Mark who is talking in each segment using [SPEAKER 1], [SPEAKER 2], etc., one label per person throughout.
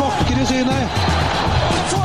[SPEAKER 1] vakre synet!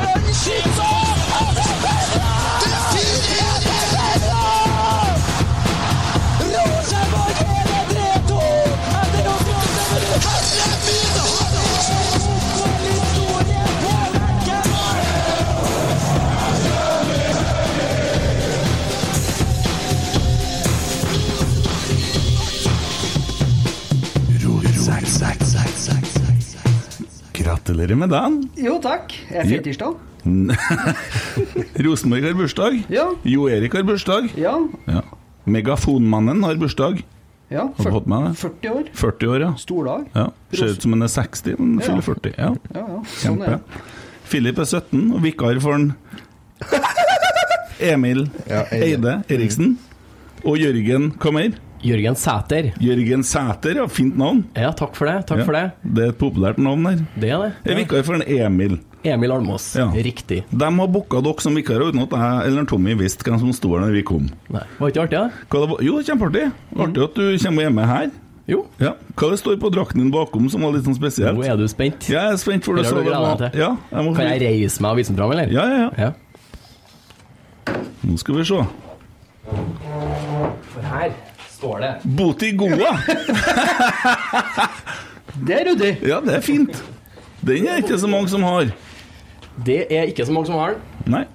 [SPEAKER 2] Gratulerer med dagen.
[SPEAKER 3] Jo, takk. Jeg er
[SPEAKER 2] Ja.
[SPEAKER 3] fetirsdag.
[SPEAKER 2] Rosenborg har bursdag.
[SPEAKER 3] Ja.
[SPEAKER 2] Jo Erik har bursdag.
[SPEAKER 3] Ja.
[SPEAKER 2] Ja. Megafonmannen har bursdag.
[SPEAKER 3] ja.
[SPEAKER 2] Har du fått med deg det?
[SPEAKER 3] 40 år.
[SPEAKER 2] 40 år, ja.
[SPEAKER 3] Stor dag.
[SPEAKER 2] ja. Ser ut som han er 60, men fyller 40. Ja.
[SPEAKER 3] Ja, ja. Sånn
[SPEAKER 2] Kjempe.
[SPEAKER 3] er det.
[SPEAKER 2] Philip er 17, og vikar for han Emil
[SPEAKER 4] Ja,
[SPEAKER 2] Eide Eriksen. Og Jørgen Hva mer?
[SPEAKER 5] Jørgen Sæter.
[SPEAKER 2] Jørgen Sæter, ja, fint navn.
[SPEAKER 5] Ja, takk for det. Takk
[SPEAKER 2] Ja,
[SPEAKER 5] for det.
[SPEAKER 2] Det er et populært navn her.
[SPEAKER 5] Det er
[SPEAKER 2] Jeg
[SPEAKER 5] det.
[SPEAKER 2] er vikar for en Emil.
[SPEAKER 5] Emil Almås.
[SPEAKER 2] Ja.
[SPEAKER 5] Riktig.
[SPEAKER 2] De har booka dere som vikarer uten at jeg eller Tommy visste hvem som sto her når vi kom.
[SPEAKER 5] Nei. Var ikke artig, da?
[SPEAKER 2] Hva det var? Jo, kjempeartig. Artig at du kommer hjemme her.
[SPEAKER 5] Jo.
[SPEAKER 2] Ja. Hva det står på drakten din bakom som var litt sånn
[SPEAKER 5] Nå
[SPEAKER 2] spesielt?
[SPEAKER 5] er du spent.
[SPEAKER 2] Ja, jeg er spent for
[SPEAKER 5] Her
[SPEAKER 2] det.
[SPEAKER 5] har
[SPEAKER 2] så
[SPEAKER 5] du
[SPEAKER 2] det
[SPEAKER 5] gleda
[SPEAKER 2] var-
[SPEAKER 5] deg til.
[SPEAKER 2] Ja, jeg må
[SPEAKER 5] Kan jeg reise meg og vise den fram, eller?
[SPEAKER 2] Ja, ja, ja.
[SPEAKER 5] ja.
[SPEAKER 2] Nå skal vi se.
[SPEAKER 5] For her står det
[SPEAKER 2] Boti Goa!
[SPEAKER 3] Det er ryddig.
[SPEAKER 2] Ja, det er fint. Den er ikke så mange som har.
[SPEAKER 5] Det er ikke så mange som har den.
[SPEAKER 2] Nei.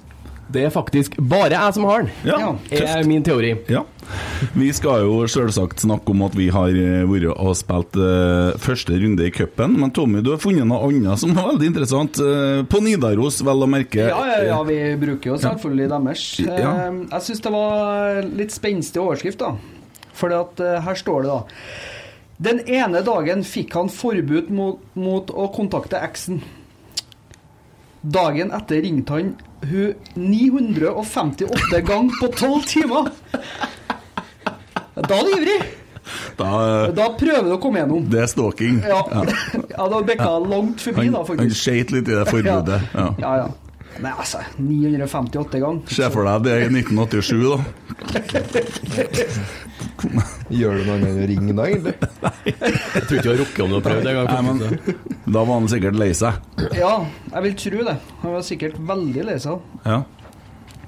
[SPEAKER 5] Det er faktisk bare jeg som har den.
[SPEAKER 2] Ja,
[SPEAKER 3] Ja.
[SPEAKER 2] tøft.
[SPEAKER 5] er min teori.
[SPEAKER 2] Ja. Vi skal jo selvsagt snakke om at vi har eh, vært og spilt eh, første runde i cupen. Men Tommy, du har funnet noe annet som er veldig interessant. eh, på Nidaros, vel å merke.
[SPEAKER 3] Ja, ja, ja, vi bruker jo selvfølgelig deres.
[SPEAKER 2] Ja.
[SPEAKER 3] Eh, Jeg syns det var litt spenstig overskrift, da. For her står det, da. Den ene dagen fikk han forbud mot, mot å kontakte eksen. Dagen etter ringte han hun 958 ganger på 12 timer! Da er du ivrig!
[SPEAKER 2] Da, eh,
[SPEAKER 3] Da prøver du å komme gjennom.
[SPEAKER 2] det er stalking.
[SPEAKER 3] Ja, ja da bikka langt forbi,
[SPEAKER 2] Han,
[SPEAKER 3] da,
[SPEAKER 2] han
[SPEAKER 3] faktisk.
[SPEAKER 2] skeit litt i det forbudet. Ja.
[SPEAKER 3] Ja, ja. Nei, altså, 958 ganger.
[SPEAKER 2] Se for deg det er i 1987, da.
[SPEAKER 4] Gjør du noe annet enn å ringe da, egentlig?
[SPEAKER 5] Jeg tror ikke du har rukket om du har prøvd det
[SPEAKER 2] Nei,
[SPEAKER 5] engang.
[SPEAKER 2] men, da var han sikkert lei seg.
[SPEAKER 3] Ja, jeg vil tro det. Han var sikkert veldig lei seg.
[SPEAKER 2] Ja.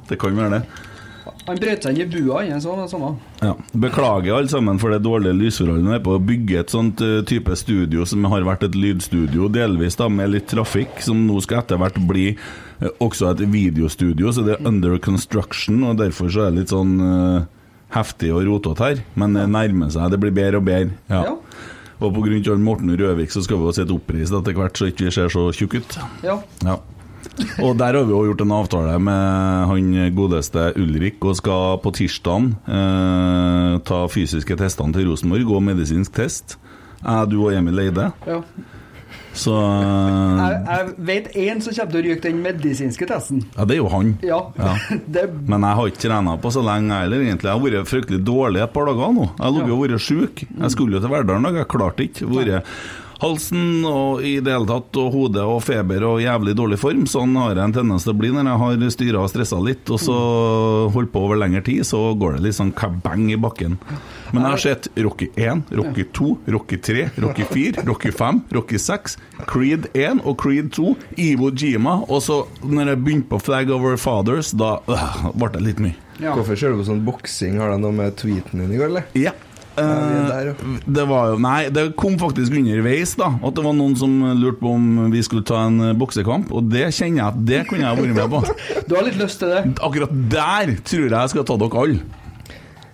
[SPEAKER 2] Det kan være det.
[SPEAKER 3] Han brøt seg inn i bua, han så det samme.
[SPEAKER 2] Ja. Beklager alle sammen for det dårlige lysforholdene. Jeg er på å bygge et sånt eh, type studio som har vært et lydstudio, delvis da med litt trafikk, som nå skal etter hvert bli eh, også et videostudio. Så det er under construction, og derfor så er det litt sånn eh, heftig og rotete her. Men det nærmer seg. Det blir bedre og bedre. Ja.
[SPEAKER 3] Ja.
[SPEAKER 2] Og på grunn av Morten Røvik så skal vi jo sitte oppreist etter hvert, så ikke vi ser så tjukke ut.
[SPEAKER 3] Ja.
[SPEAKER 2] Ja. Og der har vi jo gjort en avtale med han godeste Ulrik, og skal på tirsdag eh, ta fysiske testene til Rosenborg og medisinsk test. Jeg, du og Emil Eide.
[SPEAKER 3] ja.
[SPEAKER 2] Så eh,
[SPEAKER 3] Jeg, jeg vet én som kommer til å ryke den medisinske testen.
[SPEAKER 2] Ja, det er jo han.
[SPEAKER 3] Ja.
[SPEAKER 2] Ja.
[SPEAKER 3] Det,
[SPEAKER 2] Men jeg har ikke trena på så lenge jeg heller, egentlig. Jeg har vært fryktelig dårlig et par dager nå. Jeg har ligget og vært sjuk. Jeg skulle jo til Verdalen i dag, jeg klarte ikke. Vært halsen og i det hele tatt, og hodet og feber og jævlig dårlig form. Sånn har jeg en tendens til å bli når jeg har styra og stressa litt, og så holdt på over lengre tid, så går det litt sånn kabang i bakken. Men jeg har sett Rocky 1, Rocky 2, Rocky 3, Rocky 4, Rocky 5, Rocky 6, Creed 1 og Creed 2, Ivo Jima, og så når jeg begynte på Flag Over Fathers, da øh, ble det litt mye.
[SPEAKER 3] ja.
[SPEAKER 4] Hvorfor ser du på sånn boksing? Har det noe med tweeten din i går, eller?
[SPEAKER 2] Ja.
[SPEAKER 4] vi er der,
[SPEAKER 2] Eh, det var jo Nei, det kom faktisk underveis, da. At det var noen som lurte på om vi skulle ta en eh, boksekamp, og det kjenner jeg at det kunne jeg vært med på.
[SPEAKER 3] Du har litt lyst til det?
[SPEAKER 2] Akkurat der tror jeg jeg skal ta dere alle.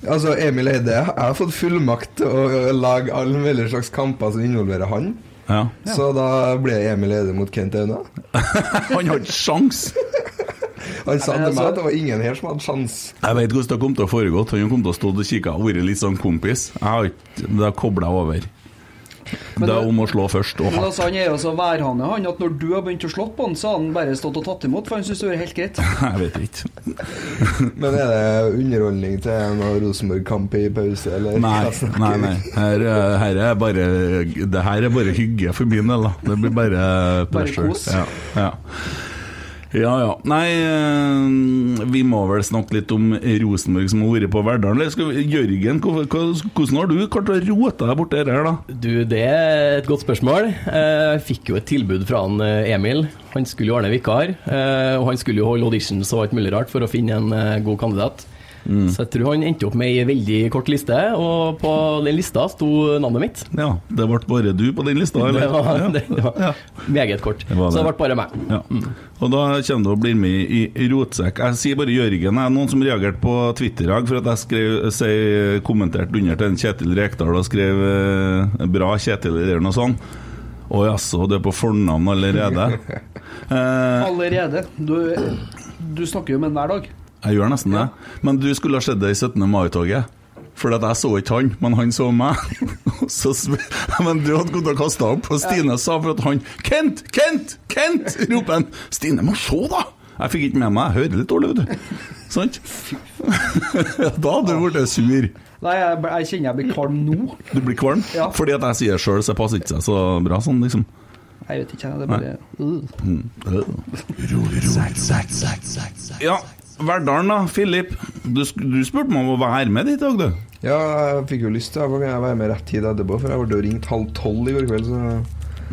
[SPEAKER 4] Altså, Emil Eide, jeg har fått fullmakt til å lage alle mulige slags kamper som involverer han.
[SPEAKER 2] Ja.
[SPEAKER 4] Så da ble Emil Eide mot Kent Aune.
[SPEAKER 2] Han har ikke sjans'.
[SPEAKER 4] Han sa
[SPEAKER 3] men
[SPEAKER 4] til meg
[SPEAKER 3] altså-
[SPEAKER 4] at det var ingen her som hadde sjans.
[SPEAKER 2] Jeg vet hvordan det kom til å foregå. Han kom til å stå og kikke og vært litt sånn kompis. Jeg har ikke Det har kobla over.
[SPEAKER 3] Men
[SPEAKER 2] Det
[SPEAKER 3] det-
[SPEAKER 2] er om å slå først og
[SPEAKER 3] Men
[SPEAKER 2] hardt.
[SPEAKER 3] altså, han er jo så værhane, han, at når du har begynt å slå på han, så har han bare stått og tatt imot, for han syns det er helt greit.
[SPEAKER 2] Jeg vet ikke.
[SPEAKER 4] Men er det underholdning til noe Rosenborg-kamp i pause, eller?
[SPEAKER 2] Nei,
[SPEAKER 4] Hva snakker
[SPEAKER 2] nei.
[SPEAKER 4] vi?
[SPEAKER 2] nei. Her, eh, her er bare, det her er bare hygge for min del, da. Det blir bare pressure.
[SPEAKER 3] kos.
[SPEAKER 2] Ja, ja. ja. ja. Nei, eh, vi må vel snakke litt om Rosenborg som har vært på Verdalen. Eller skal vi- Jørgen, hvor- hvor- hvordan har du klart å rote deg borti her, da?
[SPEAKER 5] Du, det er et godt spørsmål. Eh, Jeg fikk jo et tilbud fra han eh, Emil. Han skulle jo ordne vikar, eh, og han skulle jo holde auditions og alt mulig rart for å finne en eh, god kandidat.
[SPEAKER 2] Mm.
[SPEAKER 5] Så jeg tror han endte opp med ei veldig kort liste, og på den lista sto navnet mitt.
[SPEAKER 2] Ja, det ble bare du på den lista, eller?
[SPEAKER 5] Det var,
[SPEAKER 2] Ja.
[SPEAKER 5] det
[SPEAKER 2] Ja.
[SPEAKER 5] var meget kort.
[SPEAKER 2] var
[SPEAKER 5] Så det
[SPEAKER 2] det.
[SPEAKER 5] ble bare meg.
[SPEAKER 2] Ja. Og da kommer du å bli med i i rotsekk. Jeg sier bare Jørgen. Jeg er noen som reagerte på Twitter i dag for at jeg skrev, sier- kommenterte under til en Kjetil Rekdal og skrev eh, 'bra Kjetil' eller noe sånt. Å jaså, du er på fornavn allerede? Eh,
[SPEAKER 3] Allerede. Du, du snakker jo med han hver dag.
[SPEAKER 2] jeg gjør nesten det. Men du skulle ha sett det i 17. mai-toget. Fordi at jeg så ikke han, men han så meg. Og så sp- men du hadde gått og kasta opp, og Stine sa for at han Kent! Kent! Kent! roper han. Stine må se, da! Jeg fikk ikke med meg, jeg hører litt dårlig, vet du. Sant? da hadde du blitt sur.
[SPEAKER 3] Nei, jeg, jeg kjenner jeg blir kvalm nå.
[SPEAKER 2] Du blir kvalm.
[SPEAKER 3] Ja.
[SPEAKER 2] Fordi at jeg sier sjøl, så passer ikke seg så bra sånn, liksom.
[SPEAKER 3] Jeg vet ikke, det er bare uh.
[SPEAKER 2] Ja, Verdalen da, Filip. Du, sk- du spurte meg om å være med dit i dag, du.
[SPEAKER 4] Ja, jeg fikk jo lyst til det. Da kan jeg være med rett tid etterpå, for jeg ble jo ringt halv tolv i går kveld, så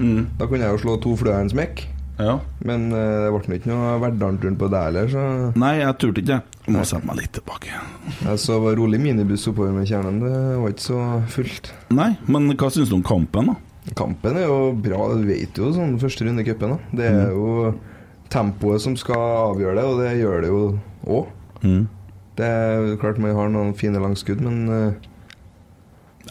[SPEAKER 2] Mm.
[SPEAKER 4] da kunne jeg jo slå to fluer i en smekk.
[SPEAKER 2] Ja.
[SPEAKER 4] Men eh, det ble nå ikke noe Verdalen-turen på deg heller, så
[SPEAKER 2] Nei, jeg turte ikke. Jeg må sette meg litt tilbake.
[SPEAKER 4] jeg sov Altså, rolig minibuss oppover med kjernen. Det var ikke så fullt.
[SPEAKER 2] Nei, men hva syns du om kampen, da?
[SPEAKER 4] Kampen er jo bra, du vet jo sånn første runde i cupen. da. Det
[SPEAKER 2] Mm.
[SPEAKER 4] er jo tempoet som skal avgjøre det, og det gjør det jo òg. Det er klart man har noen fine langskudd, men eh,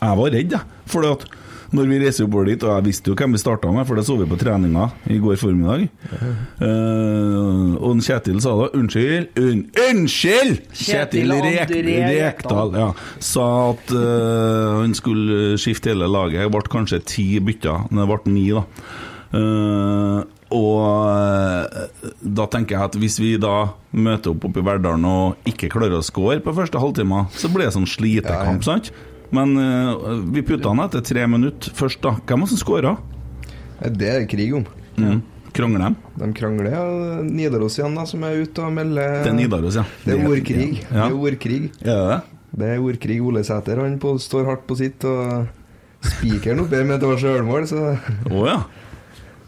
[SPEAKER 2] Jeg var redd, jeg. For at når vi reiser oppover dit, og jeg visste jo hvem vi starta med, for det så vi på treninga i går formiddag Eh, Og en Kjetil sa da Unnskyld! Un unnskyld! Kjetil
[SPEAKER 3] Kjetil
[SPEAKER 2] Rek
[SPEAKER 3] André
[SPEAKER 2] Rekdal ja, sa at eh, han skulle skifte hele laget. Det ble kanskje ti bytter, men det ble ni, da. Eh, og eh, da tenker jeg at hvis vi da møter opp oppe i Verdalen og ikke klarer å score på første halvtime, så blir det sånn slitekamp, sant? Men eh, vi putta han etter tre minutter først, da. Hvem var det som skåra?
[SPEAKER 4] det er det krig om.
[SPEAKER 2] Mm. Krangler dem?
[SPEAKER 4] De krangler. Ja. Nidaros igjen, da, som er ute og melder
[SPEAKER 2] Det er Nidaros, ja.
[SPEAKER 4] Det er ordkrig. Det
[SPEAKER 2] Ja.
[SPEAKER 4] er ordkrig.
[SPEAKER 2] Er det det?
[SPEAKER 4] Det er ordkrig Ole Sæter. Han på, står hardt på sitt, og spikeren oppe her med at det var sjølmål, så
[SPEAKER 2] Å ja.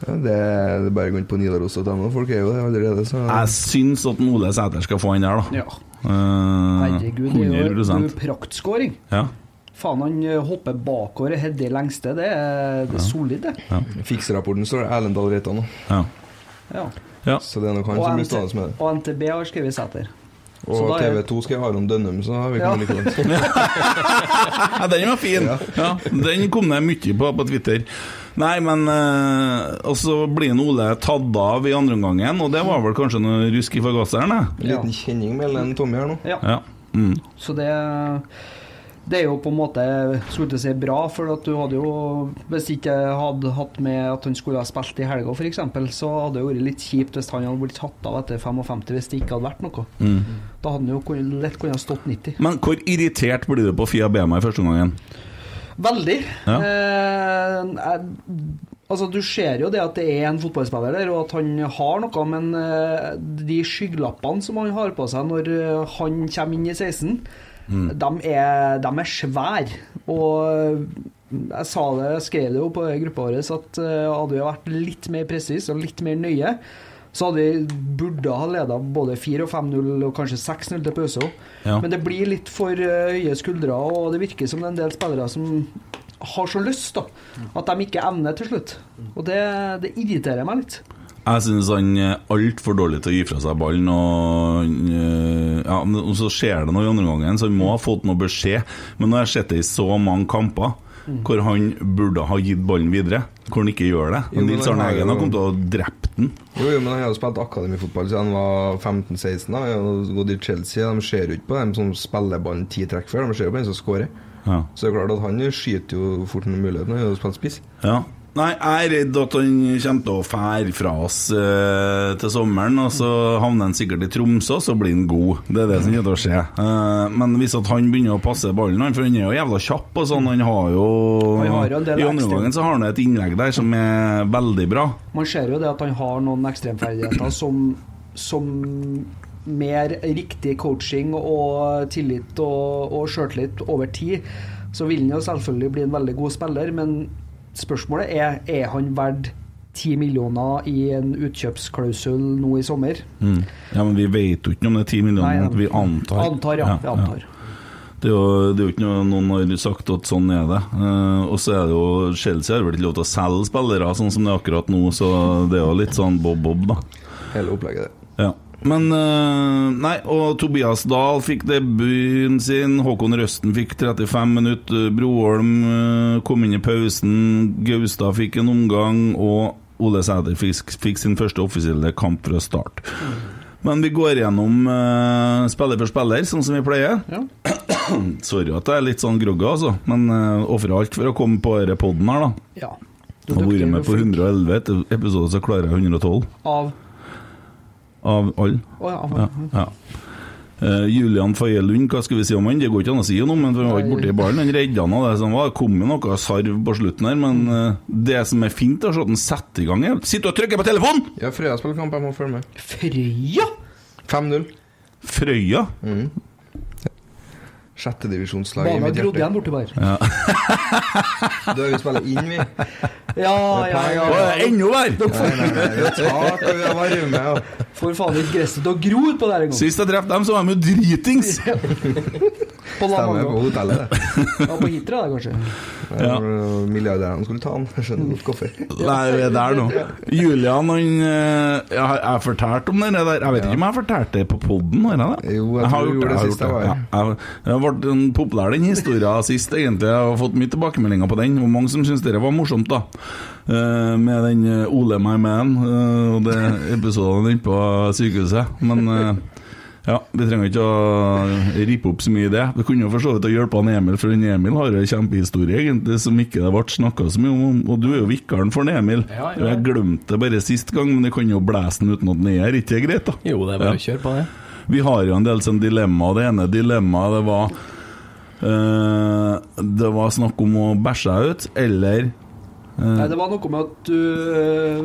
[SPEAKER 4] ja, det, det er bare å gå inn på nidaros.no. Folk er jo det allerede, så
[SPEAKER 2] Jeg syns at Ole Sæter skal få han der, da.
[SPEAKER 3] Ja.
[SPEAKER 2] Eh,
[SPEAKER 3] Uh, Herregud, det er jo- det er
[SPEAKER 2] 100
[SPEAKER 3] jo praktskåring.
[SPEAKER 2] ja.
[SPEAKER 3] Faen, han eh, hopper bakover og header lengste. Det er, det er solid, det.
[SPEAKER 4] Fikserapporten står det Erlend Dahl Reitan nå.
[SPEAKER 2] ja.
[SPEAKER 3] Ja.
[SPEAKER 2] ja.
[SPEAKER 4] Så det er nok han
[SPEAKER 3] Og,
[SPEAKER 4] som blir
[SPEAKER 3] NT
[SPEAKER 4] stående med det.
[SPEAKER 3] og NTB har skrevet Sæter. så
[SPEAKER 4] Og
[SPEAKER 3] da er-
[SPEAKER 4] TV2 skal ha Aron Dønnum, så har vi
[SPEAKER 3] Ja.
[SPEAKER 4] kommet like langt.
[SPEAKER 2] Ja, den var fin. Ja. den kom det mye på på Twitter. Nei, men eh, Og så blir en Ole tatt av i andre omgangen, og det var vel kanskje noe rusk i forgasseren, det.
[SPEAKER 4] En
[SPEAKER 3] Ja.
[SPEAKER 4] liten kjenning mellom en Tommy her nå.
[SPEAKER 3] Ja.
[SPEAKER 2] Ja. Mm.
[SPEAKER 3] Så det, det er jo på en måte skulle til å si bra, for at du hadde jo Hvis ikke jeg hadde hatt med at han skulle ha spilt i helga, f.eks., så hadde det vært litt kjipt hvis han hadde blitt tatt av etter 55 hvis det ikke hadde vært noe.
[SPEAKER 4] Mm.
[SPEAKER 3] Da hadde han jo kun- lett kunnet ha stått 90.
[SPEAKER 2] Men hvor irritert blir du på Fia Bema i første omgangen?
[SPEAKER 3] Veldig.
[SPEAKER 2] Ja.
[SPEAKER 3] Eh, jeg, altså, du ser jo det at det er en fotballspiller der, og at han har noe, men eh, de skygglappene som han har på seg når eh, han kommer inn i 16, de, er, de er svære. Og eh, jeg sa det, jeg skrev det jo på gruppa vår, at eh, hadde vi vært litt mer presis og litt mer nøye, så hadde vi burde ha leda både 4- og 5-0 og kanskje 6-0 til pause òg.
[SPEAKER 2] Ja.
[SPEAKER 3] Men det blir litt for eh, høye skuldre, og det virker som det er en del spillere som har så lyst, da. At de ikke evner til slutt. Og det, det irriterer meg litt.
[SPEAKER 2] Jeg syns han er altfor dårlig til å gi fra seg ballen. Og, han, eh, ja, men- og så skjer det noe i andre gangen, så han må ha fått noe beskjed. Men nå har jeg sett det i så mange kamper
[SPEAKER 4] Mm.
[SPEAKER 2] hvor han burde ha gitt ballen videre, hvor han ikke gjør det.
[SPEAKER 4] Jo, men
[SPEAKER 2] Nils
[SPEAKER 4] han
[SPEAKER 2] Arne
[SPEAKER 4] har
[SPEAKER 2] Eggen har
[SPEAKER 4] jo-
[SPEAKER 2] kommet til å ha drept den.
[SPEAKER 4] Jo, jo, men han har jo spilt akademifotball siden han var 15-16. da. Han har jo gått i Chelsea. De ser jo ikke på dem som spiller ballen ti trekk før, de ser jo på den som scorer.
[SPEAKER 2] Ja.
[SPEAKER 4] Så det er klart at han skyter jo fort en mulighet når han spiller spiss.
[SPEAKER 2] Ja. Nei, jeg er redd at han kommer til å fære fra oss eh, til sommeren, og så havner han sikkert i Tromsø, så blir han god. Det er det som kommer til å skje. Eh, men hvis at han begynner å passe ballen, han, for han er jo jævla kjapp og sånn, han har jo
[SPEAKER 3] Han har jo en del
[SPEAKER 2] I
[SPEAKER 3] ekstra-
[SPEAKER 2] omgangen så har han et innlegg der som er veldig bra.
[SPEAKER 3] Man ser jo det at han har noen ekstremferdigheter som, som mer riktig coaching og tillit og, og sjøltillit over tid, så vil han jo selvfølgelig bli en veldig god spiller, men spørsmålet er er han verdt 10 millioner i en utkjøpsklausul nå i sommer.
[SPEAKER 2] Ja, men vi vet jo ikke om det er 10
[SPEAKER 3] Mm. Nei,
[SPEAKER 2] millioner,
[SPEAKER 3] ja.
[SPEAKER 2] men vi antar.
[SPEAKER 3] Antar, ja. Vi antar.
[SPEAKER 2] Det er, jo, det er jo ikke noe noen har sagt at sånn er det. Eh, og så er det jo Chelsea har vel ikke lov til å selge spillere sånn som det er akkurat nå, så det er jo litt sånn bob-bob, da.
[SPEAKER 4] Hele opplegget der.
[SPEAKER 2] Ja. Men eh, Nei, og Tobias Dahl fikk debuten sin. Håkon Røsten fikk 35 minutter. Broholm eh, kom inn i pausen. Gaustad fikk en omgang. Og Ole Sæder fikk, fikk sin første offisielle kamp fra start. Men vi går gjennom eh, spiller for spiller, sånn som vi pleier.
[SPEAKER 3] Ja.
[SPEAKER 2] Sorry at jeg er litt sånn groggy, altså. Men uh, ofrer alt for å komme på denne poden her, da.
[SPEAKER 3] ja. Du
[SPEAKER 2] Jeg har vært
[SPEAKER 3] dukker
[SPEAKER 2] med på
[SPEAKER 3] flink
[SPEAKER 2] 111 et- episoder, så klarer jeg 112
[SPEAKER 3] Av
[SPEAKER 2] av alle.
[SPEAKER 3] Å ja.
[SPEAKER 2] Ja, ja. Eh, Julian Faye Lund, hva skal vi si om han? Det går ikke an å si noe, men for han var ikke borti ballen. Han redda han av det som var. Det kom jo noe sarv på slutten her, men eh, det som er fint, er at han setter i gang igjen. Sitter og trykker på telefonen!
[SPEAKER 4] Ja, Frøya spiller kamp, jeg må følge med.
[SPEAKER 3] Frøya!
[SPEAKER 4] 5-0.
[SPEAKER 2] Frøya.
[SPEAKER 4] Sjettedivisjonslag i
[SPEAKER 3] Banen har
[SPEAKER 4] mitt
[SPEAKER 3] grodd
[SPEAKER 4] hjerte.
[SPEAKER 3] igjen borti der.
[SPEAKER 4] Da vi spiller inn, vi.
[SPEAKER 3] Ja, ja, ja.
[SPEAKER 2] Og det er ennå verre!
[SPEAKER 4] Nei, nei, nei, vi har tak og vi har varme. Og...
[SPEAKER 3] Får faen ikke gresset til å gro utpå der engang.
[SPEAKER 2] Sist jeg traff dem, så var de jo dritings!
[SPEAKER 3] På La
[SPEAKER 4] Stemmer på
[SPEAKER 3] Manga.
[SPEAKER 4] hotellet, det.
[SPEAKER 3] Ja, på Hitra, da, kanskje.
[SPEAKER 2] Ja.
[SPEAKER 4] Når Milliardærene skulle ta den. Jeg skjønner godt hvorfor.
[SPEAKER 2] Nei, vi er der nå. Julian, han eh, Jeg har jeg har fortalt om det der. Jeg vet ikke om jeg har fortalt det på poden? Jo,
[SPEAKER 4] Jo, jeg tror du gjorde det sist jeg var her.
[SPEAKER 2] Det ble en populær den historien sist, egentlig. Jeg har fått mye tilbakemeldinger på den. Hvor mange som syns det var morsomt, da. Eh, med den eh, Ole my man eh, og det episoden inne på sykehuset. Men eh, ja, vi trenger ikke å rippe opp så mye i det. Vi kunne jo for så vidt å hjelpe han Emil, for han Emil har jo en kjempehistorie egentlig som ikke det ble snakka så mye om. Og du er jo vikaren for han Emil.
[SPEAKER 5] Ja, ja.
[SPEAKER 2] Og Jeg glemte det bare sist gang, men jeg kan jo blæse den uten at den er her. Ikke det greit, da?
[SPEAKER 5] Jo, det er bare
[SPEAKER 2] Ja.
[SPEAKER 5] å kjøre på det.
[SPEAKER 2] Vi har jo en del sånn dilemma. Det ene dilemmaet det var eh, Det var snakk om å bæsje deg ut, eller
[SPEAKER 3] Nei, det var noe med at du øh,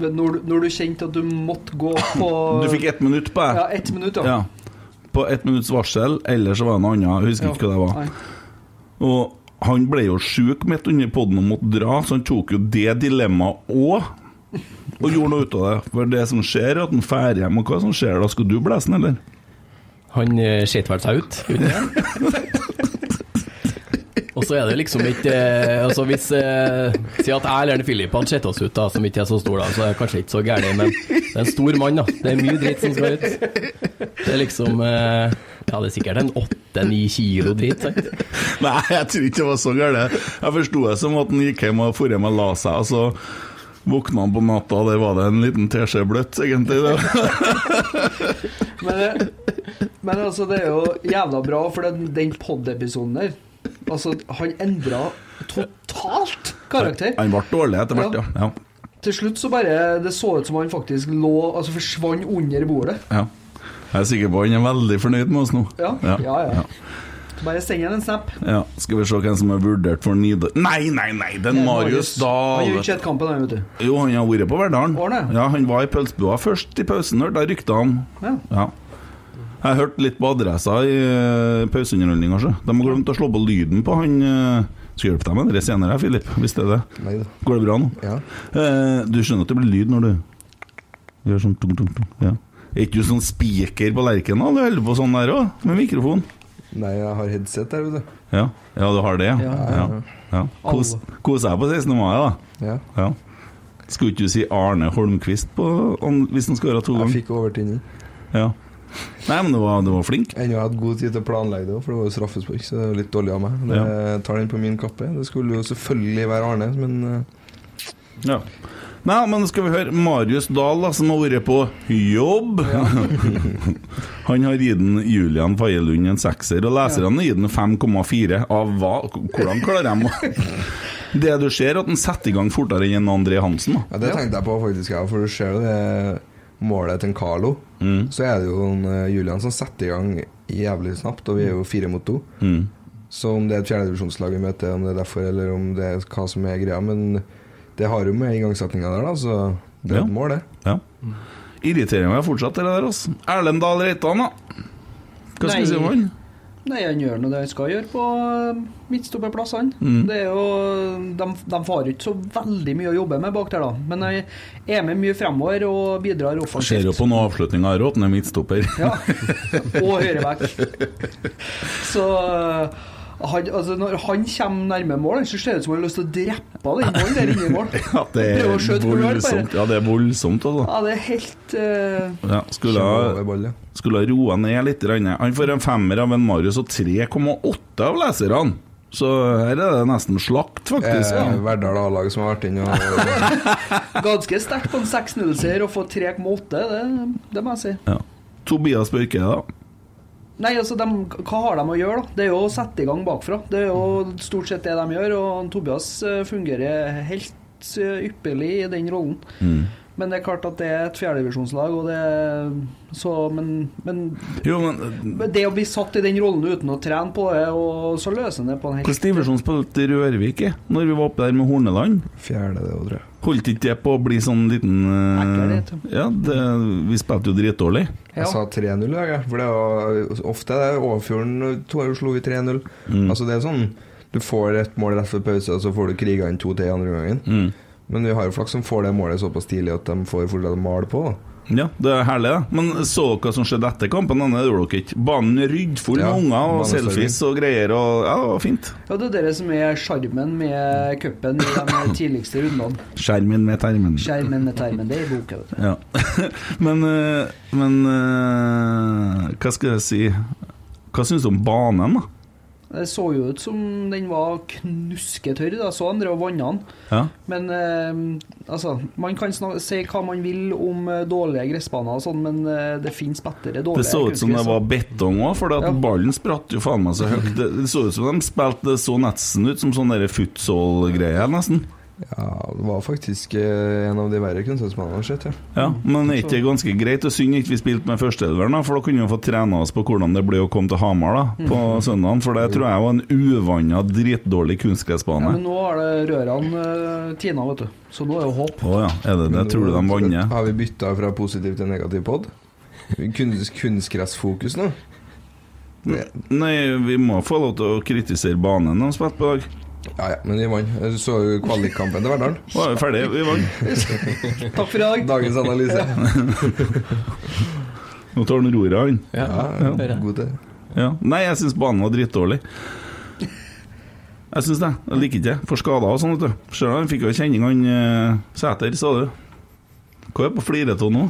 [SPEAKER 3] når, du- når du kjente at du måtte gå på
[SPEAKER 2] Du fikk ett minutt på
[SPEAKER 3] Ja,
[SPEAKER 2] deg.
[SPEAKER 3] ett minutt, ja.
[SPEAKER 2] Ja. På ett minutts varsel, eller så var det noe annet. Jeg husker ikke hva det var.
[SPEAKER 3] Nei.
[SPEAKER 2] Og han ble jo sjuk midt under poden og måtte dra, så han tok jo det dilemmaet òg. Og gjorde noe ut av det. For det som skjer, er at han drar hjem. Og hva som skjer da? Skal du blæse den, eller?
[SPEAKER 5] Han eh, ser vel seg ut. gjorde han ikke det? Og så er det liksom ikke eh, Altså hvis eh, Si at jeg eller Filip hadde sett oss ut, da, som ikke er så stor, da, så er det kanskje ikke så gærent, men det er en stor mann, da. Det er mye dritt som skal ut. Det er liksom eh, Ja, det er sikkert en åtte-ni kilo dritt. sant?
[SPEAKER 2] Nei, jeg tror ikke det var så galt. Jeg forsto det som at han gikk hjem og for hjem og la seg, og så våkna han på natta, og der var det en liten teskje bløtt, egentlig. Det.
[SPEAKER 3] Men, det- men altså, det er jo jævla bra, for den, den pod-episoden der Altså, han endra totalt karakter.
[SPEAKER 2] Han ble dårlig etter hvert, ja. ja.
[SPEAKER 3] Til slutt så bare Det så ut som han faktisk lå Altså forsvant under bordet.
[SPEAKER 2] ja. Jeg er sikker på han er veldig fornøyd med oss nå.
[SPEAKER 3] Ja, ja, ja.
[SPEAKER 2] ja.
[SPEAKER 3] Bare send ham en snap.
[SPEAKER 2] Ja, Skal vi se hvem som er vurdert for Nidar... Nei, nei, nei, den Marius
[SPEAKER 3] Han
[SPEAKER 2] Dahl!
[SPEAKER 3] gjør ikke et kampen, han, vet du.
[SPEAKER 2] Jo, han har vært på Verdalen.
[SPEAKER 3] Har han det?
[SPEAKER 2] Ja, han var i pølsebua først i pausen, hørte jeg rykta om.
[SPEAKER 3] Ja.
[SPEAKER 2] Ja. Jeg hørte litt på adressa i uh, pauseunderholdninga, så. De har glemt å slå på lyden på han eh, Skal hjelpe deg med det senere, Filip, hvis det er det.
[SPEAKER 4] Nei da.
[SPEAKER 2] Går det bra nå?
[SPEAKER 4] Ja.
[SPEAKER 2] Eh, du skjønner at det blir lyd når du gjør sånn tung, tung, tung. Ja. Er ikke du sånn spiker på Lerkendal? Du holder på sånn der òg, med mikrofon.
[SPEAKER 4] Nei, jeg har headset der, vet du.
[SPEAKER 2] Ja, ja du har det, ja. ja, ja. Kos, kos deg på 16. mai, da.
[SPEAKER 4] Ja.
[SPEAKER 2] Ja. Skulle ikke du si Arne Holmquist på, om, hvis han skåra to
[SPEAKER 4] Jeg
[SPEAKER 2] ganger?
[SPEAKER 4] fikk overtenning.
[SPEAKER 2] Ja. Nei, men du var, du var flink.
[SPEAKER 4] Ennå har jeg hatt god tid til å planlegge det òg, for det var jo straffespark, så det er litt dårlig av meg. Det tar den på min kappe. Det skulle jo selvfølgelig være Arne, men eh,
[SPEAKER 2] Ja. Nei, men skal vi høre Marius Dahl, da, som har vært på jobb. han har gitt den Julian Faye Lund en sekser, og leserne har gitt den 5,4. Av hva? Hvordan klarer de å Det du ser, at han setter i gang fortere enn André Hansen. da
[SPEAKER 4] Ja, det tenkte jeg på faktisk, ja, for du ser jo det målet til en Carlo. Så er det jo en, eh, Julian som setter i gang jævlig snapt, og vi er jo fire mot to.
[SPEAKER 2] Mm.
[SPEAKER 4] Så om det er et fjerdedivisjonslag vi møter, om det er derfor, eller om det er hva som er greia, men det har jo med igangsettinga der, da, så det er
[SPEAKER 2] Ja.
[SPEAKER 4] et mål, det.
[SPEAKER 2] Ja. Irriterer meg fortsatt, det der. altså Erlend Dahl Reitan, da. Hva skal vi si om
[SPEAKER 3] Nei.
[SPEAKER 2] han?
[SPEAKER 3] Nei, han gjør nå det han skal gjøre på eh, midtstopperplassene.
[SPEAKER 2] Mm.
[SPEAKER 3] Det er jo, de, de får jo ikke så veldig mye å jobbe med bak der, da. Men han er med mye fremover og bidrar
[SPEAKER 2] Ser jo
[SPEAKER 3] offensivt.
[SPEAKER 2] på noen avslutninger her òg, at han er midtstopper.
[SPEAKER 3] Ja. Og høyreback. Så eh, han, altså, når han kommer nærme mål, så ser det ut som han har lyst til å drepe den ballen der inne i mål.
[SPEAKER 2] Ja, det er
[SPEAKER 3] Prøver å skjøte på mål,
[SPEAKER 2] voldsomt.
[SPEAKER 3] bare.
[SPEAKER 2] Ja, det er voldsomt, altså.
[SPEAKER 3] Ja, det er helt eh,
[SPEAKER 2] Ja, skulle
[SPEAKER 4] Kjempe over
[SPEAKER 2] ha,
[SPEAKER 4] ball, ja.
[SPEAKER 2] skulle ha roa ned litt. grann. Han får en femmer av en Marius og 3,8 av leserne. Så her er det nesten slakt, faktisk.
[SPEAKER 4] Eh, Verdal A-lag som har vært inne og
[SPEAKER 3] ganske sterkt på en 6-0-seier og få 3,8. Det, det må jeg si.
[SPEAKER 2] Ja. Tobias Børke, da.
[SPEAKER 3] Nei, altså, dem- Hva har de å gjøre? da? Det er jo å sette i gang bakfra. Det er jo stort sett det de gjør. og Tobias eh, fungerer helt eh, ypperlig i den rollen. Men det er klart at det er et fjerdedivisjonslag, og det er så Men, men
[SPEAKER 2] Jo, men eh,
[SPEAKER 3] men det å bli satt i den rollen uten å trene på det, og så løser han det på en helt
[SPEAKER 2] hvordan divisjon spilte Rørvik i når vi var oppe der med Horneland?
[SPEAKER 4] fjerde det, tror jeg.
[SPEAKER 2] Holdt ikke det på å bli sånn liten eh,
[SPEAKER 3] Ekkel, det,
[SPEAKER 2] Ja, det, vi spilte jo dritdårlig.
[SPEAKER 4] Jeg sa 3-0 i dag, jeg, for det var ofte det. Overfjorden to år slo vi 3-0.
[SPEAKER 2] Mm.
[SPEAKER 4] Altså det er sånn Du får et mål rett før pause, og så får du kriga inn to til andre gangen.
[SPEAKER 2] Mm.
[SPEAKER 4] Men vi har jo flaks som får det målet såpass tidlig at de får fortsatt male på. Da.
[SPEAKER 2] Ja, det er herlig, da. Men så dere hva som skjedde etter kampen? Denne gjorde dere ikke. Banen er ryddfull
[SPEAKER 4] Ja,
[SPEAKER 2] med unger og
[SPEAKER 4] banen er
[SPEAKER 2] selfies og greier. Og, ja, det var fint.
[SPEAKER 3] Ja, det er det som er sjarmen med cupen i de tidligste rundene.
[SPEAKER 2] Skjermen med termen.
[SPEAKER 3] Skjermen med termen, det er i boka. vet du.
[SPEAKER 2] Ja. men eh, men eh, hva skal jeg si Hva syns du om banen, da?
[SPEAKER 3] Det så jo ut som den var knusketørr. da, Så han drev og vanna den.
[SPEAKER 2] Ja.
[SPEAKER 3] Men eh, altså, man kan snak- si hva man vil om eh, dårlige gressbaner og sånn, men eh, det fins bedre
[SPEAKER 2] Det
[SPEAKER 3] dårlige
[SPEAKER 2] så ut som det
[SPEAKER 3] kunstgress.
[SPEAKER 2] var betong òg, for
[SPEAKER 3] Ja.
[SPEAKER 2] ballen spratt jo faen meg så høyt. Det, det så ut som de spilte det så nesten ut som sånn derre futsal-greie, nesten.
[SPEAKER 4] Ja, det var faktisk eh, en av de verre kunnskapsmennene jeg har sett.
[SPEAKER 2] Ja,
[SPEAKER 4] Ja.
[SPEAKER 2] Men er ikke det ganske greit? Og synd ikke vi spilte med førsteelveren, da, for da kunne vi fått trene oss på hvordan det ble å komme til Hamar da, på
[SPEAKER 3] Mm.
[SPEAKER 2] søndagen. For det tror jeg var en uvanna, dritdårlig
[SPEAKER 3] Ja,
[SPEAKER 2] kunstgressbane.
[SPEAKER 3] men nå har det rørene eh, tina, vet du. Så nå er det håp.
[SPEAKER 2] Å ja, er det det? Tror du de vanner?
[SPEAKER 4] Har vi bytta fra positiv til negativ pod? Kunst, kunstgressfokus nå?
[SPEAKER 2] Nei, vi må få lov til å kritisere banen de spilte på i dag.
[SPEAKER 4] Ja ja, men vi vant. Du så jo kvalikkampen til Verdal.
[SPEAKER 2] Var vi ferdige? Vi vant.
[SPEAKER 3] Takk for i dag.
[SPEAKER 4] Dagens analyse.
[SPEAKER 2] Nå tar han roret, han.
[SPEAKER 5] Ja,
[SPEAKER 4] Ja,
[SPEAKER 5] hører jeg.
[SPEAKER 4] god til.
[SPEAKER 2] Ja. Nei, jeg syns banen var drittdårlig. Jeg syns det. Jeg liker ikke det. For skader og sånn, vet du. Ser du, han fikk jo kjenning, han eh, Sæter, sa du. Hva er det på flirete nå?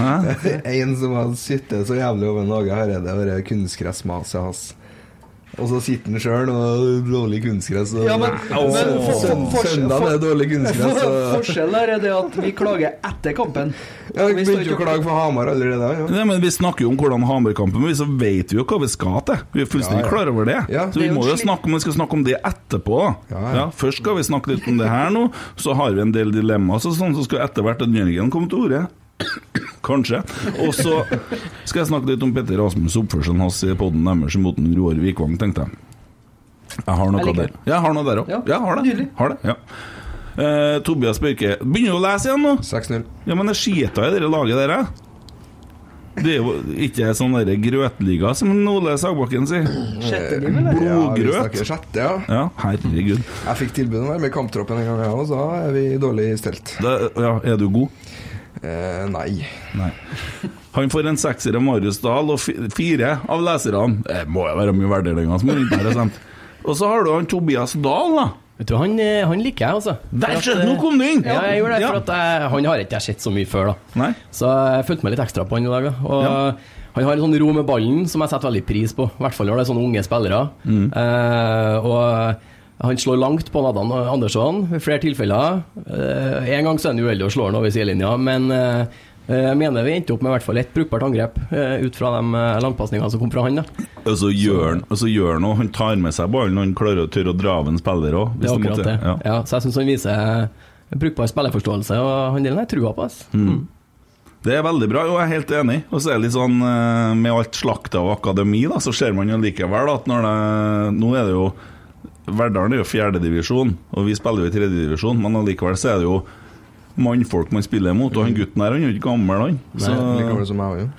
[SPEAKER 2] Hæ?
[SPEAKER 4] En som har sittet så jævlig over Nage Hareide og det kunstgressmaset hans. Og så sitter han sjøl og dårlig kunstgress. Og
[SPEAKER 3] Ja, men-
[SPEAKER 2] men for- for-
[SPEAKER 4] søn-
[SPEAKER 3] for-
[SPEAKER 4] søndag det er dårlig kunstgress. Og...
[SPEAKER 3] Forskjellen her er det at vi klager etter kampen.
[SPEAKER 4] Ja,
[SPEAKER 3] Og
[SPEAKER 4] Jeg
[SPEAKER 3] vi står
[SPEAKER 4] begynte jo å
[SPEAKER 3] ikke-
[SPEAKER 4] klage for Hamar allerede da. Ja.
[SPEAKER 2] Nei, men Vi snakker jo om hvordan Hamar-kampen blir, så vet vi jo hva vi skal til. Vi er fullstendig
[SPEAKER 4] Ja, ja.
[SPEAKER 2] klar over det.
[SPEAKER 4] Ja.
[SPEAKER 2] så vi
[SPEAKER 3] Det er jo
[SPEAKER 2] må jo
[SPEAKER 3] slik-
[SPEAKER 2] snakke om vi skal snakke om det etterpå. Ja,
[SPEAKER 4] Ja, ja.
[SPEAKER 2] Først skal vi snakke litt om det her nå, så har vi en del dilemmaer, så sånn så skal etter hvert at Jørgen komme til orde. Kanskje. Og så skal jeg snakke litt om Petter Rasmus' oppførselen hans i podden deres mot den Roar Vikvang, tenkte jeg. Jeg har noe
[SPEAKER 3] Jeg liker
[SPEAKER 2] der. Jeg har noe der òg.
[SPEAKER 3] Ja,
[SPEAKER 2] Jeg har det.
[SPEAKER 3] nydelig.
[SPEAKER 2] Har det. Ja. Eh, Tobias Børke Begynner du å lese igjen nå?
[SPEAKER 4] 6-0.
[SPEAKER 2] Ja, men jeg skiter i dere laget der, jeg. Det er jo ikke sånn derre grøtliga som Ole Sagbakken sier.
[SPEAKER 3] Sjette liv, eller?
[SPEAKER 4] Ja, vi
[SPEAKER 2] Blodgrøt.
[SPEAKER 4] snakker sjette, ja.
[SPEAKER 2] Ja, herregud.
[SPEAKER 4] Jeg fikk tilbud om å være med i kamptroppen en gang, jeg òg, så da er vi dårlig stelt.
[SPEAKER 2] Da, ja, er du god?
[SPEAKER 4] Eh, nei.
[SPEAKER 2] Nei. Han får en sekser av Marius Dahl og fi- fire av leserne. Det må jo være mye verdilenger som er rundt her, sant? Og så har du han Tobias Dahl, da.
[SPEAKER 5] Vet du, han, eh, han liker jeg, altså. For
[SPEAKER 2] Der,
[SPEAKER 5] at,
[SPEAKER 2] skjøt,
[SPEAKER 5] eh,
[SPEAKER 2] nå kom du inn!
[SPEAKER 5] Ja, jeg gjorde det,
[SPEAKER 2] Ja.
[SPEAKER 5] for at jeg, han har ikke jeg sett så mye før, da.
[SPEAKER 2] Nei.
[SPEAKER 5] Så jeg fulgte meg litt ekstra på han i dag. Da. Og Han har en sånn ro med Mm. ballen som jeg setter veldig pris på. I hvert fall når det er sånne unge spillere. Eh, og Han slår langt på Nadan Andersson i flere tilfeller. Eh, en gang så er han uheldig og slår den over sidelinja, men eh, jeg mener vi endte opp med i hvert fall ett brukbart angrep eh, ut fra de eh, langpasningene som kom fra han. da
[SPEAKER 2] Og så gjør han og så gjør han noe. Han tar med seg ballen, og han klarer å tørre å dra av en spiller òg.
[SPEAKER 5] Det er akkurat det. Ja. så jeg syns han viser brukbar spillerforståelse, og han delen har jeg trua på. ass.
[SPEAKER 2] Det er veldig bra, og jeg er helt enig. Og så er det litt sånn eh, med alt slakta og akademi, da, så ser man jo likevel at når det Nå er det jo Verdalen er jo fjerdedivisjon, og vi spiller jo i tredjedivisjon, men allikevel så er det jo mannfolk man spiller mot, og han gutten her, han er jo ikke gammel, han. Så
[SPEAKER 4] Like gammel som jeg Mm. var, jo.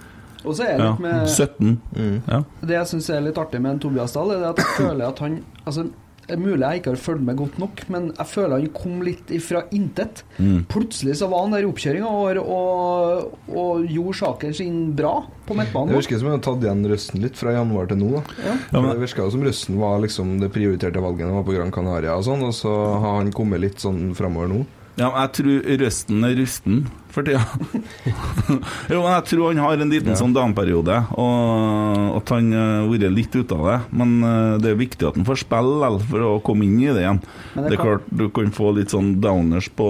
[SPEAKER 3] Og så er det
[SPEAKER 2] ja,
[SPEAKER 3] litt med
[SPEAKER 2] 17. Ja.
[SPEAKER 3] Det jeg syns er litt artig med en Tobias Dahl, er det at jeg føler at han altså, det er Mulig jeg ikke har fulgt med godt nok, men jeg føler han kom litt ifra intet.
[SPEAKER 4] Mm.
[SPEAKER 3] Plutselig så var han der i oppkjøringa og, og, og gjorde saken sin bra på
[SPEAKER 4] Det
[SPEAKER 3] midtbanen.
[SPEAKER 4] virker som jeg har tatt igjen røsten litt fra januar til nå. da For
[SPEAKER 2] men-
[SPEAKER 4] Det virka som røsten var liksom det prioriterte valget når han var på Gran Canaria, og sånn Og så har han kommet litt sånn framover nå.
[SPEAKER 2] Ja, men jeg tror røsten er rusten for tida. jo, men jeg tror han har en liten sånn down-periode, og at han har vært litt ute av det. Men eh, det er viktig at han får spille likevel for å komme inn i det igjen.
[SPEAKER 3] Men
[SPEAKER 2] Det,
[SPEAKER 3] det
[SPEAKER 2] er
[SPEAKER 3] kan-
[SPEAKER 2] klart du kan få litt sånn downers på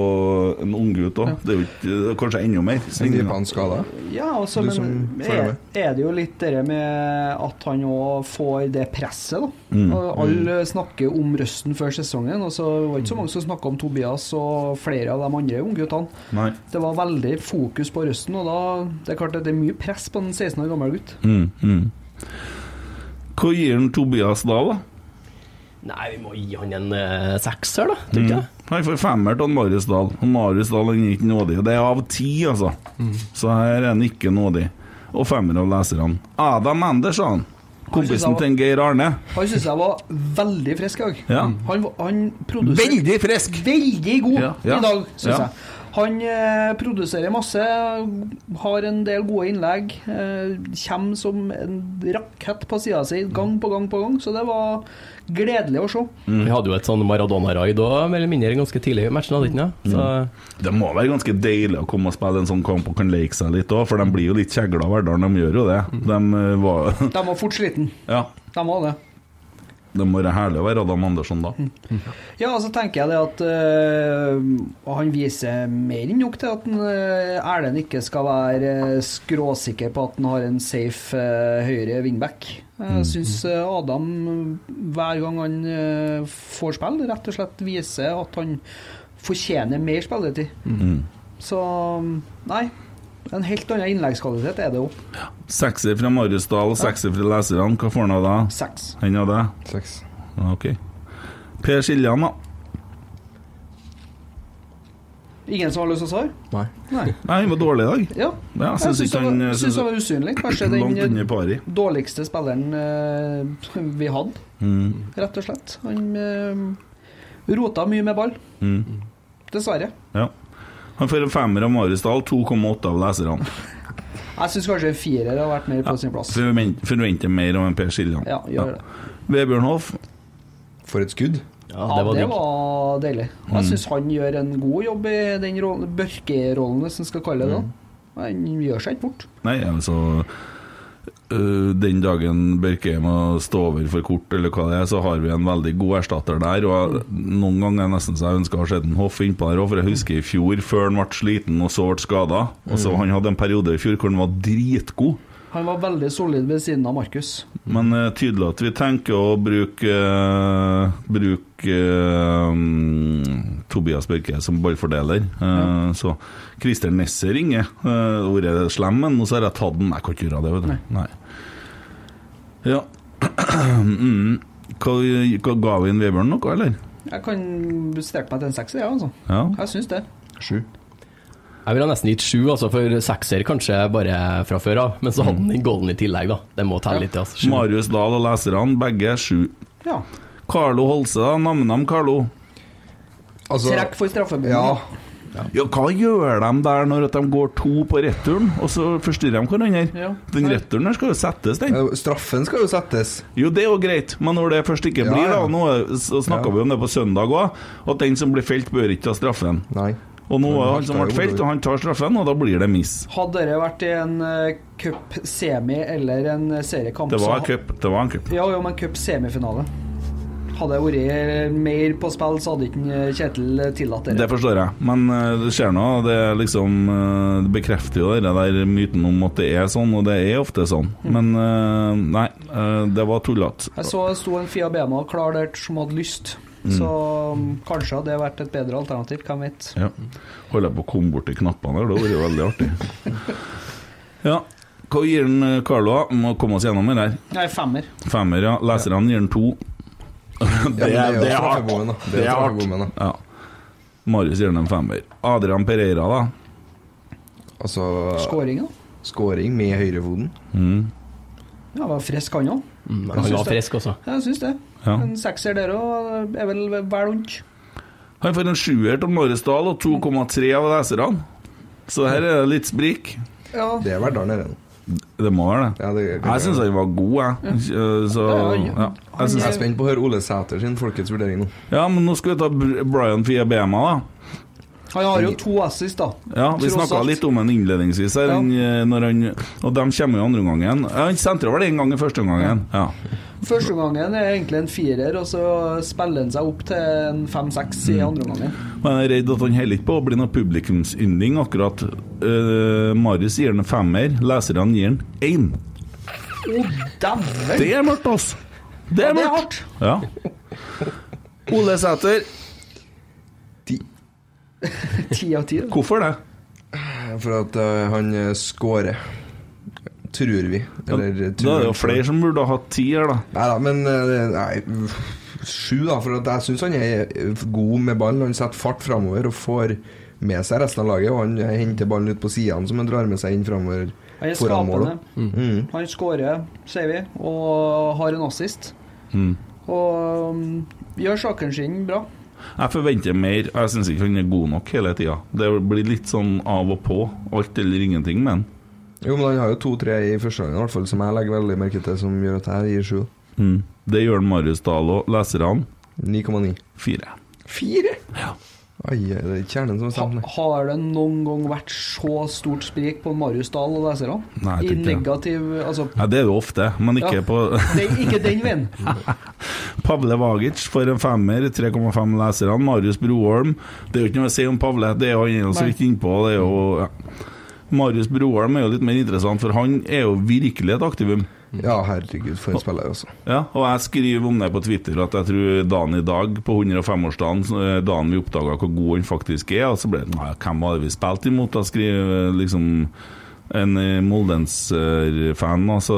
[SPEAKER 2] en unggutt òg. Det er jo ikke det er Kanskje enda mer.
[SPEAKER 4] Griper han skada?
[SPEAKER 3] Ja, altså,
[SPEAKER 4] Du
[SPEAKER 3] men
[SPEAKER 4] som følger
[SPEAKER 3] er,
[SPEAKER 4] med.
[SPEAKER 3] er det jo litt det med at han òg får det presset, da.
[SPEAKER 4] Mm.
[SPEAKER 3] Og alle snakker om røsten før sesongen, og så var det ikke så
[SPEAKER 4] Mm.
[SPEAKER 3] mange som snakka om Tobias og flere av de andre ungguttene.
[SPEAKER 2] Nei.
[SPEAKER 3] Det var veldig fokus på røsten, og da det er klart at det er mye press på en 16 år gammel gutt.
[SPEAKER 2] Mm, mm. Hva gir han Tobias da, da?
[SPEAKER 5] Nei, vi må gi han en eh, sekser, da. Tror ikke jeg.
[SPEAKER 2] Han får femmer til han Marius Dahl. Han Marius Dahl han er ikke nådig. Det er av ti, altså. Så her er han ikke nådig. Og femmer av leserne. Adam Andersson. Kompisen til en Geir Arne.
[SPEAKER 3] Han syns jeg var veldig frisk i dag. Mm.
[SPEAKER 2] Ja.
[SPEAKER 3] Han, var- han produserer
[SPEAKER 2] frisk!
[SPEAKER 3] veldig god
[SPEAKER 2] Ja. Ja.
[SPEAKER 3] i dag, syns
[SPEAKER 2] Ja.
[SPEAKER 3] jeg. Han eh, produserer masse, har en del gode innlegg. Eh, kommer som en rakett på sida si gang på gang på gang, så det var gledelig å se.
[SPEAKER 4] Mm.
[SPEAKER 5] Vi hadde jo et sånn Maradona-raid òg, mer eller mindre ganske tidlig i matchen. Hadde ikke, den, ja.
[SPEAKER 4] Mm.
[SPEAKER 5] så,
[SPEAKER 2] Det må være ganske deilig å komme og spille en sånn kamp og kan leke seg litt òg, for de blir jo litt kjegla av Verdalen. De gjør jo det. De eh, var
[SPEAKER 3] De var fort sliten.
[SPEAKER 2] Ja.
[SPEAKER 3] De var det.
[SPEAKER 2] Det må være herlig å være Adam Andersson da.
[SPEAKER 3] Ja, og så tenker jeg det at øh, han viser mer enn nok til at han, øh, Erlend ikke skal være øh, skråsikker på at han har en safe øh, høyre wingback. Jeg syns Adam, øh, hver gang han øh, får spill, rett og slett viser at han fortjener mer spilletid.
[SPEAKER 2] Mm.
[SPEAKER 3] Så nei. En helt annen innleggskvalitet er det jo.
[SPEAKER 2] Sekser fra Marius Dahl, sekser fra leserne. Hva får han av deg?
[SPEAKER 3] Seks.
[SPEAKER 2] Han av deg?
[SPEAKER 4] Seks.
[SPEAKER 2] Ja, OK. Per Siljan, da.
[SPEAKER 3] Ingen som har lyst til å svare?
[SPEAKER 4] Nei.
[SPEAKER 3] Nei.
[SPEAKER 2] Nei, han var dårlig i dag.
[SPEAKER 3] Ja.
[SPEAKER 2] Ja, jeg
[SPEAKER 3] Jeg
[SPEAKER 2] syns
[SPEAKER 3] syns
[SPEAKER 2] ikke
[SPEAKER 3] det
[SPEAKER 2] han jeg
[SPEAKER 3] var, synes
[SPEAKER 2] synes
[SPEAKER 3] det var usynlig. Kanskje
[SPEAKER 2] Langt
[SPEAKER 3] den
[SPEAKER 2] under pari.
[SPEAKER 3] dårligste spilleren eh, vi hadde,
[SPEAKER 2] Mm.
[SPEAKER 3] rett og slett. Han eh, rota mye med ball.
[SPEAKER 2] Mm.
[SPEAKER 3] Dessverre.
[SPEAKER 2] Ja. Han får en femmer av Marius Dahl, 2,8 av leserne.
[SPEAKER 3] Jeg syns kanskje en firer har vært mer på sin plass.
[SPEAKER 2] Forven- Forventer mer av en Per Siljan.
[SPEAKER 3] Ja, gjør det.
[SPEAKER 2] Vebjørn Hoff,
[SPEAKER 4] For et skudd.
[SPEAKER 5] ja,
[SPEAKER 3] Ja,
[SPEAKER 5] det var
[SPEAKER 3] det
[SPEAKER 5] digg.
[SPEAKER 3] var deilig. Og Jeg syns han gjør en god jobb i den rollen- børkerollen, hvis en skal kalle det det. Han gjør seg ikke bort.
[SPEAKER 2] nei, altså øh, Den dagen Børke må stå over for kort, eller hva det er, så har vi en veldig god erstatter der. Og jeg- Noen ganger er det nesten så jeg ønsker å ha sett en Hoff innpå der òg, for jeg husker i fjor, før han ble sliten og så ble skada. Og
[SPEAKER 3] Mm.
[SPEAKER 2] så han hadde en periode i fjor hvor han var dritgod.
[SPEAKER 3] Han var veldig solid ved siden av Markus.
[SPEAKER 2] Men uh, tydelig at vi tenker å bruke eh, Bruke eh, mm, Tobias Børke som ballfordeler. Eh, Så Christer Nesser ringer. Uh, Ordet er slem, men nå så har jeg tatt den. Jeg kan ikke gjøre det, vet du. Nei. Ja. mm. Hva, hva ga vi en Vebjørn noe, eller?
[SPEAKER 3] Jeg kan strekke meg til en sekser, jeg, ja, altså.
[SPEAKER 2] Ja.
[SPEAKER 3] Jeg syns det.
[SPEAKER 4] Sju.
[SPEAKER 5] Jeg ville nesten gitt sju, altså, for sekser kanskje bare fra før av. Men så
[SPEAKER 4] Mm.
[SPEAKER 5] hadde han den golden i tillegg, da. Det må telle litt, altså. Sju.
[SPEAKER 2] Marius Dahl og leserne, begge sju.
[SPEAKER 3] Ja.
[SPEAKER 2] Carlo Holse, da. Nam-nam, Carlo.
[SPEAKER 4] Altså
[SPEAKER 3] Trekk for straffebommen.
[SPEAKER 4] Ja.
[SPEAKER 2] Ja, hva gjør de der når at de går to på returen, og så forstyrrer de hverandre?
[SPEAKER 3] Ja.
[SPEAKER 2] Den returen der skal jo settes, den.
[SPEAKER 4] eh, Straffen skal jo settes.
[SPEAKER 2] Jo, det er jo greit, men når det først ikke
[SPEAKER 4] Ja,
[SPEAKER 2] blir, da
[SPEAKER 4] ja.
[SPEAKER 2] Nå er- så snakka
[SPEAKER 4] Ja.
[SPEAKER 2] vi om det på søndag òg, at den som blir felt, bør ikke ta straffen.
[SPEAKER 4] Nei.
[SPEAKER 2] Og nå
[SPEAKER 4] Men
[SPEAKER 2] er
[SPEAKER 4] han
[SPEAKER 2] han som
[SPEAKER 4] tar
[SPEAKER 2] ble
[SPEAKER 4] jo
[SPEAKER 2] felt,
[SPEAKER 4] det.
[SPEAKER 2] og han tar straffen, og da blir det miss.
[SPEAKER 3] Hadde det vært i en eh, cup-semi eller en seriekamp
[SPEAKER 2] Det var
[SPEAKER 3] så-
[SPEAKER 2] en cup. Det var en cup.
[SPEAKER 3] Ja, jo, men cup-semifinale. Hadde det vært mer på spill, så hadde ikke en Kjetil tillatt
[SPEAKER 2] Det
[SPEAKER 3] det.
[SPEAKER 2] forstår jeg, men eh, det skjer nå. Det, er liksom, eh, det bekrefter jo det der myten om at det er sånn, og det er ofte sånn.
[SPEAKER 3] Mm.
[SPEAKER 2] Men eh, nei, eh, det var tullete.
[SPEAKER 3] Jeg så det sto en Fia Bema klar der som hadde lyst, så mm, kanskje hadde det vært et bedre alternativ, hvem vet.
[SPEAKER 2] Ja. Holder jeg på å komme bort til knappene der, det hadde vært veldig artig. Ja, hva gir den eh, Carlo? da? Må komme oss gjennom det her.
[SPEAKER 3] Nei, femmer.
[SPEAKER 2] Femmer, ja. Leserne gir den to.
[SPEAKER 4] Ja, men
[SPEAKER 2] Det er,
[SPEAKER 4] jo
[SPEAKER 2] det er hardt.
[SPEAKER 4] straffebommen, da.
[SPEAKER 2] Det er hardt.
[SPEAKER 4] straffebommen, da.
[SPEAKER 2] Ja. Marius gir den en femmer. Adrian Pereira, da?
[SPEAKER 4] Altså
[SPEAKER 3] Skåringa? da?
[SPEAKER 4] Skåring med høyrefoten.
[SPEAKER 3] Ja, var frisk han òg.
[SPEAKER 5] Mm, han var frisk, altså.
[SPEAKER 3] Jeg syns det.
[SPEAKER 2] Ja.
[SPEAKER 3] En sekser der òg er vel vel ondt.
[SPEAKER 2] Han får en sjuer til Marius Dahl og 2,3 av leserne. Så her er det litt sprik.
[SPEAKER 3] Ja.
[SPEAKER 4] Det er Verdal nede nå.
[SPEAKER 2] Det må være det.
[SPEAKER 4] Ja, det kan
[SPEAKER 2] Jeg syns han var god, jeg. Eh, Så,
[SPEAKER 3] Ja, ja,
[SPEAKER 2] ja.
[SPEAKER 3] ja.
[SPEAKER 2] Jeg
[SPEAKER 4] Jeg
[SPEAKER 2] synes,
[SPEAKER 4] er spent på å høre Ole Sæter sin folkets vurdering nå.
[SPEAKER 2] ja, men nå skal vi ta Br- Brian Fiabema, da.
[SPEAKER 3] Han har jo to assist, da.
[SPEAKER 2] Ja, vi
[SPEAKER 3] Tross
[SPEAKER 2] snakka
[SPEAKER 3] alt.
[SPEAKER 2] litt om han innledningsvis her,
[SPEAKER 3] Ja.
[SPEAKER 2] han, eh, når han, og de kommer jo andre omgangen. Ja, Han sentrer vel én gang i første omgangen. Ja.
[SPEAKER 3] Første gangen er egentlig en firer, og så spiller han seg opp til en fem-seks
[SPEAKER 2] Mm.
[SPEAKER 3] i andre gangen.
[SPEAKER 2] Men jeg er redd at han holder ikke på å bli noe publikumsynding, akkurat. Uh, Marius gir han en femmer, leserne gir han én.
[SPEAKER 3] Å, dæven!
[SPEAKER 2] Det er mørkt, altså! Det
[SPEAKER 3] Ja,
[SPEAKER 2] er
[SPEAKER 3] det er
[SPEAKER 2] mørkt.
[SPEAKER 3] hardt.
[SPEAKER 2] Ja. Ole Sæter,
[SPEAKER 4] Ti.
[SPEAKER 3] Ti av ti. da.
[SPEAKER 2] hvorfor det?
[SPEAKER 4] For at eh, han eh, skårer. Tror vi.
[SPEAKER 3] eh,
[SPEAKER 4] Eller
[SPEAKER 2] da er
[SPEAKER 4] eh, tror
[SPEAKER 2] det jo
[SPEAKER 4] han selv.
[SPEAKER 2] flere som burde ha hatt tier, da.
[SPEAKER 4] Nei da, men eh, nei, sju, da. For at jeg syns han er eh, god med ball. Han setter fart framover og får med seg resten av laget. Og han eh, henter ballen ut på sidene som han drar med seg inn framover
[SPEAKER 3] Han er
[SPEAKER 4] foran Mm. målet.
[SPEAKER 3] skapende.
[SPEAKER 2] Mm.
[SPEAKER 3] Han skårer, sier vi, og har en assist.
[SPEAKER 2] Mm.
[SPEAKER 3] Og um, gjør sakene sine bra.
[SPEAKER 2] Jeg forventer mer. og Jeg syns ikke han er god nok hele tida. Det blir litt sånn av og på. Alt eller ingenting med han.
[SPEAKER 4] Jo, men han har jo to-tre i første gangen, i hvert fall, som jeg legger veldig merke til, som gjør at jeg gir sju.
[SPEAKER 2] Mm. Det gjør Marius Dahl og leserne
[SPEAKER 4] 9,9.
[SPEAKER 2] fire.
[SPEAKER 3] Fire?
[SPEAKER 4] Ai, det er ikke kjernen som
[SPEAKER 3] Ha,
[SPEAKER 4] bestemmer. det.
[SPEAKER 3] har det noen gang vært så stort sprik på Marius Dahl og leserne?
[SPEAKER 2] Nei, jeg
[SPEAKER 3] I
[SPEAKER 2] tror ikke det.
[SPEAKER 3] negativ Altså,
[SPEAKER 2] Ja, det er det ofte, men ikke
[SPEAKER 3] Ja.
[SPEAKER 2] på
[SPEAKER 3] det er ikke den veien.
[SPEAKER 2] Pavle Vagic for en femmer, 3,5 leserne. Marius Broholm Det er jo ikke noe å si om Pavle, det er jo han er jo så
[SPEAKER 3] Nei.
[SPEAKER 2] vidt innpå. Det er jo, ja. Marius Broholm er jo litt mer interessant, for han er jo virkelig et aktivum.
[SPEAKER 4] Ja, herregud, for en spiller, altså.
[SPEAKER 2] Ja, og jeg skriver om det på Twitter at jeg tror dagen i dag, på 105-årsdagen, så er dagen vi oppdaga hvor god han faktisk er, og så ble det Nei, hvem var det vi spilte imot? Da skriver liksom en eh, Moldens-fan, og så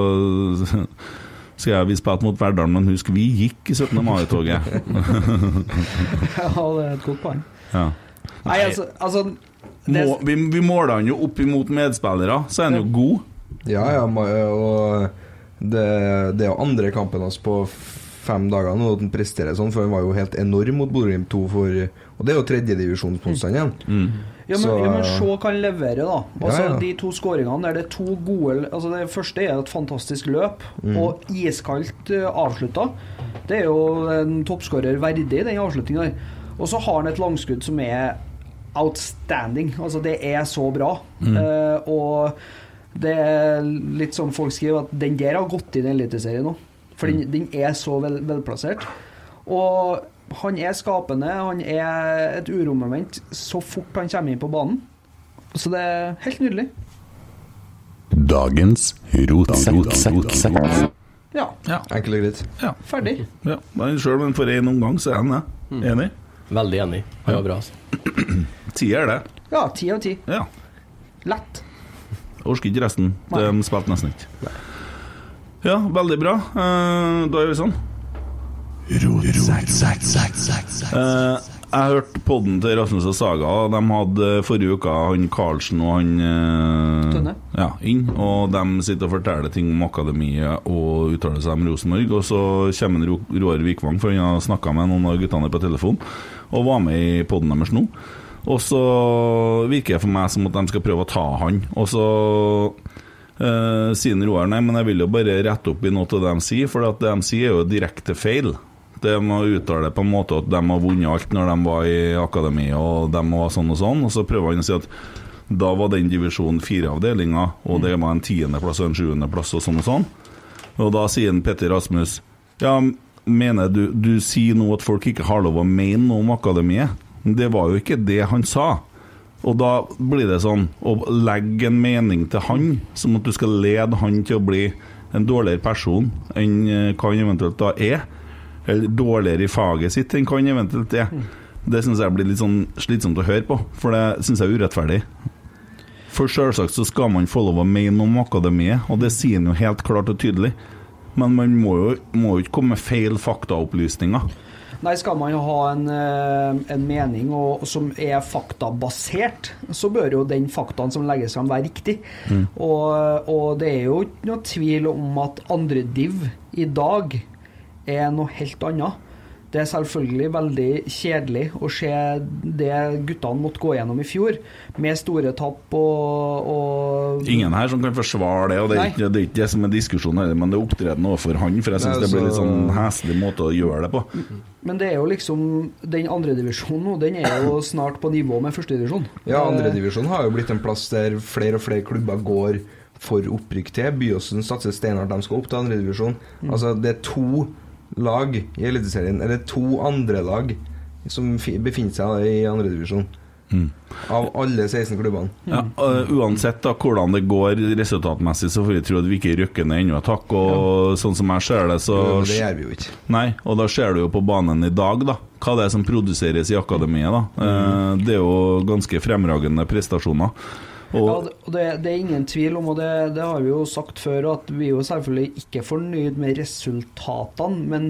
[SPEAKER 2] skal jeg vi spilte mot Verdal, men husk, vi gikk i 17. mai-toget.
[SPEAKER 3] Ja, det er et godt poeng.
[SPEAKER 2] Ja.
[SPEAKER 3] Nei, altså, altså det,
[SPEAKER 2] Må, vi, vi måler han jo opp imot medspillere, så er han jo god.
[SPEAKER 4] Ja, ja, ma- og det, det er jo andre kampen hans på fem dager nå at han presterer sånn, for han var jo helt enorm mot Bodø-Glimt 2 for Og det er jo tredjedivisjonsmotstand igjen.
[SPEAKER 3] Ja, men,
[SPEAKER 4] Så-
[SPEAKER 3] ja, men se hva han leverer, da. Altså,
[SPEAKER 4] Ja, ja.
[SPEAKER 3] De to skåringene der det er to gode Altså Det første er et fantastisk løp,
[SPEAKER 4] Mm.
[SPEAKER 3] og iskaldt eh, avslutta. Det er jo en toppskårer verdig, den avslutninga der. Og så har han et langskudd som er outstanding. Altså, det er så bra.
[SPEAKER 4] Mm.
[SPEAKER 3] Eh, og det er litt som folk skriver, at den der har gått inn i Eliteserien nå. For
[SPEAKER 4] Mm.
[SPEAKER 3] den, den er så vel, velplassert. Og han er skapende, han er et uromoment så fort han kommer inn på banen. Så det er helt nydelig.
[SPEAKER 6] Dagens rotsekk.
[SPEAKER 3] Ja,
[SPEAKER 4] Enkelt og greit.
[SPEAKER 3] ferdig.
[SPEAKER 2] Ja, Mm. men Sjøl om han får én omgang, så er han det. Enig?
[SPEAKER 5] Veldig enig. Han var bra, altså.
[SPEAKER 2] Tier, det.
[SPEAKER 3] Ja, ti av ti.
[SPEAKER 2] Ja.
[SPEAKER 3] Lett.
[SPEAKER 2] Orker ikke resten.
[SPEAKER 3] Nei.
[SPEAKER 2] De spilte nesten ikke. Ja, veldig bra. Eh, Da gjør vi sånn. Eh, jeg hørte podden til Rasmus og Saga. og De hadde eh, forrige uke han Karlsen og han eh,
[SPEAKER 3] Tønne.
[SPEAKER 2] Ja, inn. Og de sitter og forteller ting om akademiet og uttaler seg om Rosenborg. Og så kommer Ro- Roar Vikvang, for han har snakka med noen av guttene på telefon, og var med i podden deres nå. Og så virker det for meg som at de skal prøve å ta han. Og så eh, sier Roar nei, men jeg vil jo bare rette opp i noe av det de sier, for at det de sier er jo direkte feil. De har uttalt på en måte at de har vunnet alt når de var i akademiet, og de var sånn og sånn, og så prøver han å si at da var den divisjon fire-avdelinga, og det var en tiendeplass og en sjuendeplass og sånn og sånn. Og da sier en Petter Rasmus Ja, mener du Du sier nå at folk ikke har lov å mene noe om akademiet. Men det var jo ikke det han sa. Og da blir det sånn å legge en mening til han, som at du skal lede han til å bli en dårligere person enn eh, hva han eventuelt da er. Eller dårligere i faget sitt enn hva han eventuelt er. Det syns jeg blir litt sånn slitsomt å høre på, for det syns jeg er urettferdig. For selvsagt så skal man få lov å mene om akademiet, og det sier han jo helt klart og tydelig. Men man må jo, må jo ikke komme med feil faktaopplysninger.
[SPEAKER 3] Nei, skal man jo ha en, eh, en mening og, som er faktabasert, så bør jo den faktaen som legges fram, være riktig. Og, og det er jo ikke noe tvil om at andre div i dag er noe helt annet. Det er selvfølgelig veldig kjedelig å se det guttene måtte gå gjennom i fjor, med store tap og, og
[SPEAKER 2] Ingen her som kan forsvare det, og det er
[SPEAKER 3] Nei.
[SPEAKER 2] ikke det, er ikke det som er diskusjonen heller, men det er opptredenen overfor han, for jeg syns
[SPEAKER 4] Nei,
[SPEAKER 2] det blir litt
[SPEAKER 4] altså-
[SPEAKER 2] sånn heslig måte å gjøre det på.
[SPEAKER 3] Men det er jo liksom Den andredivisjonen nå, den er jo snart på nivå med førstedivisjon.
[SPEAKER 4] Ja, andredivisjon har jo blitt en plass der flere og flere klubber går for opprykk til. Byåsen satser steinhardt, de skal opp til andredivisjon. Altså, det er to lag i Eliteserien, eller to andre lag, som fi- befinner seg i andredivisjon. Av alle 16 klubbene.
[SPEAKER 2] Ja, og uansett da hvordan det går resultatmessig, så får vi tro at vi ikke rykker ned ennå et hakk. Og sånn som jeg ser det, så
[SPEAKER 4] Men det gjør vi jo ikke.
[SPEAKER 2] Nei, og da ser du jo på banen i dag, da. Hva det er som produseres i akademiet, da.
[SPEAKER 4] Mm.
[SPEAKER 2] Eh, Det er jo ganske fremragende prestasjoner.
[SPEAKER 3] Ja,
[SPEAKER 2] Og
[SPEAKER 3] og det, det er ingen tvil om, og det, det har vi jo sagt før, at vi er jo selvfølgelig ikke fornøyd med resultatene, men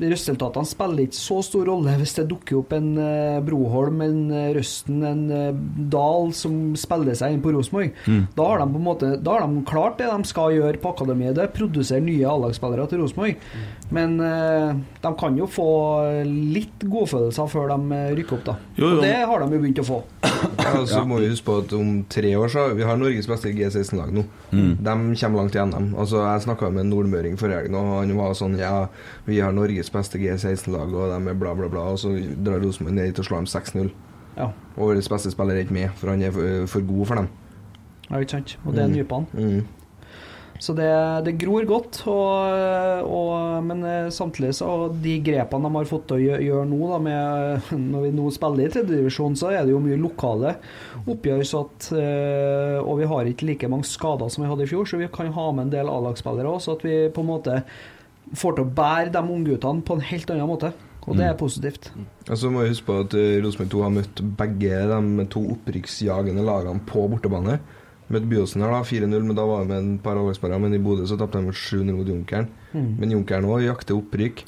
[SPEAKER 3] resultatene spiller ikke så stor rolle hvis det dukker opp en eh, Broholm, en eh, Røsten, en eh, Dahl som spiller seg inn på Rosenborg.
[SPEAKER 2] Mm.
[SPEAKER 3] Da har de på en måte da har de klart det de skal gjøre på akademiet, det er produsere nye A-lagsspillere til Rosenborg. Men eh, de kan jo få litt godfølelser før de eh, rykker opp, da.
[SPEAKER 2] Jo, jo.
[SPEAKER 3] Og det har de jo begynt å få.
[SPEAKER 4] Ja, og så må vi huske på at om tre år så Vi har Norges beste G16-lag nå. De kommer langt i NM. Altså, jeg snakka med en nordmøring forrige helg, og han var sånn Ja, vi har Norges beste G16-lag, og de er bla, bla, bla. Og så drar Rosenborg ned til å slå dem 6-0.
[SPEAKER 3] Ja.
[SPEAKER 4] Og vår beste spiller er ikke med, for han er for, for god for dem.
[SPEAKER 3] Ja, ikke sant. Og det er nypene.
[SPEAKER 4] Mm.
[SPEAKER 3] Så det, det gror godt. Og, og, men eh, samtidig så de grepene de har fått til å gjøre, gjøre nå, da, med, når vi nå spiller i tredjedivisjon, så er det jo mye lokale oppgjør. Så at, eh, og vi har ikke like mange skader som vi hadde i fjor, så vi kan ha med en del A-lagsspillere òg. Så at vi på en måte får til å bære de ungguttene på en helt annen måte. Og det er positivt.
[SPEAKER 4] Og så må vi huske på at eh, Rosenborg 2 har møtt begge de to opprykksjagende lagene på bortebane. Møtte Byåsen her da, 4-0, men da var det med en par avlagsparer. Men i Bodø så tapte de 7-0 mot Junkeren. Men Junkeren òg jakter opprykk.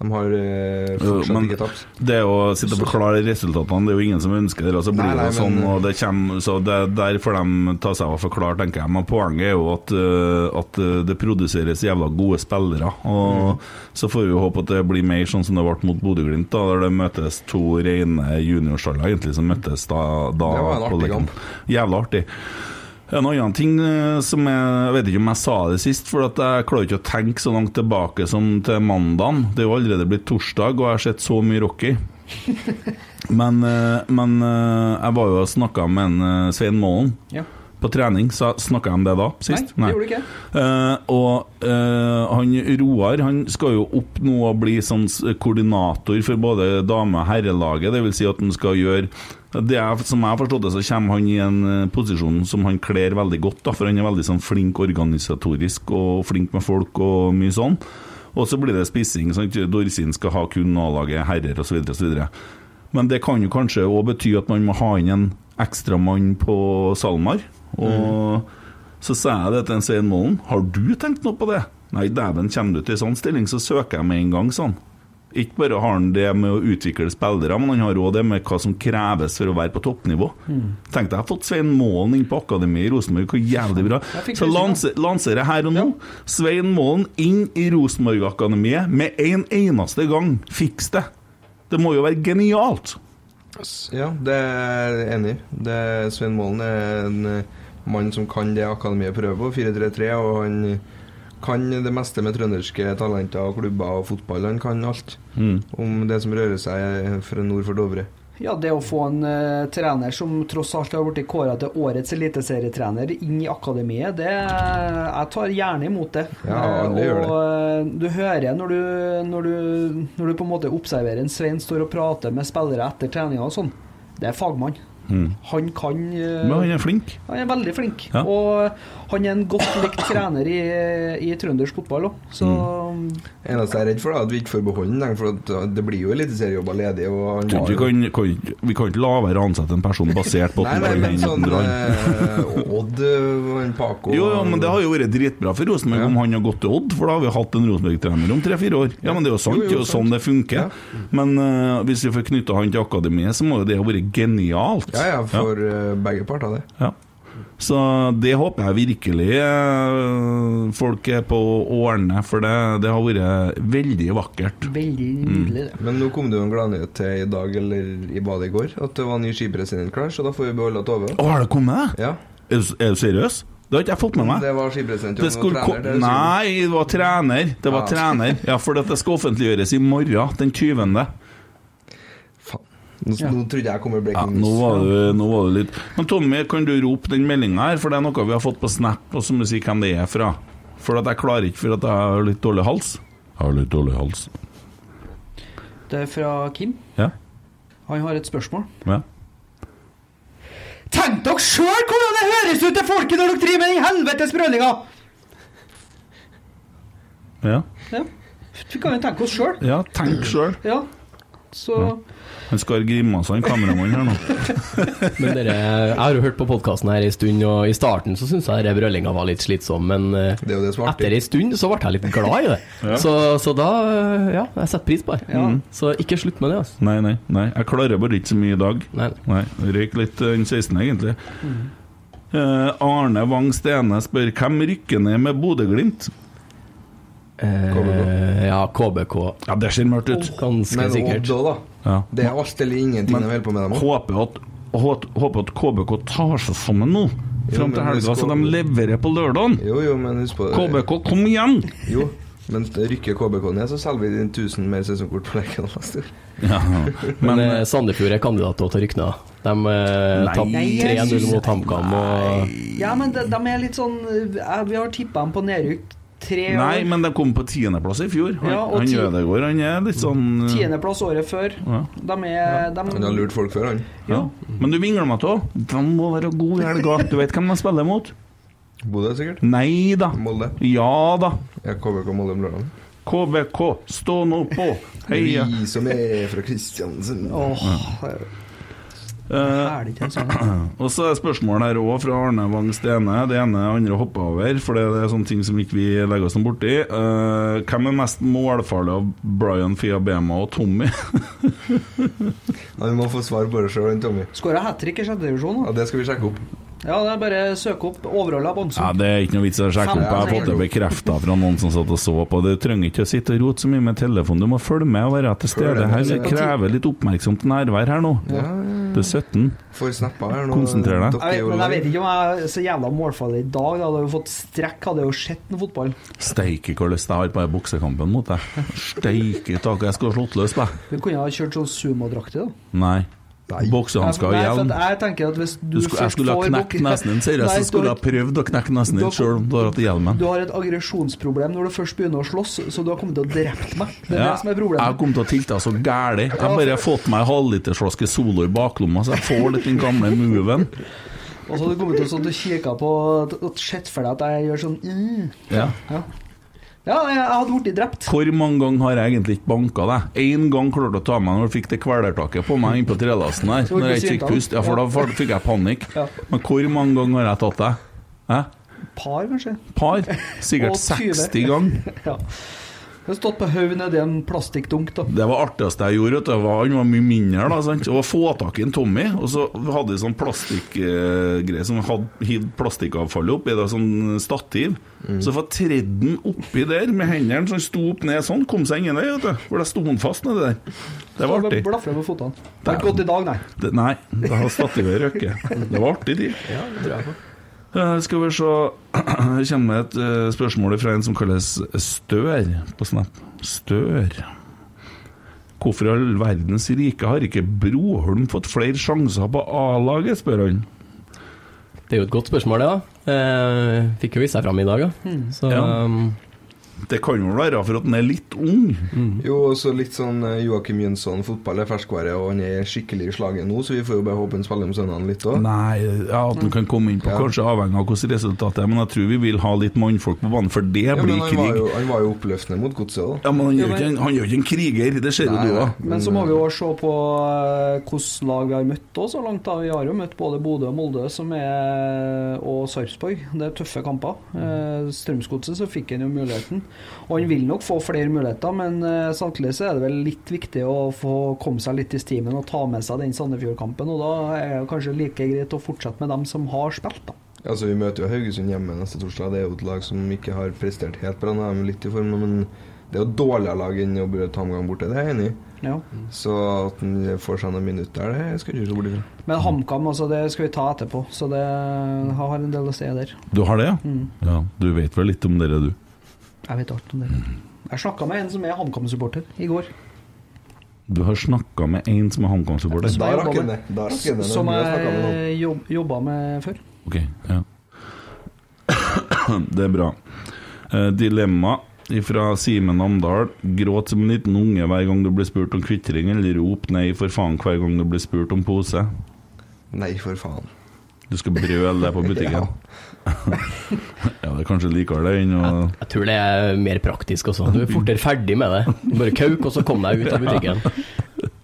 [SPEAKER 4] De har eh,
[SPEAKER 2] Jo,
[SPEAKER 4] fortsatt
[SPEAKER 2] men-
[SPEAKER 4] ikke tapt.
[SPEAKER 2] det å sitte og forklare resultatene, det er jo ingen som ønsker det. Og så blir
[SPEAKER 4] Nei, nei,
[SPEAKER 2] det sånn,
[SPEAKER 4] men-
[SPEAKER 2] og det kommer, så det, der får de ta seg av å forklare, tenker jeg. Men poenget er jo at, eh, at eh, det produseres jævla gode spillere.
[SPEAKER 4] Mm.
[SPEAKER 2] Og så får vi jo håpe at det blir mer sånn som det ble mot Bodø-Glimt, da, der det møtes to rene juniorsjaller, egentlig, som møttes da, da
[SPEAKER 4] Det var en
[SPEAKER 2] på
[SPEAKER 4] artig
[SPEAKER 2] leken.
[SPEAKER 4] kamp.
[SPEAKER 2] Jævla artig. En annen ting eh, som jeg, jeg vet ikke om jeg sa det sist, for at jeg klarer ikke å tenke så langt tilbake som til mandagen. Det er jo allerede blitt torsdag, og jeg har sett så mye Rocky. Men, eh, men eh, jeg var jo og snakka med en eh, Svein Målen
[SPEAKER 3] Ja.
[SPEAKER 2] på trening. Snakka jeg om det da,
[SPEAKER 3] Nei,
[SPEAKER 2] sist?
[SPEAKER 3] det gjorde du ikke.
[SPEAKER 2] Eh, og eh, han Roar han skal jo opp nå og bli sånn s- koordinator for både dame- og herrelaget. Det vil si at han skal gjøre det jeg, Som jeg har forstått det, så kommer han i en eh, posisjon som han kler veldig godt. da, For han er veldig sånn flink organisatorisk og flink med folk og mye sånn. Og så blir det spissing. Sant? Dorsin skal ha kun A-laget, herrer osv. osv. Men det kan jo kanskje òg bety at man må ha inn en ekstramann på SalMar. Og så sa jeg det til en Svein Målen. Har du tenkt noe på det? Nei, dæven, kommer du til en sånn stilling, så søker jeg med en gang, sånn. Ikke bare har han det med å utvikle spillere, men han har òg det med hva som kreves for å være på toppnivå.
[SPEAKER 4] Mm.
[SPEAKER 2] Tenkte jeg har fått Svein Målen inn på akademiet i Rosenborg, hvor jævlig bra.
[SPEAKER 3] Jeg fikk
[SPEAKER 2] Så
[SPEAKER 3] lyst til
[SPEAKER 2] lanse- lanserer jeg her og nå. Svein Målen inn i Rosenborg-akademiet med en eneste gang. Fiks det! Det må jo være genialt!
[SPEAKER 4] Ja, det er jeg enig. i. Det er- Svein Målen er en eh, mann som kan det akademiet prøver på, 4-3-3, og han kan det meste med trønderske talenter og klubber og fotball. Han kan alt
[SPEAKER 2] Hmm.
[SPEAKER 4] om det som rører seg fra nord for Dovre.
[SPEAKER 3] Ja, det å få en eh, trener som tross alt har blitt kåra til årets eliteserietrener inn i akademiet, det Jeg eh, tar gjerne imot det.
[SPEAKER 4] Ja, alle
[SPEAKER 3] Eh,
[SPEAKER 4] gjør
[SPEAKER 3] og eh, du hører når du, når, du, når du på en måte observerer en Svein står og prater med spillere etter treninga og sånn, det er fagmann. Han kan eh,
[SPEAKER 2] Men han er flink.
[SPEAKER 3] han er veldig flink.
[SPEAKER 2] Ja.
[SPEAKER 3] Og eh, han er en godt likt trener i, eh, i trøndersk fotball òg, så
[SPEAKER 4] Eneste jeg er redd for, da, at vi ikke får beholde den, for at eh, det blir jo eliteseriejobber ledig. Og han
[SPEAKER 2] Tror ikke
[SPEAKER 4] har
[SPEAKER 2] Vi
[SPEAKER 4] jo-
[SPEAKER 2] kan, kan, ikke- vi kan ikke la være å ansette en person basert på at
[SPEAKER 4] Nei,
[SPEAKER 2] han
[SPEAKER 4] nei,
[SPEAKER 2] kan
[SPEAKER 4] men
[SPEAKER 2] hente
[SPEAKER 4] sånn
[SPEAKER 2] andre.
[SPEAKER 4] eh, Odd eh, han Paco
[SPEAKER 2] Jo, ja, men Det har jo vært dritbra for Rosenborg om han har gått til Odd, for da har vi hatt en Rosenborg-trener om tre-fire år. Ja, men Det er jo sant,
[SPEAKER 4] Jo, jo,
[SPEAKER 2] det er jo sånn det funker. Men eh, hvis vi får knytta han til akademiet, så må jo det ha vært genialt.
[SPEAKER 4] Ja, ja, for eh, begge parter, det.
[SPEAKER 2] Ja. Så det håper jeg virkelig eh, folk er på å ordne, for det, det har vært veldig vakkert.
[SPEAKER 3] veldig nydelig, det.
[SPEAKER 4] Men nå kom det jo en gladnyhet til i dag, eller i badet i går, at det var ny skipresident klar, så da får vi beholde Tove.
[SPEAKER 2] Å, har det kommet?
[SPEAKER 4] Ja.
[SPEAKER 2] Er du, er du seriøs? Det har ikke jeg fått med meg.
[SPEAKER 4] Det var skipresident. jo,
[SPEAKER 2] Det
[SPEAKER 4] men
[SPEAKER 2] skulle
[SPEAKER 4] trener, det er
[SPEAKER 2] ko- Nei, det var trener. Det var
[SPEAKER 4] Ja.
[SPEAKER 2] trener. Ja, for det skal offentliggjøres i morgen, den 20.
[SPEAKER 4] sikkert. Faen. Nå, nå trodde jeg kom med
[SPEAKER 2] Ja,
[SPEAKER 4] breaking
[SPEAKER 2] nå
[SPEAKER 4] news.
[SPEAKER 2] var, du, nå var du litt Men Tommy, kan du rope den meldinga her? For det er noe vi har fått på Snap, og så må du si hvem det er fra. For at jeg klarer ikke, for at jeg har litt dårlig hals. Jeg har litt dårlig hals.
[SPEAKER 3] Det er fra Kim.
[SPEAKER 2] Ja.
[SPEAKER 3] Han har et spørsmål.
[SPEAKER 2] ja.
[SPEAKER 3] Tenk dere sjøl hvordan det høres ut til folket når dere driver med den helvetes brølinga!
[SPEAKER 2] ja.
[SPEAKER 3] Ja. Vi kan jo tenke oss sjøl.
[SPEAKER 2] ja tenk sjøl.
[SPEAKER 3] Ja. Så
[SPEAKER 2] Han skal grimase, han kameramannen her nå.
[SPEAKER 5] Men dere, jeg har jo hørt på podkasten her en stund, og i starten så syns jeg denne brøllinga var litt slitsom, men eh,
[SPEAKER 4] Det er jo det som er artig.
[SPEAKER 5] etter ei stund så ble jeg litt glad i det. så, så da eh, Ja, jeg setter pris på det. Så ikke slutt med det, altså.
[SPEAKER 2] Nei, nei, nei. Jeg klarer bare ikke så mye i dag.
[SPEAKER 5] Nei.
[SPEAKER 2] Nei, røyk litt eh, den 16. egentlig. Eh, Arne Wang Stene spør hvem rykker ned med Bodø-Glimt?
[SPEAKER 5] Eh, ja, KBK.
[SPEAKER 2] Ja, det ser mørkt ut.
[SPEAKER 5] Ganske
[SPEAKER 4] Men Odd
[SPEAKER 5] sikkert.
[SPEAKER 4] òg, da.
[SPEAKER 2] Ja.
[SPEAKER 4] Det er alt eller ingenting
[SPEAKER 2] Men-
[SPEAKER 4] de holder på med, dem òg.
[SPEAKER 2] Håper at, hå- håper at KBK tar seg sammen nå, fram
[SPEAKER 4] men
[SPEAKER 2] til helga,
[SPEAKER 4] husk
[SPEAKER 2] så
[SPEAKER 4] å-
[SPEAKER 2] de leverer på lørdagen.
[SPEAKER 4] Jo, jo, men husk på
[SPEAKER 2] KBK, kom igjen!
[SPEAKER 4] Jo, men rykker KBK ned, så selger vi din 1000 mer sesongkort på Lerkendal neste år.
[SPEAKER 2] Ja,
[SPEAKER 5] Men
[SPEAKER 2] men
[SPEAKER 5] eh, Sandefjord er kandidat til å rykke ned. De eh,
[SPEAKER 2] Nei.
[SPEAKER 5] tapte
[SPEAKER 3] Nei, jeg
[SPEAKER 5] 3-0
[SPEAKER 3] synes-
[SPEAKER 5] mot HamKam. og-
[SPEAKER 3] Ja, men de, de er litt sånn eh, Vi har tippa dem på nedrykk tre år.
[SPEAKER 2] Nei, men de kom på tiendeplass i fjor. Han,
[SPEAKER 3] Ja, og
[SPEAKER 2] han
[SPEAKER 3] ti-
[SPEAKER 2] Ødegaard, han er litt sånn eh,
[SPEAKER 3] Tiendeplass året før.
[SPEAKER 2] Ja.
[SPEAKER 3] De er de,
[SPEAKER 4] Han har lurt folk før, han.
[SPEAKER 2] ja. Men du vingler meg til De må være gode i helga. Du vet hvem de spiller mot?
[SPEAKER 4] Bodø, sikkert.
[SPEAKER 2] Nei da.
[SPEAKER 4] Molde.
[SPEAKER 2] Ja da.
[SPEAKER 4] Ja, KBK Molde om lørdagen.
[SPEAKER 2] KBK, stå nå på! Heia!
[SPEAKER 4] Vi som er fra Kristiansund.
[SPEAKER 3] Åh,
[SPEAKER 2] Eh,
[SPEAKER 3] er det ikke en sånn?
[SPEAKER 2] og så er spørsmålet her òg fra Arne Wang Stene. Det ene og andre hopper over, for det er sånne ting som ikke vi legger oss noe borti. Eh, hvem er mest målfarlig av Brian Fiabema og Tommy?
[SPEAKER 4] Ja, vi må få svar på det sjøl, Tommy.
[SPEAKER 3] Skåra hat trick i sjette divisjon.
[SPEAKER 4] Ja,
[SPEAKER 3] da.
[SPEAKER 4] det skal vi sjekke opp.
[SPEAKER 3] Ja, det er bare å søke opp overholdet av
[SPEAKER 2] ja,
[SPEAKER 3] Bonsen.
[SPEAKER 2] det er ikke noe vits i å sjekke opp. Jeg har fått det bekrefta fra noen som satt og så på. Du trenger ikke å sitte og rote så mye med telefonen. Du må følge med og være til stede her. Det krever litt oppmerksomt nærvær her nå. Du er 17.
[SPEAKER 4] Får snappa her nå.
[SPEAKER 2] Konsentrer deg.
[SPEAKER 4] Dere
[SPEAKER 3] Jeg vet,
[SPEAKER 4] er jo
[SPEAKER 3] men jeg vet
[SPEAKER 4] live.
[SPEAKER 3] ikke om jeg er så jævla målfarlig i dag. Da hadde jeg jo fått strekk, hadde jeg jo sett noe fotball.
[SPEAKER 2] Steike hvor lyst jeg har på den boksekampen mot deg. Steike tak, jeg skulle ha slått løs på deg.
[SPEAKER 3] Vi kunne ha kjørt sånn sumodraktig, da.
[SPEAKER 2] Nei.
[SPEAKER 4] Nei.
[SPEAKER 2] Boksehansker og
[SPEAKER 3] Nei, for
[SPEAKER 2] hjelm.
[SPEAKER 3] at Jeg tenker at hvis du,
[SPEAKER 2] Du skulle, jeg
[SPEAKER 3] først
[SPEAKER 2] skulle ha
[SPEAKER 3] får
[SPEAKER 2] knekt
[SPEAKER 3] bok-
[SPEAKER 2] nesen din, sier jeg.
[SPEAKER 3] Nei,
[SPEAKER 2] Så skulle
[SPEAKER 3] du-
[SPEAKER 2] jeg ha prøvd å knekke nesen din
[SPEAKER 3] Dere-
[SPEAKER 2] sjøl om du har hatt hjelmen.
[SPEAKER 3] Du har et aggresjonsproblem når du først begynner å slåss, så du har kommet til å drept meg. Det
[SPEAKER 2] Ja,
[SPEAKER 3] er det som er
[SPEAKER 2] jeg har
[SPEAKER 3] problemet.
[SPEAKER 2] kommet til å tilte så gæli. Jeg har bare fått meg en halvlitersflaske Solo i baklomma, så jeg får litt den gamle moven.
[SPEAKER 3] Og så har du kommet til å sånn, du kikker på og sett for deg at jeg gjør sånn mm.
[SPEAKER 2] Ja.
[SPEAKER 3] Ja, ja jeg, jeg hadde blitt drept.
[SPEAKER 2] Hvor mange ganger har jeg egentlig ikke banka deg? Én gang klarte du å ta meg når du fikk det kvelertaket på meg innpå trelasten her.
[SPEAKER 3] Så
[SPEAKER 2] Når jeg ikke
[SPEAKER 3] ikke
[SPEAKER 2] fikk
[SPEAKER 3] synte
[SPEAKER 2] pust. Ja, for da fa- fikk jeg panikk.
[SPEAKER 3] Ja.
[SPEAKER 2] Men hvor mange ganger har jeg tatt deg? Hæ?
[SPEAKER 3] Par, kanskje.
[SPEAKER 2] Par? Sikkert
[SPEAKER 3] Og 20.
[SPEAKER 2] 60 ganger.
[SPEAKER 3] Ja. Jeg har stått på hodet nedi en plastikkdunk, da.
[SPEAKER 2] Det var artigste jeg gjorde, vet du, var, han var mye mindre da, sant? Det var å få tak i en Tommy, og så hadde vi sånn plastikkgreie som hadde hivd plastikkavfallet opp i det, sånn stativ. Så for tredden oppi der med hendene som sto opp ned sånn, kom seg ingen vei, vet du. For da sto han fast nedi der. Det var artig.
[SPEAKER 3] Blafra med fotene. Det har
[SPEAKER 2] Dæven.
[SPEAKER 3] ikke gått i dag, nei.
[SPEAKER 2] Det, nei, det har stativet røkket. Det var artig, de.
[SPEAKER 5] Ja, det tror jeg på.
[SPEAKER 2] Eh, skal vi se Her kommer et eh, spørsmål fra en som kalles Stør på Snap. Stør. Hvorfor i all verdens rike har ikke Broholm fått flere sjanser på A-laget, spør han.
[SPEAKER 3] Hmm.
[SPEAKER 5] Det er jo et godt spørsmål, det. da. Eh, fikk jo vist seg fram i dag, da. Så
[SPEAKER 2] Ja.
[SPEAKER 5] um,
[SPEAKER 2] Det kan vel være for at han er litt ung.
[SPEAKER 4] Jo, også litt sånn eh, Joakim Jønsson, fotball er ferskvare, og han er skikkelig i slaget nå, så vi får jo bare håpe han spiller om søndagen litt òg.
[SPEAKER 2] Nei, ja, at han kan komme inn på kanskje avhengig av hvordan resultatet er, men jeg tror vi vil ha litt mannfolk på banen, for det
[SPEAKER 4] Ja, men
[SPEAKER 2] blir
[SPEAKER 4] han
[SPEAKER 2] krig.
[SPEAKER 4] var, jo, han var jo oppløftende mot godset òg.
[SPEAKER 2] Ja, men han gjør
[SPEAKER 3] Ja,
[SPEAKER 2] ikke en, han gjør ikke en kriger, det ser jo
[SPEAKER 4] Nei,
[SPEAKER 2] du
[SPEAKER 4] nei.
[SPEAKER 2] òg.
[SPEAKER 3] Men så må vi jo se på eh, hvilket lag vi har møtt også så langt. da. Vi har jo møtt både Bodø og Molde som er, og Sarpsborg. Det er tøffe kamper. Eh, Strømsgodset så fikk han jo muligheten. Og han vil nok få flere muligheter, men eh, samtidig så er det vel litt viktig å få komme seg litt i stimen og ta med seg den Sandefjord-kampen. Og da er det kanskje like greit å fortsette med dem som har spilt, da.
[SPEAKER 4] Altså, Vi møter jo Haugesund hjemme neste torsdag. Det er jo et lag som ikke har prestert helt bra. Nå er de litt i form, nå, men det er jo et dårligere lag enn å ta HamKam borte. Det er jeg enig i.
[SPEAKER 3] Ja.
[SPEAKER 4] Så at han får seg noen minutter der, det skal jeg ikke se bort ifra.
[SPEAKER 3] Men HamKam altså, det skal vi ta etterpå, så det har en del å si der.
[SPEAKER 2] Du har det, ja?
[SPEAKER 3] Mm.
[SPEAKER 2] ja? Du vet vel litt om dere, du?
[SPEAKER 3] Jeg vet alt om det. Jeg snakka med en som er HamKam-supporter i går.
[SPEAKER 2] Du har snakka med en som er HamKam-supporter?
[SPEAKER 3] Som
[SPEAKER 4] Da
[SPEAKER 3] jeg
[SPEAKER 4] rakk
[SPEAKER 3] jobba
[SPEAKER 4] han det. Da rakk han det. når
[SPEAKER 3] Som
[SPEAKER 4] vi har snakket med noen.
[SPEAKER 3] jeg jobb, jobba med før.
[SPEAKER 2] Ok, ja. Det er bra. Eh, dilemma fra Simen Amdal. Gråt som en liten unge hver gang du blir spurt om kvittering, eller rop nei for faen hver gang du blir spurt om pose.
[SPEAKER 4] Nei, for faen.
[SPEAKER 2] Du skal brøle det på butikken. ja, det er kanskje likere det enn å
[SPEAKER 5] Jeg tror det er mer praktisk også. Du er fortere ferdig med det. Bare kauk, og så kom deg ut av butikken.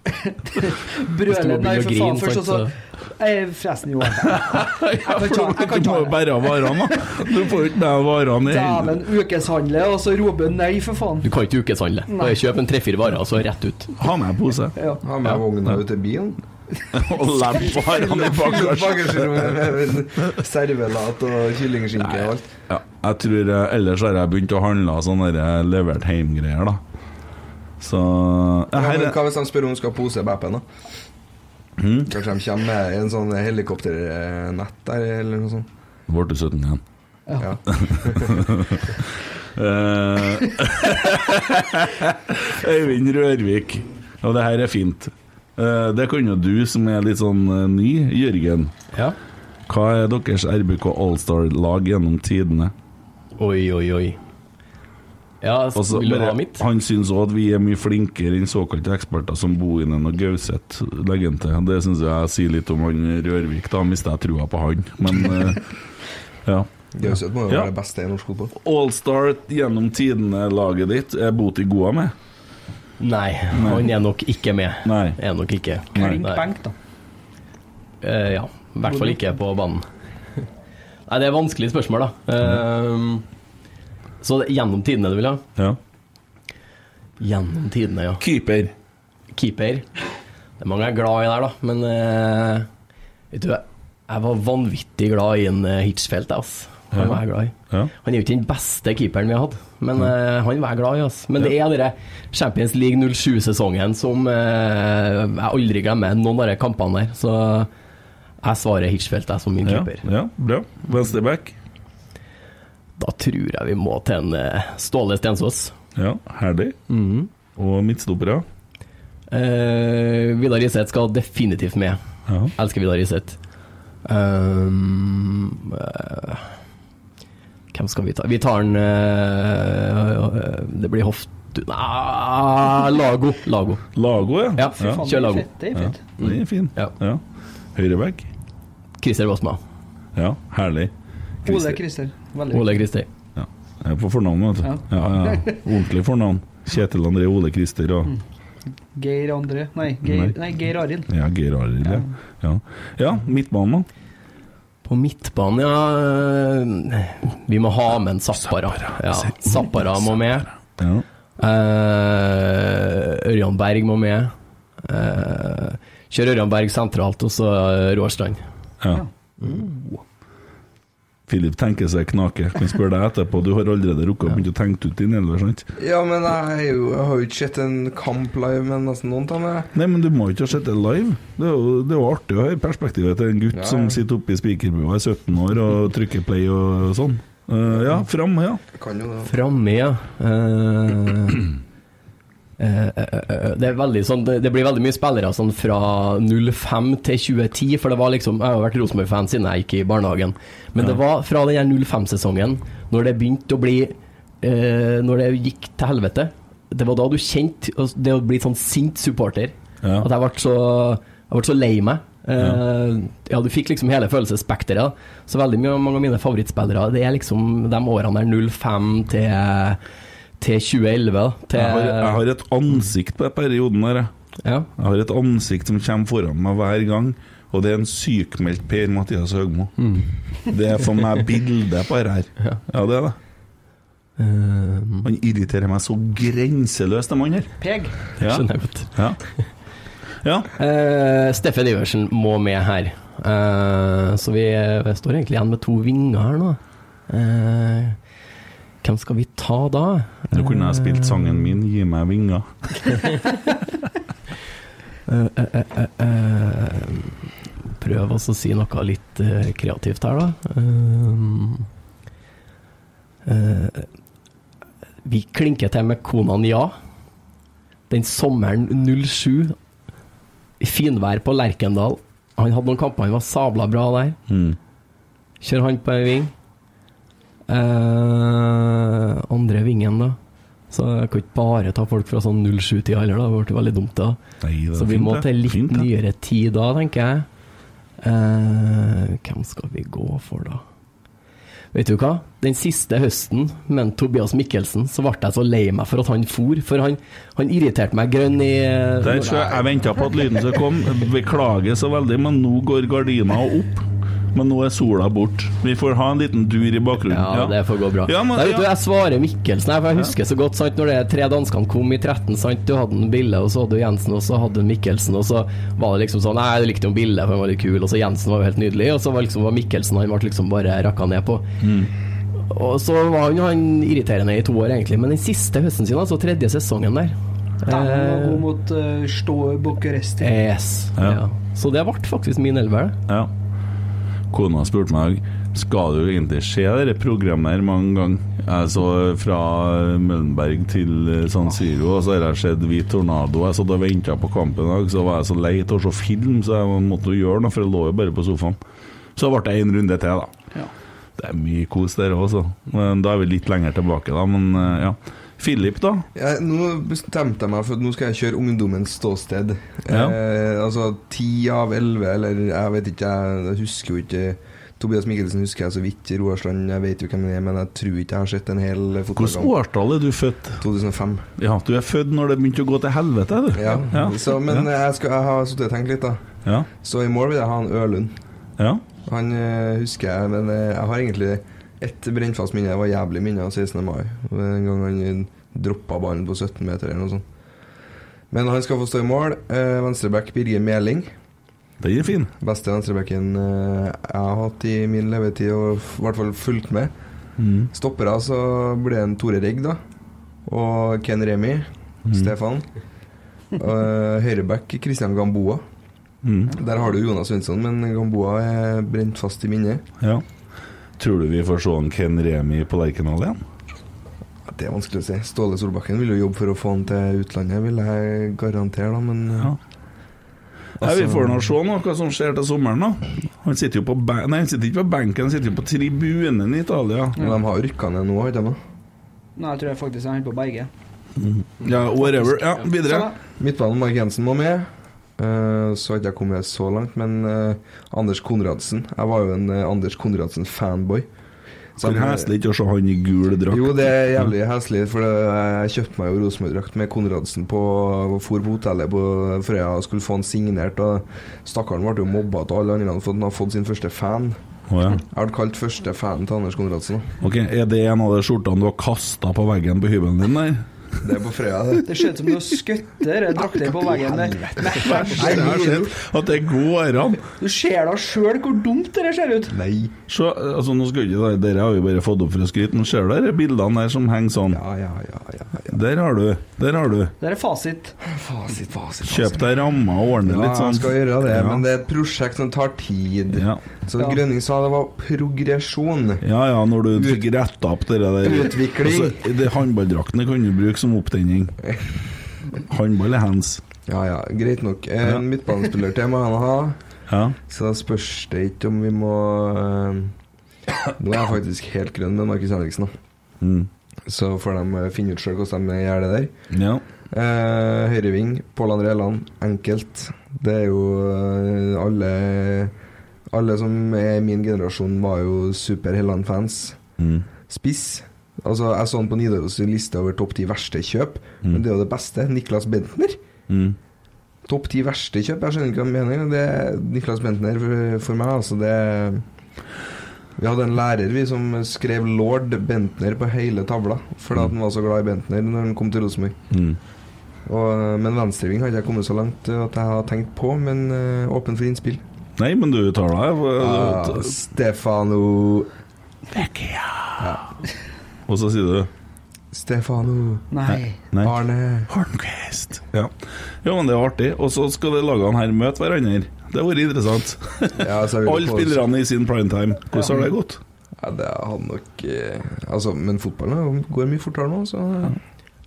[SPEAKER 5] Hvis du må
[SPEAKER 3] Brøler nei,
[SPEAKER 5] begynne å
[SPEAKER 3] for faen
[SPEAKER 5] grine,
[SPEAKER 3] først, og så
[SPEAKER 5] sant,
[SPEAKER 3] Eh, Forresten, jo. Jeg kan ta jeg kan
[SPEAKER 2] Du må
[SPEAKER 3] ta
[SPEAKER 2] jo
[SPEAKER 3] det.
[SPEAKER 2] bære av varene, da. Du får jo ikke med varene i hele
[SPEAKER 3] Dæven, ukeshandle, og så roper hun nei, for faen.
[SPEAKER 5] Du kan ikke ukeshandle. Bare kjøp en tre-fire varer, og så rett ut.
[SPEAKER 2] Ha med pose.
[SPEAKER 3] Ja.
[SPEAKER 4] Ha med vogna ut til bilen.
[SPEAKER 2] Og lemp varene i bagasjen.
[SPEAKER 4] Bagasjerommet med servelat og kyllingskinke og alt.
[SPEAKER 2] Ja, jeg tror eh, ellers har jeg begynt å handle sånne der eh, levert hjem-greier, da. Så ja,
[SPEAKER 4] Ja,
[SPEAKER 2] her,
[SPEAKER 4] men
[SPEAKER 2] er-
[SPEAKER 4] hva hvis de spør om hun skal ha pose i bepen, da? Kanskje de kommer med en sånn helikopternett der, eller noe sånt.
[SPEAKER 2] Ble du 17 igjen?
[SPEAKER 4] Ja.
[SPEAKER 2] Eh, Øyvind Rørvik. Og det her er fint. Eh, det kan jo du som er litt sånn eh, ny, Jørgen.
[SPEAKER 5] Ja.
[SPEAKER 2] Hva er deres RBK Allstar-lag gjennom tidene?
[SPEAKER 5] Oi, oi, oi. Ja, så
[SPEAKER 2] Altså,
[SPEAKER 5] vil du
[SPEAKER 2] bare-
[SPEAKER 5] ha mitt?
[SPEAKER 2] han syns òg at vi er mye flinkere enn såkalte eksperter som Bohinen og Gauseth legger han til. Det syns jeg sier litt om han Rørvik, da mister jeg trua på han. Men eh, ja.
[SPEAKER 4] Gauseth må jo
[SPEAKER 2] Ja.
[SPEAKER 4] være det beste i norsk fotball.
[SPEAKER 2] Allstar gjennom tidene-laget ditt er Boti Goa med?
[SPEAKER 5] Nei, han er nok ikke med.
[SPEAKER 2] Nei.
[SPEAKER 5] Er nok ikke.
[SPEAKER 3] Klink
[SPEAKER 5] Nei.
[SPEAKER 3] benk, da.
[SPEAKER 5] Eh, ja. I hvert fall ikke på banen. Nei, det er vanskelige spørsmål, da. Ehm, så det- gjennom tidene du vil ha?
[SPEAKER 2] Ja.
[SPEAKER 5] Gjennom tidene, ja.
[SPEAKER 2] Keeper.
[SPEAKER 5] Keeper. Det er mange jeg er glad i der, da, men eh, vet du, jeg- jeg var vanvittig glad i en eh, Hitchfeldt, jeg, altså. Han var jeg glad i.
[SPEAKER 2] Ja.
[SPEAKER 5] Han er jo ikke den beste keeperen vi har hatt, men eh, han var jeg glad i. Altså. Men det er dere Champions League 07-sesongen som eh, jeg aldri glemmer noen av de kampene der. Så jeg svarer Hitchfeldt jeg, som min
[SPEAKER 2] Ja,
[SPEAKER 5] keeper.
[SPEAKER 2] ja, bra. Venstreback.
[SPEAKER 5] Da tror jeg vi må til en eh, Ståle Stensås.
[SPEAKER 2] Ja, herlig.
[SPEAKER 5] Mhm.
[SPEAKER 2] Og midtstoppere.
[SPEAKER 5] Eh, Vidar Iseth skal definitivt med.
[SPEAKER 2] Ja.
[SPEAKER 5] Elsker Vidar Iseth. Ehm, eh, hvem skal vi ta? Vi tar den eh, Det blir Hoft... Nei, Lago. Lago.
[SPEAKER 2] Lago, ja.
[SPEAKER 5] Ja,
[SPEAKER 2] ja.
[SPEAKER 3] Faen,
[SPEAKER 5] kjør
[SPEAKER 3] det er
[SPEAKER 5] Lago.
[SPEAKER 3] fett, Det er
[SPEAKER 2] ja.
[SPEAKER 3] fett.
[SPEAKER 2] Den er fin.
[SPEAKER 5] Ja.
[SPEAKER 2] Ja. Høyreback.
[SPEAKER 5] Christer Wassma.
[SPEAKER 2] Ja, herlig.
[SPEAKER 3] Ole
[SPEAKER 2] Christer.
[SPEAKER 3] Christer. Veldig.
[SPEAKER 5] Ole Christer.
[SPEAKER 2] Ja. Jeg er på fornavn, vet du.
[SPEAKER 3] Ja.
[SPEAKER 2] Ja, ja. Ordentlig fornavn. Kjetil André Ole Christer og
[SPEAKER 3] Geir André Nei, Geir,
[SPEAKER 2] Nei.
[SPEAKER 3] nei, Geir Arild.
[SPEAKER 2] ja, Geir Arild. Ja. Ja. ja, midtbanen, da.
[SPEAKER 5] På midtbanen, ja eh, Vi må ha med en Zappara. Ja, Zappara må med.
[SPEAKER 2] Ja.
[SPEAKER 5] Eh, Ørjan Berg må med. Eh, kjør Ørjan Berg sentralt, og så eh, Råstrand.
[SPEAKER 2] ja. Filip tenker seg knake. Kan spørre deg etterpå. Du har allerede rukket å begynne å tenke ut din elver, sant?
[SPEAKER 4] Ja, men jeg, er jo, jeg har jo ikke sett en kamp live med nesten noen av dem.
[SPEAKER 2] Nei, men du må jo ikke ha sett det live. Det er jo, det er jo artig å høre perspektivet til en gutt
[SPEAKER 4] Ja, ja.
[SPEAKER 2] som sitter oppe i spikerbua i 17 år og trykker play og sånn. Eh, ja, fram, ja.
[SPEAKER 4] Jeg kan jo det.
[SPEAKER 5] Framme, ja. Eh, eh, eh, eh, det, er veldig sånn, det, det blir veldig mye spillere sånn fra 05 til 2010, for det var liksom Jeg har vært Rosenborg-fan siden jeg gikk i barnehagen, men det var fra den her 05-sesongen, når det begynte å bli eh, når det gikk til helvete Det var da du kjente altså, det å bli sånn sint supporter.
[SPEAKER 2] Ja.
[SPEAKER 5] At jeg ble så, jeg ble så lei meg. Eh, ja, du fikk liksom hele følelsesspekteret. da. Så veldig mye, mange av mine favorittspillere Det er liksom de årene der 05 til, til 2011. da, Til,
[SPEAKER 2] Jeg har, jeg har et ansikt på den perioden der. jeg.
[SPEAKER 5] ja.
[SPEAKER 2] Jeg har et ansikt som kommer foran meg hver gang, og det er en sykmeldt Per Mathias Høgmo.
[SPEAKER 5] Mm.
[SPEAKER 2] Det er for meg bildet på dette her. Ja, det er det.
[SPEAKER 5] Eh,
[SPEAKER 2] Han irriterer meg så grenseløst, den mannen her.
[SPEAKER 3] Peg.
[SPEAKER 2] Ja.
[SPEAKER 5] Skjønner jeg godt.
[SPEAKER 2] Ja. ja.
[SPEAKER 5] Eh, Steffen Iversen må med her. Eh, så vi, vi står egentlig igjen med to vinger her nå. Eh, hvem skal vi ta da?
[SPEAKER 2] Nå kunne jeg spilt sangen min 'Gi meg vinger'.
[SPEAKER 5] Eh, eh, eh, eh, eh, prøv også å si noe litt eh, kreativt her, da. Eh, eh, vi klinker til med konaen Ja. Den sommeren 07, i finvær på Lerkendal. Han hadde noen kamper han var sabla bra der.
[SPEAKER 2] Mm.
[SPEAKER 5] Kjør han på en ving. Eh, andre vingen, da. Så jeg kan ikke bare ta folk fra sånn 07-tida heller, da. Det ble veldig dumt, da.
[SPEAKER 2] Nei, det er
[SPEAKER 5] Så vi
[SPEAKER 2] fint,
[SPEAKER 5] må
[SPEAKER 2] det.
[SPEAKER 5] til litt
[SPEAKER 2] Fint, det.
[SPEAKER 5] nyere tid da, tenker jeg. Eh, hvem skal vi gå for, da? Vet du hva? Den siste høsten med Tobias Mikkelsen, så ble jeg så lei meg for at han for. For han, han irriterte meg grønn i
[SPEAKER 2] Der tror jeg jeg venta på at lyden skulle komme. Beklager så veldig, men nå går gardina opp. Men nå er sola borte. Vi får ha en liten dur i bakgrunnen.
[SPEAKER 5] Ja, det får gå bra.
[SPEAKER 2] Ja, men,
[SPEAKER 5] Nei, vet du,
[SPEAKER 2] ja.
[SPEAKER 5] jeg svarer Mikkelsen, her, for jeg husker så godt sant, når de tre danskene kom i 13. Sant? Du hadde en Bille, og så hadde du Jensen, og så hadde du Mikkelsen. Og så var det liksom sånn Nei, jeg likte jo Bille, for han var litt kul, og så Jensen var jo helt nydelig. Og så var, liksom, var Mikkelsen han ble liksom bare rakka ned på. Og så var han, han irriterende i to år, egentlig. Men den siste høsten sin, altså tredje sesongen der
[SPEAKER 3] Den var
[SPEAKER 5] eh,
[SPEAKER 3] god mot uh, Stå Bucuresti.
[SPEAKER 5] yes,
[SPEAKER 2] Ja.
[SPEAKER 5] ja. Så det ble faktisk min elver, det.
[SPEAKER 2] ja. Kona spurte meg Skal du egentlig se dette programmet her mange ganger. Jeg så fra Møllenberg til eh, San Siro, og så har jeg sett Hvit tornado. Jeg satt og venta på kampen i dag, så var jeg så lei av å se film, så jeg måtte jo gjøre noe, for jeg lå jo bare på sofaen. Så ble det en runde til, da. Det er mye kos der også. Men Da er vi litt lenger tilbake, da. Men eh, ja. Philip, da.
[SPEAKER 4] Jeg, nå bestemte jeg meg for at nå skal jeg kjøre ungdommens ståsted.
[SPEAKER 2] Ja.
[SPEAKER 4] Eh, altså ti av elleve, eller jeg vet ikke, jeg, jeg husker jo ikke Tobias Mikkelsen husker jeg så vidt. Roarsland, jeg vet jo hvem han er, men jeg tror ikke jeg har sett en hel
[SPEAKER 2] Hvilket
[SPEAKER 4] fotballkamp.
[SPEAKER 2] årtall er du født?
[SPEAKER 4] 2005.
[SPEAKER 2] Ja, du er født når det begynte å gå til helvete, du.
[SPEAKER 4] Ja.
[SPEAKER 2] Ja.
[SPEAKER 4] Så, men jeg, skal, jeg har sittet og tenkt litt, da.
[SPEAKER 2] Ja.
[SPEAKER 4] Så i mål vil jeg ha en Ørlund.
[SPEAKER 2] ja.
[SPEAKER 4] Han eh, husker jeg, men eh, jeg har egentlig ett brennfast minne. Det var jævlig minne av 16. mai. Det var En gang han droppa ballen på 17 meter eller noe sånt. Men han skal få stå i mål. Eh, Venstreback Birger Meling.
[SPEAKER 2] Den er fin.
[SPEAKER 4] Beste venstrebacken eh, jeg har hatt i min levetid, og f- i hvert fall fulgt med.
[SPEAKER 2] Mm.
[SPEAKER 4] Stoppere så ble en Tore Regg, da. Og Ken Remi. Stefan. Eh, Høyreback Christian Gamboa.
[SPEAKER 2] Mm.
[SPEAKER 4] Der har du Jonas Svensson, men Gamboa er brent fast i minnet.
[SPEAKER 2] Ja. Tror du vi får se en Ken Remi på Lerkendal igjen?
[SPEAKER 4] Ja, Det er vanskelig å si. Ståle Solbakken vil jo jobbe for å få han til utlandet, vil jeg garantere, da, men
[SPEAKER 2] Ja. Nei,
[SPEAKER 4] Altså-
[SPEAKER 2] Vi får nå se nå hva som skjer til sommeren. da Han sitter jo på ben Nei, han sitter ikke på benken, han sitter jo på tribunen i Italia.
[SPEAKER 4] men de har rykka ned nå, har de ikke det?
[SPEAKER 3] Nei, jeg tror jeg faktisk er helt på Berge.
[SPEAKER 2] Ja, whatever. Ja,
[SPEAKER 3] Så
[SPEAKER 2] Videre.
[SPEAKER 3] da-
[SPEAKER 4] Midtbanen Mark Jensen må med. Eh, så har ikke jeg kommet så langt, men eh, Anders Konradsen Jeg var jo en eh, Anders Konradsen-fanboy. Så
[SPEAKER 2] Hvor
[SPEAKER 4] jeg-
[SPEAKER 2] heslig ikke å se han i gul drakt.
[SPEAKER 4] eh, Jo, det er jævlig heslig, for det- jeg kjøpte meg jo Rosenborg-drakt med Konradsen på og for på hotellet på Frøya og skulle få han signert. Og stakkaren ble jo mobba av alle andre for at han har fått sin første fan.
[SPEAKER 2] Å, ja.
[SPEAKER 4] Jeg ble kalt første fan til Anders Konradsen. da.
[SPEAKER 2] Ok, Er det en av de skjortene du har kasta på veggen på hybelen din der?
[SPEAKER 4] Det er på Frøya, det.
[SPEAKER 3] Det ser ut som du skutter drakter på veggen der.
[SPEAKER 4] Nei,
[SPEAKER 2] Jeg har
[SPEAKER 4] mye
[SPEAKER 2] sett
[SPEAKER 4] rot.
[SPEAKER 2] at det går an.
[SPEAKER 3] Du ser da sjøl hvor dumt det der ser ut.
[SPEAKER 4] Nei.
[SPEAKER 2] Så, altså nå skal ikke det- Dere har jo bare fått opp for å skryte, men ser du de bildene der som henger sånn?
[SPEAKER 4] Ja, ja, ja. ja, ja.
[SPEAKER 2] Der har du. Der har du.
[SPEAKER 3] Det er fasit.
[SPEAKER 4] Fasit, fasit.
[SPEAKER 2] Kjøp deg rammer og ordne
[SPEAKER 4] Ja,
[SPEAKER 2] litt sånn.
[SPEAKER 4] jeg skal gjøre det,
[SPEAKER 2] Ja.
[SPEAKER 4] men det er et prosjekt som tar tid.
[SPEAKER 2] Ja.
[SPEAKER 4] Så
[SPEAKER 3] Ja.
[SPEAKER 4] Grønning sa det var progresjon.
[SPEAKER 2] ja ja, når du fikk retta opp det der
[SPEAKER 4] Utvikling.
[SPEAKER 2] Altså, det Håndballdraktene kan du bruke som opptenning. Håndball er hands.
[SPEAKER 4] Ja, ja, greit nok. En
[SPEAKER 2] Ja.
[SPEAKER 4] midtbanespiller til må han ha.
[SPEAKER 2] Ja.
[SPEAKER 4] Så da spørs det ikke om vi må eh, Nå er jeg faktisk helt grønn med Markus Henriksen. da.
[SPEAKER 2] Mm.
[SPEAKER 4] Så får de eh, finne ut sjøl hvordan de gjør det der.
[SPEAKER 2] Ja.
[SPEAKER 4] Eh, Høyreving, Pål André Land, enkelt. Det er jo eh, alle Alle som er i min generasjon, var jo super Helland-fans.
[SPEAKER 2] Mm.
[SPEAKER 4] Spiss. Altså, Jeg så han på Nidaros' liste over topp ti verste kjøp, men det er jo det beste. Niklas Bentner.
[SPEAKER 2] Mm.
[SPEAKER 4] Topp ti verste kjøp? Jeg skjønner ikke hva han mener. Det er Niklas Bentner for- for meg, altså. Det Vi hadde en lærer vi som skrev 'Lord Bentner' på hele tavla, fordi at han var så glad i Bentner når han kom til Rosenborg.
[SPEAKER 2] Mm.
[SPEAKER 4] Og- eh, Men venstreving har ikke jeg kommet så langt eh, at jeg har tenkt på, men eh, åpen for innspill.
[SPEAKER 2] Nei, men du tar deg
[SPEAKER 4] Ah,
[SPEAKER 2] eh,
[SPEAKER 4] Stefano
[SPEAKER 2] Og så sier du
[SPEAKER 4] Stefano
[SPEAKER 3] Nei.
[SPEAKER 2] Nei.
[SPEAKER 4] Arne
[SPEAKER 2] Hornquist. Ja. ja, men det er artig. Og så skal de lagene her møte hverandre. Det har vært interessant.
[SPEAKER 4] ja, så jeg vil
[SPEAKER 2] Alle
[SPEAKER 4] på-
[SPEAKER 2] spillerne i sin primetime. Hvordan har det gått?
[SPEAKER 4] Ja, det hadde nok eh, Altså, men fotballen er jo- går mye fortere nå, så eh,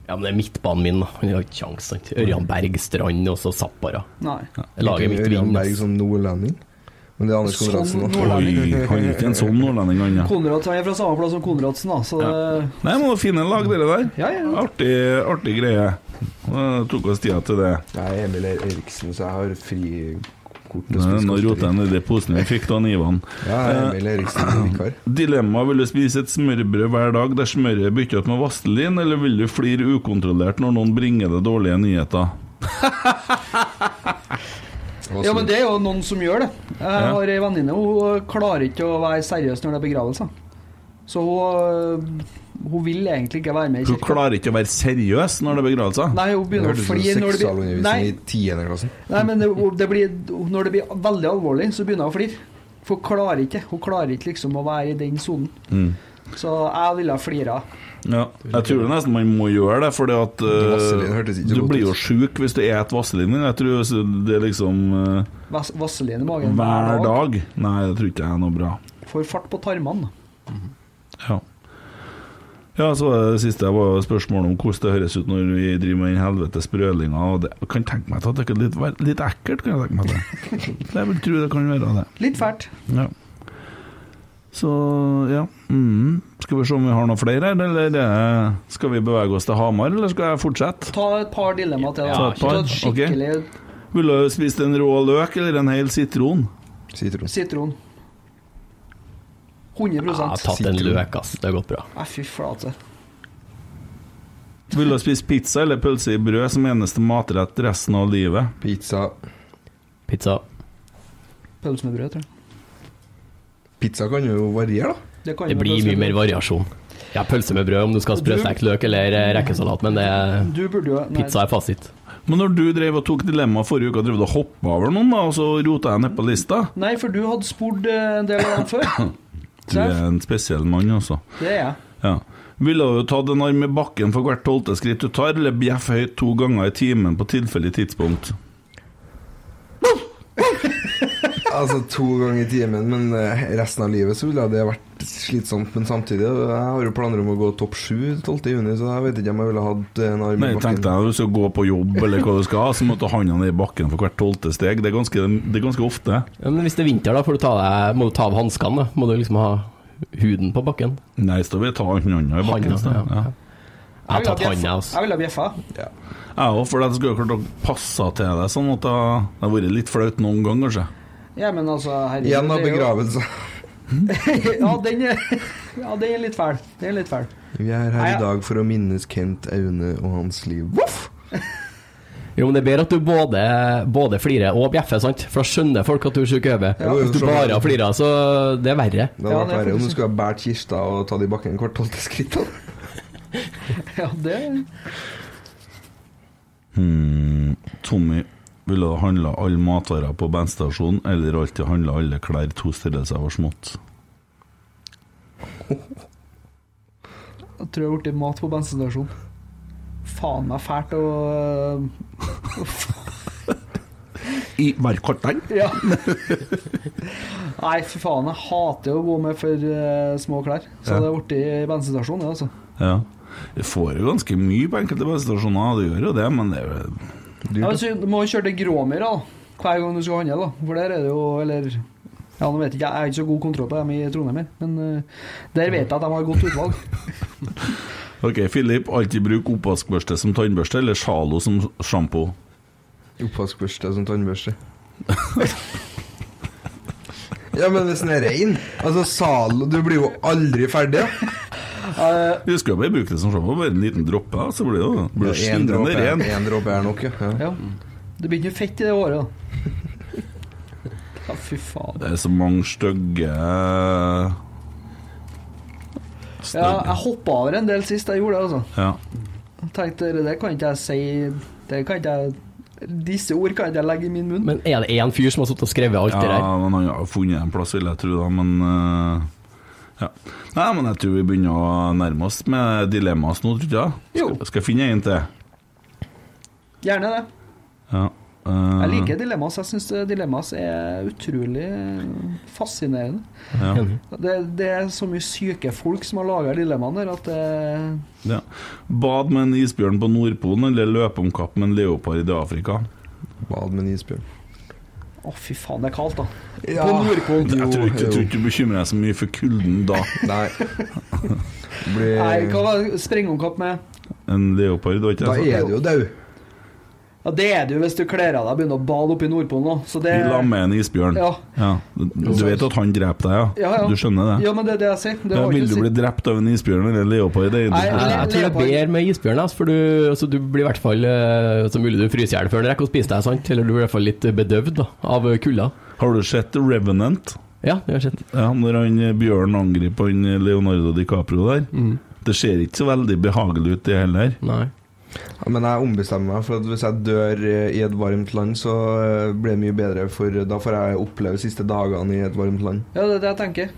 [SPEAKER 5] Ja, men det er midtbanen min, da. Han har ikke kjangs. sant? Ørjan Berg, Strand og så Zappara.
[SPEAKER 3] Nei.
[SPEAKER 5] Laget mitt
[SPEAKER 4] Ørjan
[SPEAKER 5] vinner.
[SPEAKER 4] Berg
[SPEAKER 5] ass.
[SPEAKER 4] som nordlending. Men det er Anders
[SPEAKER 3] Som
[SPEAKER 4] Konradsen nå.
[SPEAKER 2] Oi, han er ikke en sånn nordlending, han. ja.
[SPEAKER 3] Konrad han er fra samme plass som Konradsen, da, så det
[SPEAKER 2] Nei, men det er fine lag, dere der.
[SPEAKER 3] Ja, ja.
[SPEAKER 2] Artig, artig greie. Eh, tok oss tida til det.
[SPEAKER 4] Jeg er Emil Eriksen, så jeg har frikort til å
[SPEAKER 2] Nå
[SPEAKER 4] spise
[SPEAKER 2] roter jeg
[SPEAKER 4] godteri.
[SPEAKER 2] ned i posen vi fikk av Ivan.
[SPEAKER 4] Ja, jeg er Emil Eriksen som vikar.
[SPEAKER 2] Dilemma vil du spise et smørbrød hver dag der smøret er byttet ut med vaselin, eller vil du flire ukontrollert når noen bringer deg dårlige nyheter?
[SPEAKER 4] Og
[SPEAKER 3] Ja,
[SPEAKER 4] så-
[SPEAKER 3] men det er jo noen som gjør det. Jeg har ei venninne, hun klarer ikke å være seriøs når det er begravelser. Så hun, eh, hun vil egentlig ikke være med i
[SPEAKER 2] Hun
[SPEAKER 3] kirka.
[SPEAKER 2] klarer ikke å være seriøs når det er begravelser?
[SPEAKER 3] Nei, hun
[SPEAKER 4] Det
[SPEAKER 3] begynner å
[SPEAKER 4] hørtes ut
[SPEAKER 3] flire
[SPEAKER 4] som
[SPEAKER 3] når det blir Nei,
[SPEAKER 4] seksualundervisning i 10. klassen.
[SPEAKER 3] nei men det, det blir, når det blir veldig alvorlig, så begynner hun å flire. For hun klarer ikke Hun klarer ikke liksom å være i den sonen.
[SPEAKER 2] Mm.
[SPEAKER 3] Så jeg ville ha flira.
[SPEAKER 2] Ja. Jeg tror det nesten man må gjøre det, fordi at eh,
[SPEAKER 4] Vaselin hørtes ikke
[SPEAKER 2] du
[SPEAKER 4] godt
[SPEAKER 2] blir jo
[SPEAKER 4] ut.
[SPEAKER 2] sjuk hvis du et vaselin. Jeg tror så det er liksom eh,
[SPEAKER 3] Vas- Vaselin i magen
[SPEAKER 2] hver dag Nei, det tror ikke jeg er noe bra.
[SPEAKER 3] Får fart på tarmene.
[SPEAKER 2] Ja. Ja, så var det siste var jo spørsmålet om hvordan det høres ut når vi driver med den helvetes brølinga. Og det, jeg kan tenke meg til at det er litt, ver- litt ekkelt, kan jeg tenke meg til. Jeg vil tro det kan være det.
[SPEAKER 3] Litt fælt.
[SPEAKER 2] Ja. Så, ja. Mm. Skal vi se om vi har noen flere her, eller eh, skal vi bevege oss til Hamar, eller skal jeg fortsette?
[SPEAKER 3] Ta et par dilemmaer til.
[SPEAKER 2] Ta
[SPEAKER 3] da.
[SPEAKER 2] et par,
[SPEAKER 3] Ta et skikkelig
[SPEAKER 2] Ville du spist en rå løk eller en hel sitron?
[SPEAKER 4] Sitron.
[SPEAKER 3] sitron. 100
[SPEAKER 5] Jeg har tatt en løk, ass. Det har gått bra.
[SPEAKER 3] Nei, fy flate.
[SPEAKER 2] Ville du spist pizza eller pølse i brød som eneste matrett resten av livet?
[SPEAKER 4] Pizza.
[SPEAKER 5] Pizza.
[SPEAKER 3] Pølse med brød, tror jeg.
[SPEAKER 4] Pizza kan jo variere, da.
[SPEAKER 3] kan
[SPEAKER 5] Det
[SPEAKER 3] jo
[SPEAKER 5] blir
[SPEAKER 3] pølse med
[SPEAKER 5] mye mer
[SPEAKER 3] brød.
[SPEAKER 5] variasjon. Ja, pølse med brød om du skal ha sprøstekt løk eller eh, rekkesalat, men det er
[SPEAKER 3] Du burde jo nei,
[SPEAKER 5] Pizza er fasit.
[SPEAKER 2] Men når du drev og tok dilemma forrige uke, drev du og hoppa over noen, da, og så rota jeg ned på lista?
[SPEAKER 3] Nei, for du hadde spurt eh, en del av dem før.
[SPEAKER 2] Du
[SPEAKER 5] eh,
[SPEAKER 2] er en spesiell mann, altså.
[SPEAKER 3] Det er jeg.
[SPEAKER 2] Ja. Ville du tatt en arm i bakken for hvert tolvte skritt du tar, eller bjeff høyt to ganger i timen på tilfeldig tidspunkt?
[SPEAKER 4] Altså to ganger i timen, men eh, resten av livet så ville det vært slitsomt. Men samtidig, eh, jeg har jo planer om å gå topp sju 12. juni, så jeg vet ikke om jeg ville hatt eh, en arm
[SPEAKER 2] Nei,
[SPEAKER 4] i
[SPEAKER 2] tenk
[SPEAKER 4] bakken.
[SPEAKER 2] deg hvis du går på jobb eller hva du skal, så må du ta handa ned i bakken for hvert tolvte steg. Det er ganske, det er ganske ofte.
[SPEAKER 5] Ja, men hvis det er vinter, da, får du ta deg, må du ta av hanskene. da. Må du liksom ha huden på bakken.
[SPEAKER 2] Nei, så da vil jeg ta handa i bakken.
[SPEAKER 5] Handa,
[SPEAKER 2] så.
[SPEAKER 5] ja.
[SPEAKER 2] Ja.
[SPEAKER 5] Jeg har tatt handa, altså.
[SPEAKER 3] Jeg ville ha bjeffa.
[SPEAKER 2] Jeg òg, for jeg skulle jo klart å passe til deg sånn at det det har vært litt flaut noen gang, kanskje.
[SPEAKER 3] Ja, men altså herregud,
[SPEAKER 4] Igjen
[SPEAKER 3] det
[SPEAKER 4] av
[SPEAKER 3] er jo-
[SPEAKER 4] begravelse.
[SPEAKER 3] ja, den er, ja, den er litt fæl. Den er litt fæl.
[SPEAKER 4] Vi er her
[SPEAKER 3] Nei,
[SPEAKER 4] i dag for å minnes Kent Aune og hans liv. Voff!
[SPEAKER 5] Jo, men det er bedre at du både, både flirer og bjeffer, sant? For da skjønner folk at du er sjuk i hodet.
[SPEAKER 4] Ja.
[SPEAKER 5] Hvis du bare har flira, så det er verre.
[SPEAKER 4] Det hadde
[SPEAKER 3] Ja,
[SPEAKER 4] vært
[SPEAKER 3] det er
[SPEAKER 4] verre om du
[SPEAKER 3] faktisk-
[SPEAKER 4] skulle ha båret kista og tatt i bakken hvert tolvte skritt. da.
[SPEAKER 3] Ja, det
[SPEAKER 2] Hmm, Tommy, ville du handla alle matvarer på bensinstasjonen, eller alltid handla alle klær to størrelser for smått?
[SPEAKER 3] Jeg tror jeg har blitt mat på bensinstasjon. Faen meg fælt å eh,
[SPEAKER 2] I varkortene?
[SPEAKER 3] Ja. Nei, fy faen, jeg hater å gå med for eh, små klær. Så
[SPEAKER 2] Ja.
[SPEAKER 3] det er blitt bensinstasjon, det, altså.
[SPEAKER 2] Ja. Du får jo ganske mye på enkelte bensinstasjoner, du gjør jo det, men det er jo
[SPEAKER 4] Dyrt,
[SPEAKER 3] Ja,
[SPEAKER 4] da.
[SPEAKER 3] men så du må jo kjøre til Gråmyr da, hver gang du skal handle, da. For der er det jo Eller ja, nå vet jeg ikke, jeg har ikke så god kontroll på dem i Trondheim, her, men eh, der vet jeg at de har godt utvalg.
[SPEAKER 2] Ok, Philip, alltid bruk oppvaskbørste som tannbørste eller sjalo som sjampo.
[SPEAKER 4] Oppvaskbørste som tannbørste. ja, men hvis den er rein Altså, Zalo Du blir jo aldri ferdig, da.
[SPEAKER 2] Du skal jo bare bruke det som sjampo, bare en liten droppe, så blir det jo blir det
[SPEAKER 4] En
[SPEAKER 2] skinnende
[SPEAKER 4] dråpe
[SPEAKER 2] ren.
[SPEAKER 4] er- en dråpe er nok, ja. ja.
[SPEAKER 3] Ja. Det blir ikke noe fett i det håret, da. Ja, fy faen.
[SPEAKER 2] Det er så mange stygge
[SPEAKER 3] Ja,
[SPEAKER 2] Stygge.
[SPEAKER 3] jeg hoppa over en del sist jeg gjorde det, altså.
[SPEAKER 2] Ja.
[SPEAKER 3] Jeg tenkte det kan ikke jeg si Det kan ikke jeg Disse ord kan ikke jeg legge i min munn.
[SPEAKER 5] Men er det én fyr som har sittet og skrevet alt
[SPEAKER 2] ja,
[SPEAKER 5] det der?
[SPEAKER 2] men han har jo funnet en plass, vil jeg tro, da, men eh, ja. Nei, men jeg tror vi begynner å nærme oss med dilemmas nå, tror jeg.
[SPEAKER 3] Jo.
[SPEAKER 2] Skal, skal jeg finne en til?
[SPEAKER 3] Gjerne det.
[SPEAKER 2] Ja. eh,
[SPEAKER 3] Jeg liker dilemmas. Jeg syns dilemmas er utrolig eh, fascinerende.
[SPEAKER 2] ja.
[SPEAKER 3] Det, det er så mye syke folk som har laga dilemmaene der, at eh, det
[SPEAKER 2] Ja. Bad med en isbjørn på Nordpolen eller løpe om kapp med en leopard i Afrika?
[SPEAKER 4] Bad med en isbjørn.
[SPEAKER 3] Å, fy faen, det er kaldt, da.
[SPEAKER 4] Ja.
[SPEAKER 3] På Nordpolen.
[SPEAKER 2] Jeg tror ikke, jeg tror
[SPEAKER 4] jo.
[SPEAKER 2] ikke du bekymrer deg så mye for kulden da.
[SPEAKER 4] Nei. Det Blir,
[SPEAKER 3] Nei, hva var det? springomkapp med?
[SPEAKER 2] En leopard, da, ikke
[SPEAKER 4] da
[SPEAKER 2] sant?
[SPEAKER 4] er du jo død.
[SPEAKER 3] Ja, det er du hvis du kler av deg og begynner å bade oppe i Nordpolen nå. Så det
[SPEAKER 2] I lag med en isbjørn.
[SPEAKER 3] Ja.
[SPEAKER 2] Du vet at han dreper deg, ja?
[SPEAKER 3] Ja, ja.
[SPEAKER 2] Du skjønner det?
[SPEAKER 3] Ja, men det er det jeg sier. Det
[SPEAKER 2] Ja,
[SPEAKER 3] har
[SPEAKER 2] vil
[SPEAKER 3] ikke
[SPEAKER 2] du
[SPEAKER 3] å si.
[SPEAKER 2] bli drept av en isbjørn eller en leopard? Det er
[SPEAKER 3] Nei,
[SPEAKER 5] Jeg,
[SPEAKER 2] interessant.
[SPEAKER 5] jeg tror det er
[SPEAKER 3] Leopard.
[SPEAKER 5] bedre med isbjørn, altså, for du, altså, du blir i hvert fall eh, Så mulig du fryser i hjel før den rekker å spise deg, sant? Eller du blir i hvert fall litt bedøvd da, av kulda.
[SPEAKER 2] Har du sett The Revenant?
[SPEAKER 5] Ja, det har jeg sett.
[SPEAKER 2] Ja, når han eh, Bjørn angriper han eh, Leonardo DiCaprio der. Det ser ikke så veldig behagelig ut, det heller.
[SPEAKER 5] Nei.
[SPEAKER 4] Ja, men jeg ombestemmer meg, for at hvis jeg dør eh, i et varmt land, så eh, blir det mye bedre, for da får jeg oppleve siste dagene i et varmt land.
[SPEAKER 3] Ja, det er det jeg tenker.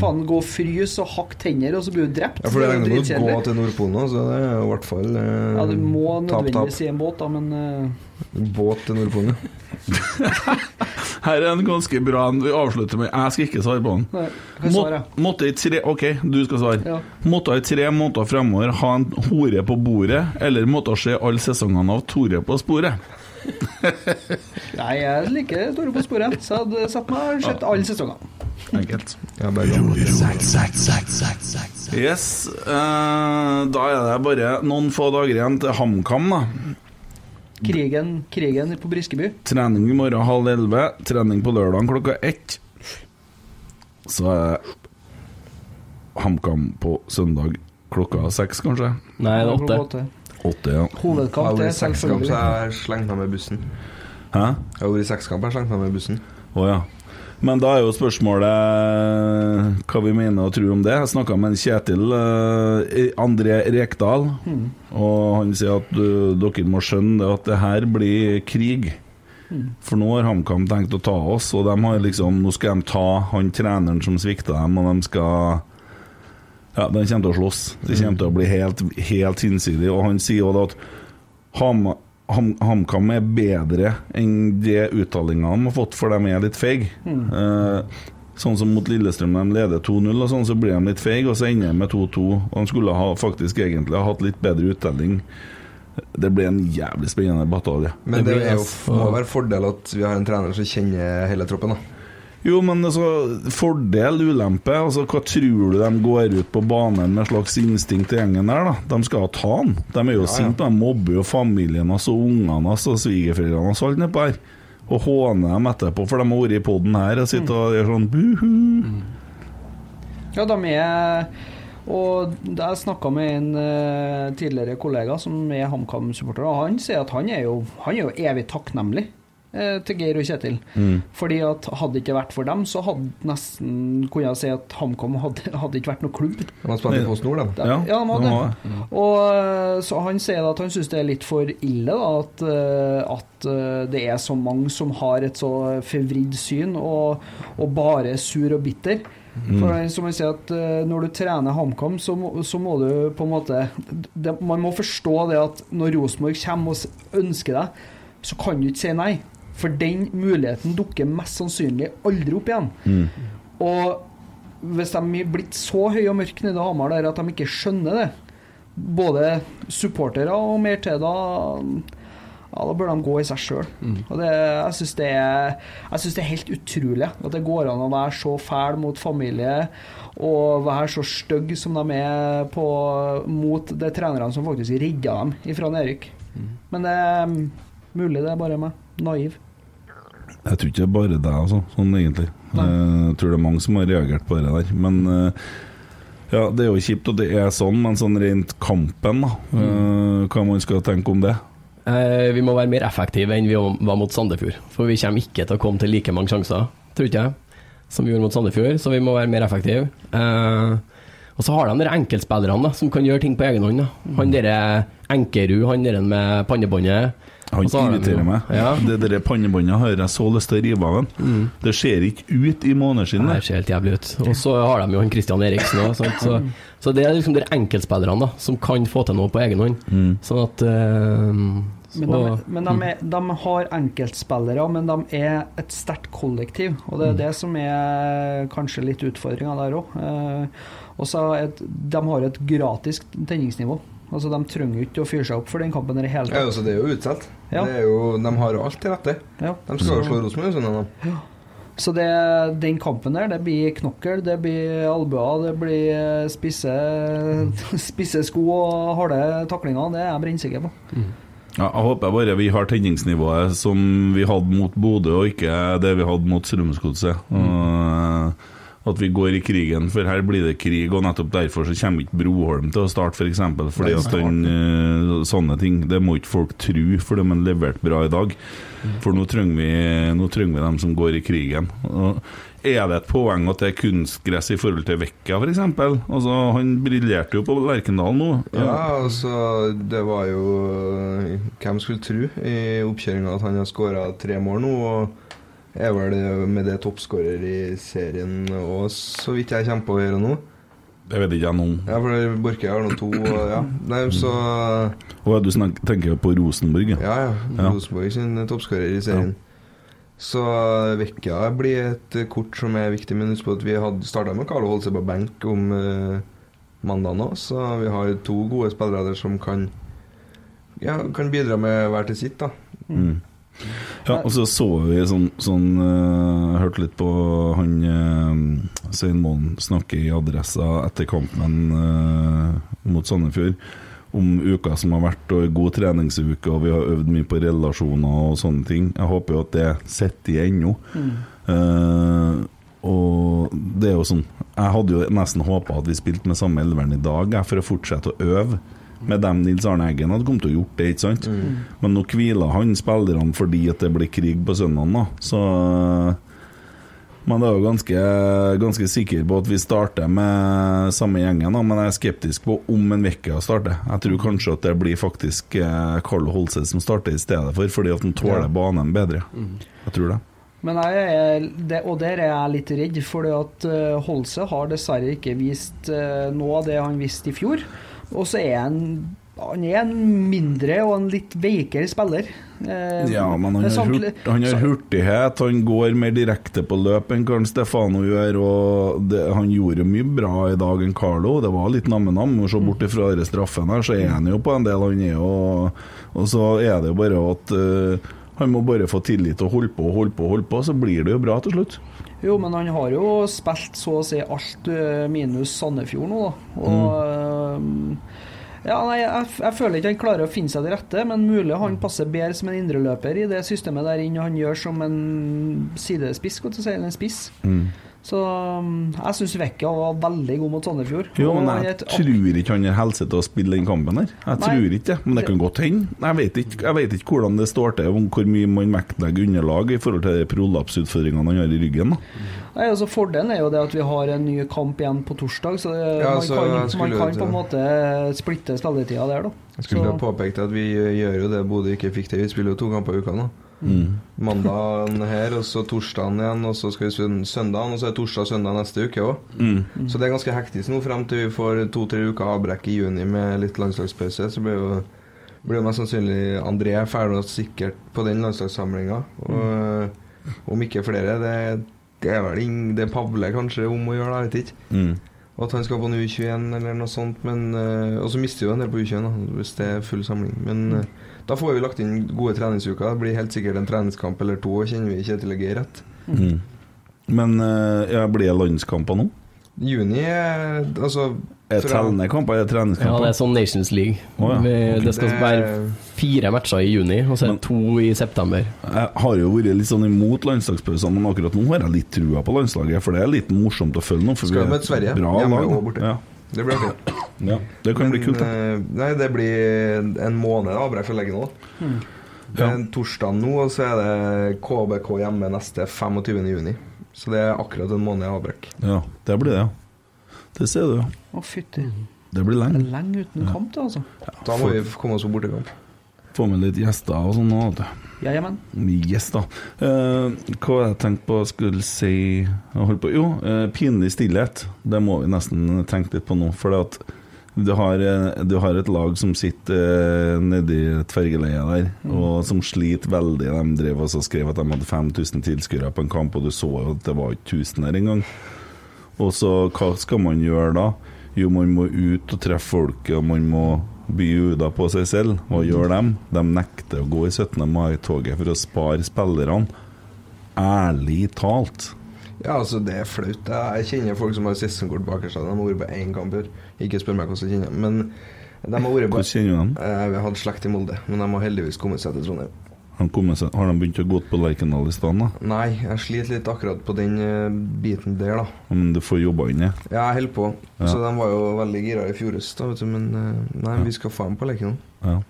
[SPEAKER 3] Faen, gå og frys og hakk tenner, og så blir du drept.
[SPEAKER 4] Ja, for det
[SPEAKER 3] er jo
[SPEAKER 4] regner med å gå
[SPEAKER 3] dritkjedelig.
[SPEAKER 4] til Nordpolen nå, så det er jo i hvert fall eh,
[SPEAKER 3] Ja, du må
[SPEAKER 4] tap,
[SPEAKER 3] nødvendigvis i en båt, da, men eh,
[SPEAKER 4] tap. Båt til Nordpolen, ja.
[SPEAKER 2] Her er en ganske bra en. Vi avslutter med Jeg skal ikke svare på den.
[SPEAKER 3] Nei, hva
[SPEAKER 2] Må,
[SPEAKER 3] svarer jeg?
[SPEAKER 2] måtte i tre Ok, du skal svare.
[SPEAKER 3] Ja.
[SPEAKER 2] Måtte i tre måneder fremover ha en hore på bordet, eller måtte se alle sesongene av Tore på sporet?
[SPEAKER 3] Nei, jeg liker Tore på sporet, så jeg hadde satt meg og sett alle sesongene.
[SPEAKER 2] Enkelt.
[SPEAKER 4] Jeg bare gammel.
[SPEAKER 2] Yes. eh, da er det bare noen få dager igjen til HamKam, da.
[SPEAKER 3] Krigen, krigen på Briskeby.
[SPEAKER 2] Trening i morgen halv elleve. Trening på lørdag klokka ett. Så er det HamKam på søndag klokka seks, kanskje.
[SPEAKER 5] Nei, det er åtte.
[SPEAKER 3] Klokka åtte.
[SPEAKER 2] Åtte, ja.
[SPEAKER 4] Jeg
[SPEAKER 3] Hovedkamp,
[SPEAKER 4] har
[SPEAKER 3] det
[SPEAKER 4] vært
[SPEAKER 3] er
[SPEAKER 4] i sekskamp,
[SPEAKER 3] selvfølgelig.
[SPEAKER 4] så jeg har slengt meg med bussen.
[SPEAKER 2] Hæ?
[SPEAKER 4] Jeg har vært i sekskamp, jeg har slengt meg med bussen.
[SPEAKER 2] Å ja. Men da er jo spørsmålet hva vi mener og tror om det. Jeg snakka med en Kjetil eh, André Rekdal, og han sier at du, dere må skjønne det at det her blir krig. For nå har HamKam tenkt å ta oss, og de har liksom, nå skal de ta han treneren som svikta dem, og de skal Ja, de kommer til å slåss. Det kommer til å bli helt, helt hinsidig. Og han sier jo da at Ham- Ham- HamKam er bedre enn de uttalingene de har fått, for de er litt feige. Eh, sånn som mot Lillestrøm, de leder 2-0, og sånn så blir de litt feige, og så ender de med 2-2. Og de skulle ha, faktisk egentlig ha hatt litt bedre uttelling. Det ble en jævlig spennende batalje.
[SPEAKER 4] Men
[SPEAKER 5] Det
[SPEAKER 4] det,
[SPEAKER 5] blir
[SPEAKER 4] er jo,
[SPEAKER 5] altså-
[SPEAKER 4] må være fordel at vi har en trener som kjenner hele troppen, da.
[SPEAKER 2] Jo, men altså, fordel, ulempe altså, Hva tror du de går ut på banen med slags instinkt i gjengen der? da? De skal ta han. De er jo sinte. De mobber jo familien hans og ungene hans og svigerforeldrene hans og alt nedpå her. Og håner dem etterpå, for de har vært i poden her og sitter og gjør sånn buhu.
[SPEAKER 3] Ja, de er Og jeg snakka med en eh, tidligere kollega som er HamKam-supporter, og han sier at han er jo, han er jo evig takknemlig eh, til Geir og Kjetil.
[SPEAKER 5] Mm.
[SPEAKER 3] Fordi at hadde det ikke vært for dem, så hadde nesten kunne jeg si at HamKam hadde, hadde ikke vært noen klubb.
[SPEAKER 4] De har spilt i Post Nord, de.
[SPEAKER 3] Ja, ja, de hadde
[SPEAKER 2] de
[SPEAKER 3] det. Og eh, så han sier at han syns det er litt for ille da, at, eh, at eh, det er så mange som har et så forvridd syn og, og bare er sur og bitter. For han- som han sier at eh, Når du trener HamKam, så, må- så må du på en måte det, Man må forstå det at når Rosenborg kommer og s- ønsker deg, så kan du ikke si nei. For den muligheten dukker mest sannsynlig aldri opp igjen. Mm. Og hvis de er blitt så høye og mørke nede i Hamar der at de ikke skjønner det, både supportere og mer til da ja, da bør de gå i seg sjøl. Jeg syns det, er- jeg synes det er helt utrolig at det går an å være så fæl mot familie og være så stygg som de er på, mot de trenerne som faktisk redda dem ifra nedrykk. Men det er mm, mulig det er bare meg. Naiv.
[SPEAKER 2] Jeg tror ikke det er bare deg, altså, sånn egentlig.
[SPEAKER 3] Nei.
[SPEAKER 2] Eh, Jeg tror det er mange som har reagert på det der. Men eh, ja, det er jo kjipt at det er sånn, men sånn rent kampen, da. eh, Hva man skal tenke om det.
[SPEAKER 5] Eh, vi må være mer effektive enn vi var mot Sandefjord. For vi kommer ikke til å komme til like mange sjanser, tror ikke jeg, som vi gjorde mot Sandefjord. Så vi må være mer effektive. Eh, og så har de de der enkeltspillerne da, som kan gjøre ting på egen hånd. da. Han
[SPEAKER 2] Mm.
[SPEAKER 5] derre Enkerud, han derre med pannebåndet.
[SPEAKER 2] Han
[SPEAKER 5] Og så har de-
[SPEAKER 2] irriterer meg.
[SPEAKER 5] Ja. Mm.
[SPEAKER 2] Det der pannebåndet har jeg så lyst til å rive av han. Det ser ikke ut i
[SPEAKER 5] Nei,
[SPEAKER 2] måneskinnet.
[SPEAKER 5] Det ser helt jævlig ut. Og så har de jo han Christian Eriksen òg. Så, så det er liksom de enkeltspillerne da, som kan få til noe på egen hånd.
[SPEAKER 2] Mm.
[SPEAKER 5] Sånn at eh,
[SPEAKER 3] Men, de,
[SPEAKER 5] så,
[SPEAKER 3] men de, er, de har enkeltspillere, men de er et sterkt kollektiv. Og det er det som er kanskje litt utfordringa der òg. Og så er et- de har et gratis tenningsnivå. Altså, De trenger jo ikke å fyre seg opp for den kampen i det hele
[SPEAKER 4] Ja,
[SPEAKER 3] tatt.
[SPEAKER 4] altså, det er jo utsatt.
[SPEAKER 3] Ja.
[SPEAKER 4] Det er jo, de har jo alt til rette.
[SPEAKER 3] Ja.
[SPEAKER 4] De skal jo slå Rosenborg, sånn at de
[SPEAKER 3] Så det, den kampen der, det blir knokkel, det blir albuer, det blir eh, spisse, spisse sko og harde taklinger. Det er jeg brennsikker på.
[SPEAKER 2] Ja, jeg håper bare vi har tenningsnivået som vi hadde mot Bodø, og ikke det vi hadde mot Strømsgodset. Og, eh, At vi går i krigen, for her blir det krig, og nettopp derfor så kommer ikke Broholm til å starte, f.eks. For eksempel, fordi at den, eh, sånne ting Det må ikke folk tro, for de har levert bra i dag. For nå trenger vi, nå trenger vi dem som går i krigen. Og er det et poeng at det er kunstgress i forhold til Vekka, f.eks.? Altså, han briljerte jo på Lerkendal nå.
[SPEAKER 4] Ja, altså Det var jo eh, Hvem skulle tro i oppkjøringa at han har skåra tre mål nå? Og er vel det- med det toppskårer i serien òg, så vidt jeg kommer på å gjøre nå.
[SPEAKER 2] Det vet ikke jeg noe om.
[SPEAKER 4] Ja, for Borke har nå to, og ja. Nei, så
[SPEAKER 2] Og du snak, tenker på Rosenborg, ja.
[SPEAKER 4] Ja, ja.
[SPEAKER 2] Ja.
[SPEAKER 4] Rosenborg sin eh, toppskårer i serien. Så Vekka blir et eh, kort som er viktig, men husk på at vi hadde starta med Carlo Holse på benk om eh, mandag nå, så vi har to gode spillere der som kan ja, kan bidra med hver til sitt, da.
[SPEAKER 2] Mm. Ja, og så så vi sånn, sånn eh, Hørte litt på han eh, Svein Moen snakke i Adressa etter kampen eh, mot Sandefjord om uka som har vært, og god treningsuke, og vi har øvd mye på relasjoner og sånne ting. Jeg håper jo at det sitter i ennå. Eh, og det er jo sånn Jeg hadde jo nesten håpa at vi spilte med samme elveren i dag, jeg, for å fortsette å øve. Med dem Nils Arne Eggen hadde kommet til å gjort det, ikke sant? Men nå hviler han spillerne fordi at det blir krig på søndagen, da. Så eh, Men jeg er jo ganske, ganske sikker på at vi starter med samme gjengen, da. Men jeg er skeptisk på om en Vekka starter. Jeg tror kanskje at det blir faktisk eh, Carlo Holse som starter i stedet for, fordi at han tåler
[SPEAKER 4] Ja.
[SPEAKER 2] banen bedre. Jeg tror det.
[SPEAKER 3] Men jeg er, det, og der er jeg litt redd, for at eh, Holse har dessverre ikke vist eh, noe av det han viste i fjor. Og så er han han er en mindre og en litt veikere spiller. Eh,
[SPEAKER 2] Ja, men han har,
[SPEAKER 3] samtli-
[SPEAKER 2] hurt, han har
[SPEAKER 3] sa-
[SPEAKER 2] hurtighet, han går mer direkte på løp enn Karl Stefano gjør. Og det, han gjorde mye bra i dag enn Carlo, det var litt namme-nam. og Se bort ifra denne straffen her, så er han jo på en del, han er jo Og så er det jo bare at eh, han må bare få tillit til å holde på og holde på, og holde på, så blir det jo bra til slutt.
[SPEAKER 3] Jo, men han har jo spilt så å si alt eh, minus Sandefjord nå, da. Og eh, Ja, nei, jeg, jeg føler ikke han klarer å finne seg til rette, men mulig han passer bedre som en indreløper i det systemet der inne han gjør som en sidespiss, skal jeg si, eller en spiss. Så mm, jeg syns Vekka var veldig god mot Sandefjord.
[SPEAKER 2] Jo,
[SPEAKER 3] Og
[SPEAKER 2] men
[SPEAKER 3] han er
[SPEAKER 2] jeg
[SPEAKER 3] et-
[SPEAKER 2] tror ikke han har helse til å spille den kampen her. Jeg
[SPEAKER 3] Nei.
[SPEAKER 2] tror ikke det, men det kan godt hende. Jeg vet ikke, jeg vet ikke hvordan det står til, om hvor mye man vektlegger underlag i forhold til de prolapsutfordringene han har i ryggen. da.
[SPEAKER 3] Nei, altså Fordelen er jo det at vi har en ny kamp igjen på torsdag, så det-
[SPEAKER 4] Ja,
[SPEAKER 3] man,
[SPEAKER 4] så jeg
[SPEAKER 3] kan,
[SPEAKER 4] skulle
[SPEAKER 3] man
[SPEAKER 4] jo
[SPEAKER 3] kan
[SPEAKER 4] til-
[SPEAKER 3] på en måte splitte spilletida der, da.
[SPEAKER 4] Jeg skulle
[SPEAKER 3] Så-
[SPEAKER 4] ha påpekt at vi eh, gjør jo det Bodø ikke fikk til. Vi spiller jo to kamper i uka nå. Mandagen her, og så torsdagen igjen, og så skal vi spille søndagen, og så er torsdag og søndag neste uke òg. Så det er ganske hektisk nå frem til vi får to-tre uker avbrekk i juni med litt landslagspause. Så blir jo, blir jo mest sannsynlig André ferdig og sikkert på den landslagssamlinga. Og eh,
[SPEAKER 2] Mm.
[SPEAKER 4] øh, om ikke flere, det, det er vel ing, det er Pavle kanskje om å gjøre, da, jeg vet ikke. Og at han skal på en U21 eller noe sånt. Men, eh, og så mister vi jo en del på U21 da, hvis det er full samling. Men
[SPEAKER 2] Mm.
[SPEAKER 4] eh, da får vi lagt inn gode treningsuker. Det blir helt sikkert en treningskamp eller to, kjenner vi Kjetil G rett.
[SPEAKER 2] Mm. Men eh, ja, blir det landskamper nå?
[SPEAKER 4] Juni er altså
[SPEAKER 2] Er det
[SPEAKER 4] fra-
[SPEAKER 2] tellende kamper? Er det
[SPEAKER 5] Ja,
[SPEAKER 2] treningskamper?
[SPEAKER 5] det er sånn Nations League.
[SPEAKER 2] Å, ja.
[SPEAKER 5] Vi- Det skal
[SPEAKER 4] Det-
[SPEAKER 5] være fire matcher i juni, og så er
[SPEAKER 2] Men-
[SPEAKER 5] det to i september.
[SPEAKER 2] Jeg har jo vært litt sånn imot landslagspausene, men akkurat nå har jeg litt trua på landslaget. For det er litt morsomt å følge nå. For
[SPEAKER 4] Skal
[SPEAKER 2] vi er
[SPEAKER 4] møte Sverige,
[SPEAKER 2] et Bra
[SPEAKER 4] hjemme
[SPEAKER 2] lag.
[SPEAKER 4] og borte.
[SPEAKER 2] Ja.
[SPEAKER 4] Det blir artig.
[SPEAKER 2] ja, det kan bli
[SPEAKER 4] Men,
[SPEAKER 2] kult. da.
[SPEAKER 4] eh, Nei, det blir en måned avbrekk for lenge nå. Det er
[SPEAKER 2] Ja.
[SPEAKER 4] en torsdag nå, og så er det KBK hjemme neste 25. juni. Så det er akkurat en måned avbrekk.
[SPEAKER 2] Ja, det blir det, ja. Det ser du, ja.
[SPEAKER 3] Å, fytti.
[SPEAKER 2] Det blir lenge.
[SPEAKER 3] Lenge uten kamp, da, altså.
[SPEAKER 4] Da må vi komme oss på bortekamp.
[SPEAKER 2] Få med litt gjester og sånn. nå, vet du.
[SPEAKER 3] Ja, ja, men.
[SPEAKER 2] Yes, da. Eh, hva var det jeg tenkte på skulle si jeg holdt på. Jo, eh, pinlig stillhet. Det må vi nesten tenke litt på nå. For det at du har, eh, du har et lag som sitter eh, nedi tverrgeleiet der, og som sliter veldig. De drev og så skrev at de hadde 5000 tilskuere på en kamp, og du så jo at det var ikke 1000 her engang. Og så hva skal man gjøre da? Jo, man må ut og treffe folket, og man må by uda på seg selv. Hva gjør dem? De nekter å gå i 17. mai-toget for å spare spillerne. Ærlig talt.
[SPEAKER 4] Ja, altså, det er flaut. Jeg jeg kjenner folk som har sesongkort bakerst. De har vært på én kamp i år. Ikke spør meg hvordan jeg kjenner men de har vært på
[SPEAKER 2] Hvordan kjenner du dem?
[SPEAKER 4] Eh, Vi har hatt slekt i Molde, men de har heldigvis kommet seg til Trondheim.
[SPEAKER 2] Har de kommet seg- Har de begynt å gå på Lerkendal i stedet? da?
[SPEAKER 4] Nei, jeg sliter litt akkurat på den eh, biten der, da.
[SPEAKER 2] Men du får jobba inn i
[SPEAKER 4] Ja, jeg holder på. Så de var jo veldig gira i fjorhøst, da, vet du. Men eh, nei, vi skal faen på leken nå.
[SPEAKER 2] Ja.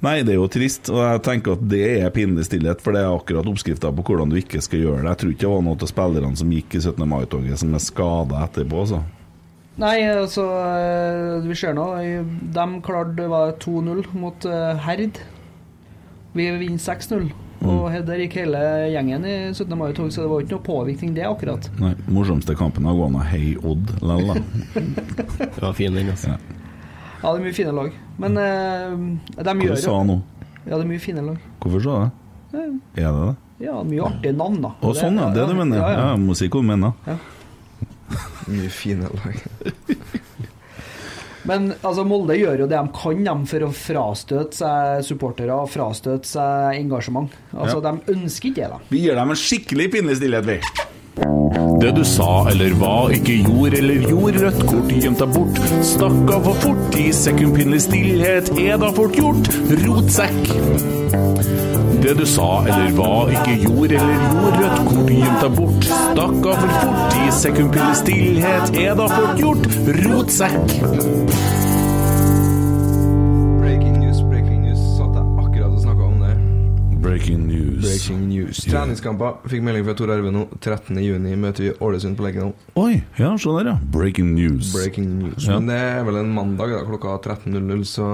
[SPEAKER 2] Nei, det er jo trist, og jeg tenker at det er pinlig stillhet, for det er akkurat oppskrifta på hvordan du ikke skal gjøre det. Jeg tror ikke det var noen av spillerne som gikk i 17. mai-toget, som er skada etterpå, altså.
[SPEAKER 3] Nei, altså eh, Vi ser nå. De klarte det var 2-0 mot eh, Herd. Vi vinner 6-0.
[SPEAKER 2] Mm.
[SPEAKER 3] Og der gikk hele gjengen i 17. mai-tog, så det var jo ikke noe påvirkning, det, akkurat.
[SPEAKER 2] Nei, mordsomste kampen har gått an å heie Odd lell, da.
[SPEAKER 5] Det var fin, den, altså.
[SPEAKER 3] Ja, det er mye fine lag. Men eh, de
[SPEAKER 2] Hva
[SPEAKER 3] gjør
[SPEAKER 2] du sa
[SPEAKER 3] jo
[SPEAKER 2] nå?
[SPEAKER 3] Ja, det er mye fine lag.
[SPEAKER 2] Hvorfor sa jeg det? Er det det?
[SPEAKER 3] Ja, mye artige navn, da.
[SPEAKER 2] Å, sånn, ja. Det du mener. Ja,
[SPEAKER 3] Ja, ja.
[SPEAKER 2] jeg må si hva du mener.
[SPEAKER 4] Mye fine lag.
[SPEAKER 3] Men altså, Molde gjør jo det de kan dem for å frastøte seg supportere og frastøte seg engasjement. Altså, De ønsker ikke det, da.
[SPEAKER 2] Vi gir dem en skikkelig pinlig stillhet, vi.
[SPEAKER 7] Det du sa eller hva, ikke gjorde eller gjorde, rødt kort gjemt deg bort. Stakk av for fort, i sekundpinnelig stillhet er da fort gjort. Rotsekk. Det du sa eller hva, ikke gjorde eller gjorde, rødt kort gjemt deg bort. Stakk av for fort, i sekundpinnelig stillhet er da fort gjort. Rotsekk.
[SPEAKER 4] Breaking news, breaking news. Satt jeg akkurat og snakka om det.
[SPEAKER 2] Breaking news.
[SPEAKER 4] Breaking news. Treningskamper. Fikk melding fra Tor Arve nå. 13.6 møter vi Ålesund på Lerkendal.
[SPEAKER 2] Oi, ja, se der, ja. Breaking news.
[SPEAKER 4] Breaking news.
[SPEAKER 2] Ja.
[SPEAKER 4] Men det er vel en mandag da, klokka 13.00, så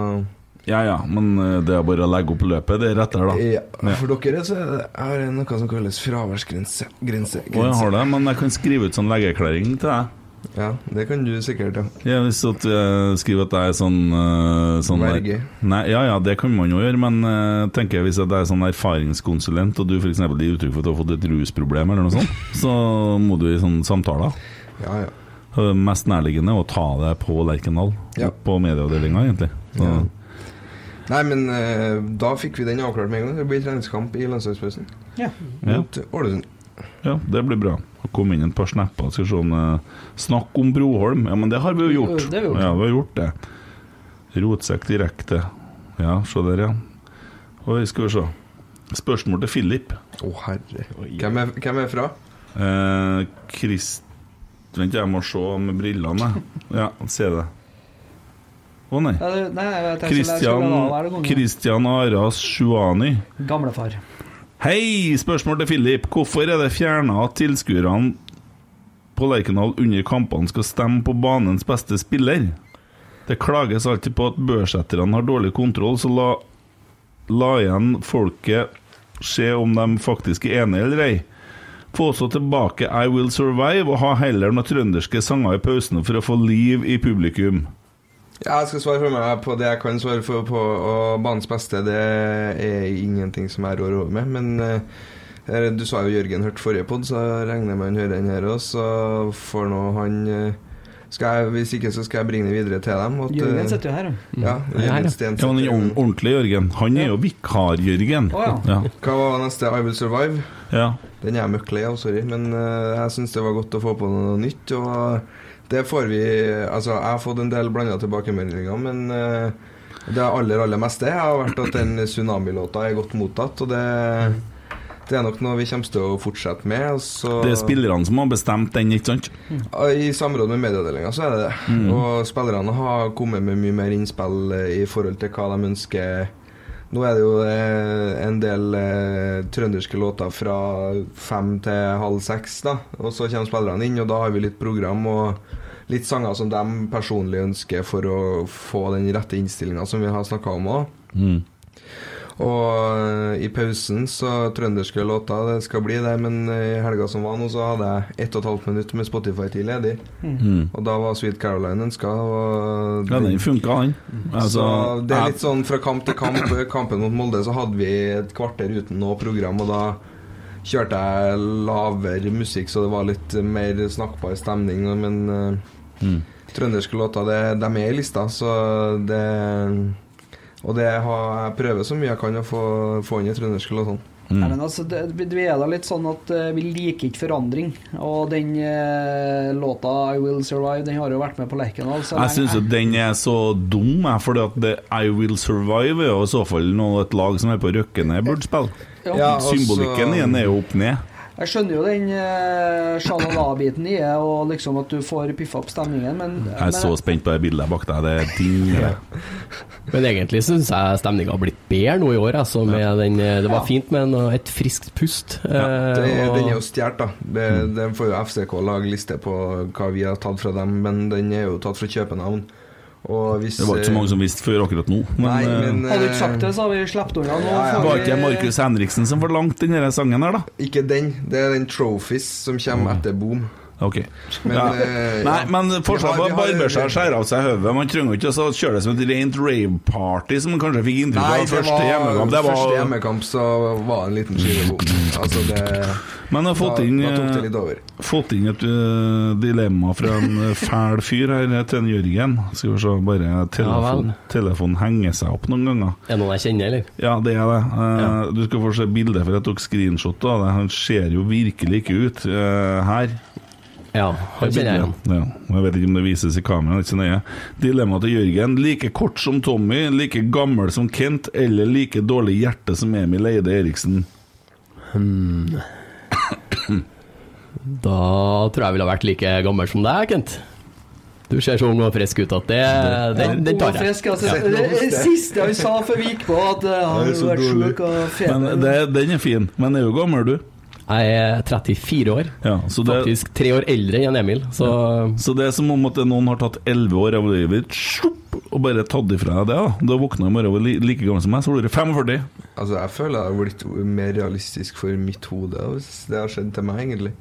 [SPEAKER 2] Ja ja, men eh, det er bare å legge opp løpet. Det er rett der, da.
[SPEAKER 4] ja.
[SPEAKER 2] Ja.
[SPEAKER 4] For dere så er det- er det noe som kalles fraværsgrense. Grense.
[SPEAKER 2] Å, jeg
[SPEAKER 4] grense.
[SPEAKER 2] har det, men jeg kan skrive ut sånn legeerklæring til deg.
[SPEAKER 4] Ja, det kan du sikkert, ja.
[SPEAKER 2] Ja, hvis at jeg skriver at jeg er sånn, eh, sånn der-
[SPEAKER 4] Verge.
[SPEAKER 2] Nei, ja ja, det kan man jo gjøre, men eh, tenker jeg hvis at jeg er sånn erfaringskonsulent, og du f.eks. gir uttrykk for at du har fått et rusproblem eller noe sånt, så må du i sånne samtaler.
[SPEAKER 4] Ja, ja.
[SPEAKER 2] Det mest nærliggende er å ta det på Lerkendal,
[SPEAKER 4] Ja.
[SPEAKER 2] på medieavdelinga, egentlig. Så,
[SPEAKER 4] Ja. Nei, men eh, da fikk vi den avklart med en gang. Det blir treningskamp i landslagspausen
[SPEAKER 3] Ja.
[SPEAKER 4] mot Ålesund.
[SPEAKER 2] ja, det blir bra. Det kom inn et par snapper. Skal vi se om eh, Snakk om Broholm. Ja, men det har vi jo gjort.
[SPEAKER 3] Det har vi gjort.
[SPEAKER 2] Ja, vi har gjort det. Rotsekk direkte. Ja, se der, ja. Oi, skal vi se. Spørsmål til Philip.
[SPEAKER 4] Å, herre. Hvem er, hvem er fra?
[SPEAKER 2] Eh, Krist... Vent, jeg må se med brillene. Ja, se det. Å nei.
[SPEAKER 3] Ja, det- Nei, jeg tenkte jeg skulle la være
[SPEAKER 2] Christian,
[SPEAKER 3] å gå med.
[SPEAKER 2] Christian Aras Shuani.
[SPEAKER 3] Gamlefar.
[SPEAKER 2] Hei! Spørsmål til Philip. Hvorfor er det fjerna at tilskuerne på Lerkendal under kampene skal stemme på banens beste spiller? Det klages alltid på at børsetterne har dårlig kontroll, så la, la igjen folket se om de faktisk er enige eller ei. Få også tilbake I Will Survive, og ha heller noen trønderske sanger i pausene for å få liv i publikum.
[SPEAKER 4] Ja, jeg skal svare for meg på det jeg kan svare for på, og banens beste det er ingenting som jeg rår over med. Men eh, her- du sa jo Jørgen hørte forrige pod, så regner jeg med han hører den her òg, så får nå han eh, Skal jeg, hvis ikke, så skal jeg bringe det videre til dem. At,
[SPEAKER 3] Jørgen
[SPEAKER 4] eh,
[SPEAKER 3] sitter jo her, jo. Mm.
[SPEAKER 4] Ja, Jørgen
[SPEAKER 5] ja.
[SPEAKER 4] Steen
[SPEAKER 2] Ja, men
[SPEAKER 4] sitter-
[SPEAKER 2] den ord- ordentlige Jørgen, han er jo vikar-Jørgen.
[SPEAKER 3] Å,
[SPEAKER 2] ja.
[SPEAKER 4] Hva var neste? I Will Survive?
[SPEAKER 2] ja.
[SPEAKER 4] Den er jeg møkk lei av, sorry. Men eh, jeg syns det var godt å få på noe nytt. Og eh, det får vi Altså, jeg har fått en del blanda tilbakemeldinger, men eh, det aller, aller meste har vært at den tsunamilåta er godt mottatt, og det det er nok noe vi kommer til å fortsette med. og så-
[SPEAKER 2] Det er spillerne som har bestemt den, ikke sant?
[SPEAKER 4] I samråd med medieavdelinga, så er det det.
[SPEAKER 2] Mm.
[SPEAKER 4] Og spillerne har kommet med mye mer innspill eh, i forhold til hva de ønsker. Nå er det jo eh, en del eh, trønderske låter fra fem til halv seks, da. Og så kommer spillerne inn, og da har vi litt program og litt sanger som de personlig ønsker for å få den rette innstillinga som vi har snakka om òg. Og eh, i pausen så trønderske låter, det skal bli det, men eh, i helga som var nå, så hadde jeg ett og et halvt minutt med Spotify-tid ledig. Og da var Sweet Caroline ønska.
[SPEAKER 2] Ja, den funka, den. Altså,
[SPEAKER 4] Mhm. så det er
[SPEAKER 2] jeg-
[SPEAKER 4] litt sånn fra kamp til kamp. Kampen mot Molde så hadde vi et kvarter uten noe program, og da kjørte jeg lavere musikk, så det var litt mer snakkbar stemning. Men eh,
[SPEAKER 2] Mm.
[SPEAKER 4] trønderske låter, det, de er i lista, så det Og det har jeg prøver så mye jeg kan å få, få inn i trønderske låtene.
[SPEAKER 2] mm.
[SPEAKER 3] Nei, men altså, det, vi er da litt sånn at eh, vi liker ikke forandring. Og den eh, låta 'I Will Survive' Den har jo vært med på Lerkendal. så
[SPEAKER 2] Jeg
[SPEAKER 3] lenge-
[SPEAKER 2] syns jo den er så dum, jeg, fordi at det I Will Survive er jo i så fall noe et lag som er på Røkkene burde spille.
[SPEAKER 3] ja,
[SPEAKER 4] Ja, og så-
[SPEAKER 2] Symbolikken i den er jo opp ned.
[SPEAKER 3] Jeg skjønner jo den eh, sjalala-biten i det, og liksom at du får piffa opp stemningen, men,
[SPEAKER 2] Jeg er
[SPEAKER 3] men
[SPEAKER 2] så spent på det bildet bak deg. Det er ting ja.
[SPEAKER 5] Men egentlig syns jeg stemninga har blitt bedre nå i år. Altså, med den, eh, det var
[SPEAKER 3] Ja.
[SPEAKER 5] fint med en, et friskt pust. eh,
[SPEAKER 4] Det, den er jo
[SPEAKER 5] og,
[SPEAKER 4] stjålet, da. Det,
[SPEAKER 2] Mm.
[SPEAKER 4] den får jo FCK lage liste på hva vi har tatt fra dem, men den er jo tatt fra København. Og hvis,
[SPEAKER 2] Det var ikke så mange som visste før akkurat nå. Men,
[SPEAKER 4] Nei, men, eh,
[SPEAKER 2] eh,
[SPEAKER 3] hadde du ikke sagt det, så hadde vi sluppet unna. Nå
[SPEAKER 4] Ja, ja.
[SPEAKER 2] det
[SPEAKER 3] får
[SPEAKER 2] var
[SPEAKER 3] vi-
[SPEAKER 2] ikke Markus Henriksen som forlangte denne sangen her, da?
[SPEAKER 4] Ikke den. Det er den Trophies som kommer
[SPEAKER 2] Mm.
[SPEAKER 4] etter Boom.
[SPEAKER 2] Ok.
[SPEAKER 4] Men,
[SPEAKER 2] ja.
[SPEAKER 4] eh,
[SPEAKER 2] Nei,
[SPEAKER 4] ja.
[SPEAKER 2] men forskjellen på
[SPEAKER 4] Vi
[SPEAKER 2] å
[SPEAKER 4] har- vi har-
[SPEAKER 2] barbe seg og skjære av seg hodet Man trenger ikke å kjøre det som et rent rave-party, som man kanskje fikk inntrykk av første hjemmekamp. Det var,
[SPEAKER 4] første hjemmekamp så var det en liten skivebom. Altså, det
[SPEAKER 2] men jeg har fått
[SPEAKER 4] da,
[SPEAKER 2] inn,
[SPEAKER 4] da tok det
[SPEAKER 2] eh,
[SPEAKER 4] litt over.
[SPEAKER 2] fått inn et eh, dilemma fra en eh, fæl fyr her, til en Jørgen. Skal vi se, bare telefon,
[SPEAKER 5] vel.
[SPEAKER 2] telefonen henger seg opp noen ganger.
[SPEAKER 5] er det noen jeg kjenner, eller?
[SPEAKER 2] Ja, det er det. Eh, Du skal få se bildet, for jeg tok screenshot av det. Han ser jo virkelig ikke ut eh, her.
[SPEAKER 5] Ja, han kjenner jeg igjen.
[SPEAKER 2] Ja, jeg vet ikke om det vises i kameraet, ikke så nøye. Dilemmaet til Jørgen. Like kort som Tommy, like gammel som Kent, eller like dårlig hjerte som Emil Eide Eriksen.
[SPEAKER 5] Da tror jeg ville ha vært like gammel som deg, Kent. Du ser så ung og frisk ut at det, den, den tar
[SPEAKER 3] Ung og
[SPEAKER 5] jeg.
[SPEAKER 3] frisk, altså. Det er det siste han sa før vi gikk på, at eh, han
[SPEAKER 4] Det er
[SPEAKER 3] hadde
[SPEAKER 4] så
[SPEAKER 3] vært
[SPEAKER 4] dårlig.
[SPEAKER 3] sjuk og feber.
[SPEAKER 2] Men det, den er fin. Men er jo gammel, du.
[SPEAKER 5] Jeg er 34 år.
[SPEAKER 2] Ja, så det,
[SPEAKER 5] Faktisk tre år eldre enn Emil, så
[SPEAKER 2] så det er som om at noen har tatt elleve år av livet ditt sjopp, og bare tatt ifra deg det. Da Da våkna du i morgen og var li- like gammel som meg, så blir du 45.
[SPEAKER 4] Altså, jeg føler jeg har blitt mer realistisk for mitt hode, hvis det har skjedd til meg, egentlig.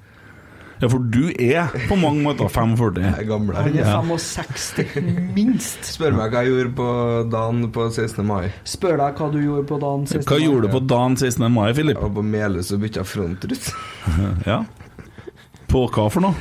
[SPEAKER 2] Ja, for du er på mange måter 45.
[SPEAKER 4] Jeg er gammel
[SPEAKER 3] Han
[SPEAKER 4] her.
[SPEAKER 3] er 65, minst.
[SPEAKER 4] Spør meg hva jeg gjorde på dagen på 16. mai.
[SPEAKER 3] Spør deg hva du gjorde på dagen sist.
[SPEAKER 2] Hva gjorde du på dagen 16. mai, Filip?
[SPEAKER 4] Jeg var på Meløs og bytta frontrut
[SPEAKER 2] Ja. På hva for noe?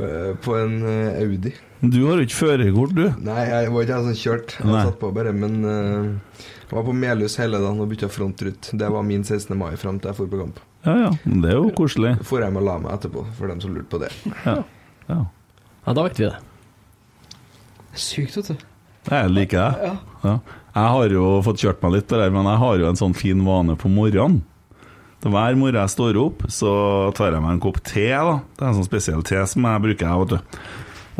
[SPEAKER 4] eh, på en eh, Audi.
[SPEAKER 2] Du har jo ikke førerkort, du.
[SPEAKER 4] Nei, jeg var ikke jeg som kjørte. Jeg
[SPEAKER 2] Nei.
[SPEAKER 4] satt på bare, men eh, jeg var på Melhus hele dagen og bytta frontrut. Det var min 16. mai fram til jeg dro på kamp.
[SPEAKER 2] Ja ja, men det er jo koselig.
[SPEAKER 4] Får jeg med å la meg etterpå, for dem som lurte på det.
[SPEAKER 2] Ja. ja.
[SPEAKER 5] ja, da vet vi det.
[SPEAKER 3] Sykt, vet du.
[SPEAKER 2] Jeg liker det.
[SPEAKER 3] Ja.
[SPEAKER 2] Ja. Jeg har jo fått kjørt meg litt, der, men jeg har jo en sånn fin vane på morgenen. Så Hver morgen jeg står opp, så tar jeg meg en kopp te. da Det er en sånn spesiell te som jeg bruker. jeg, vet du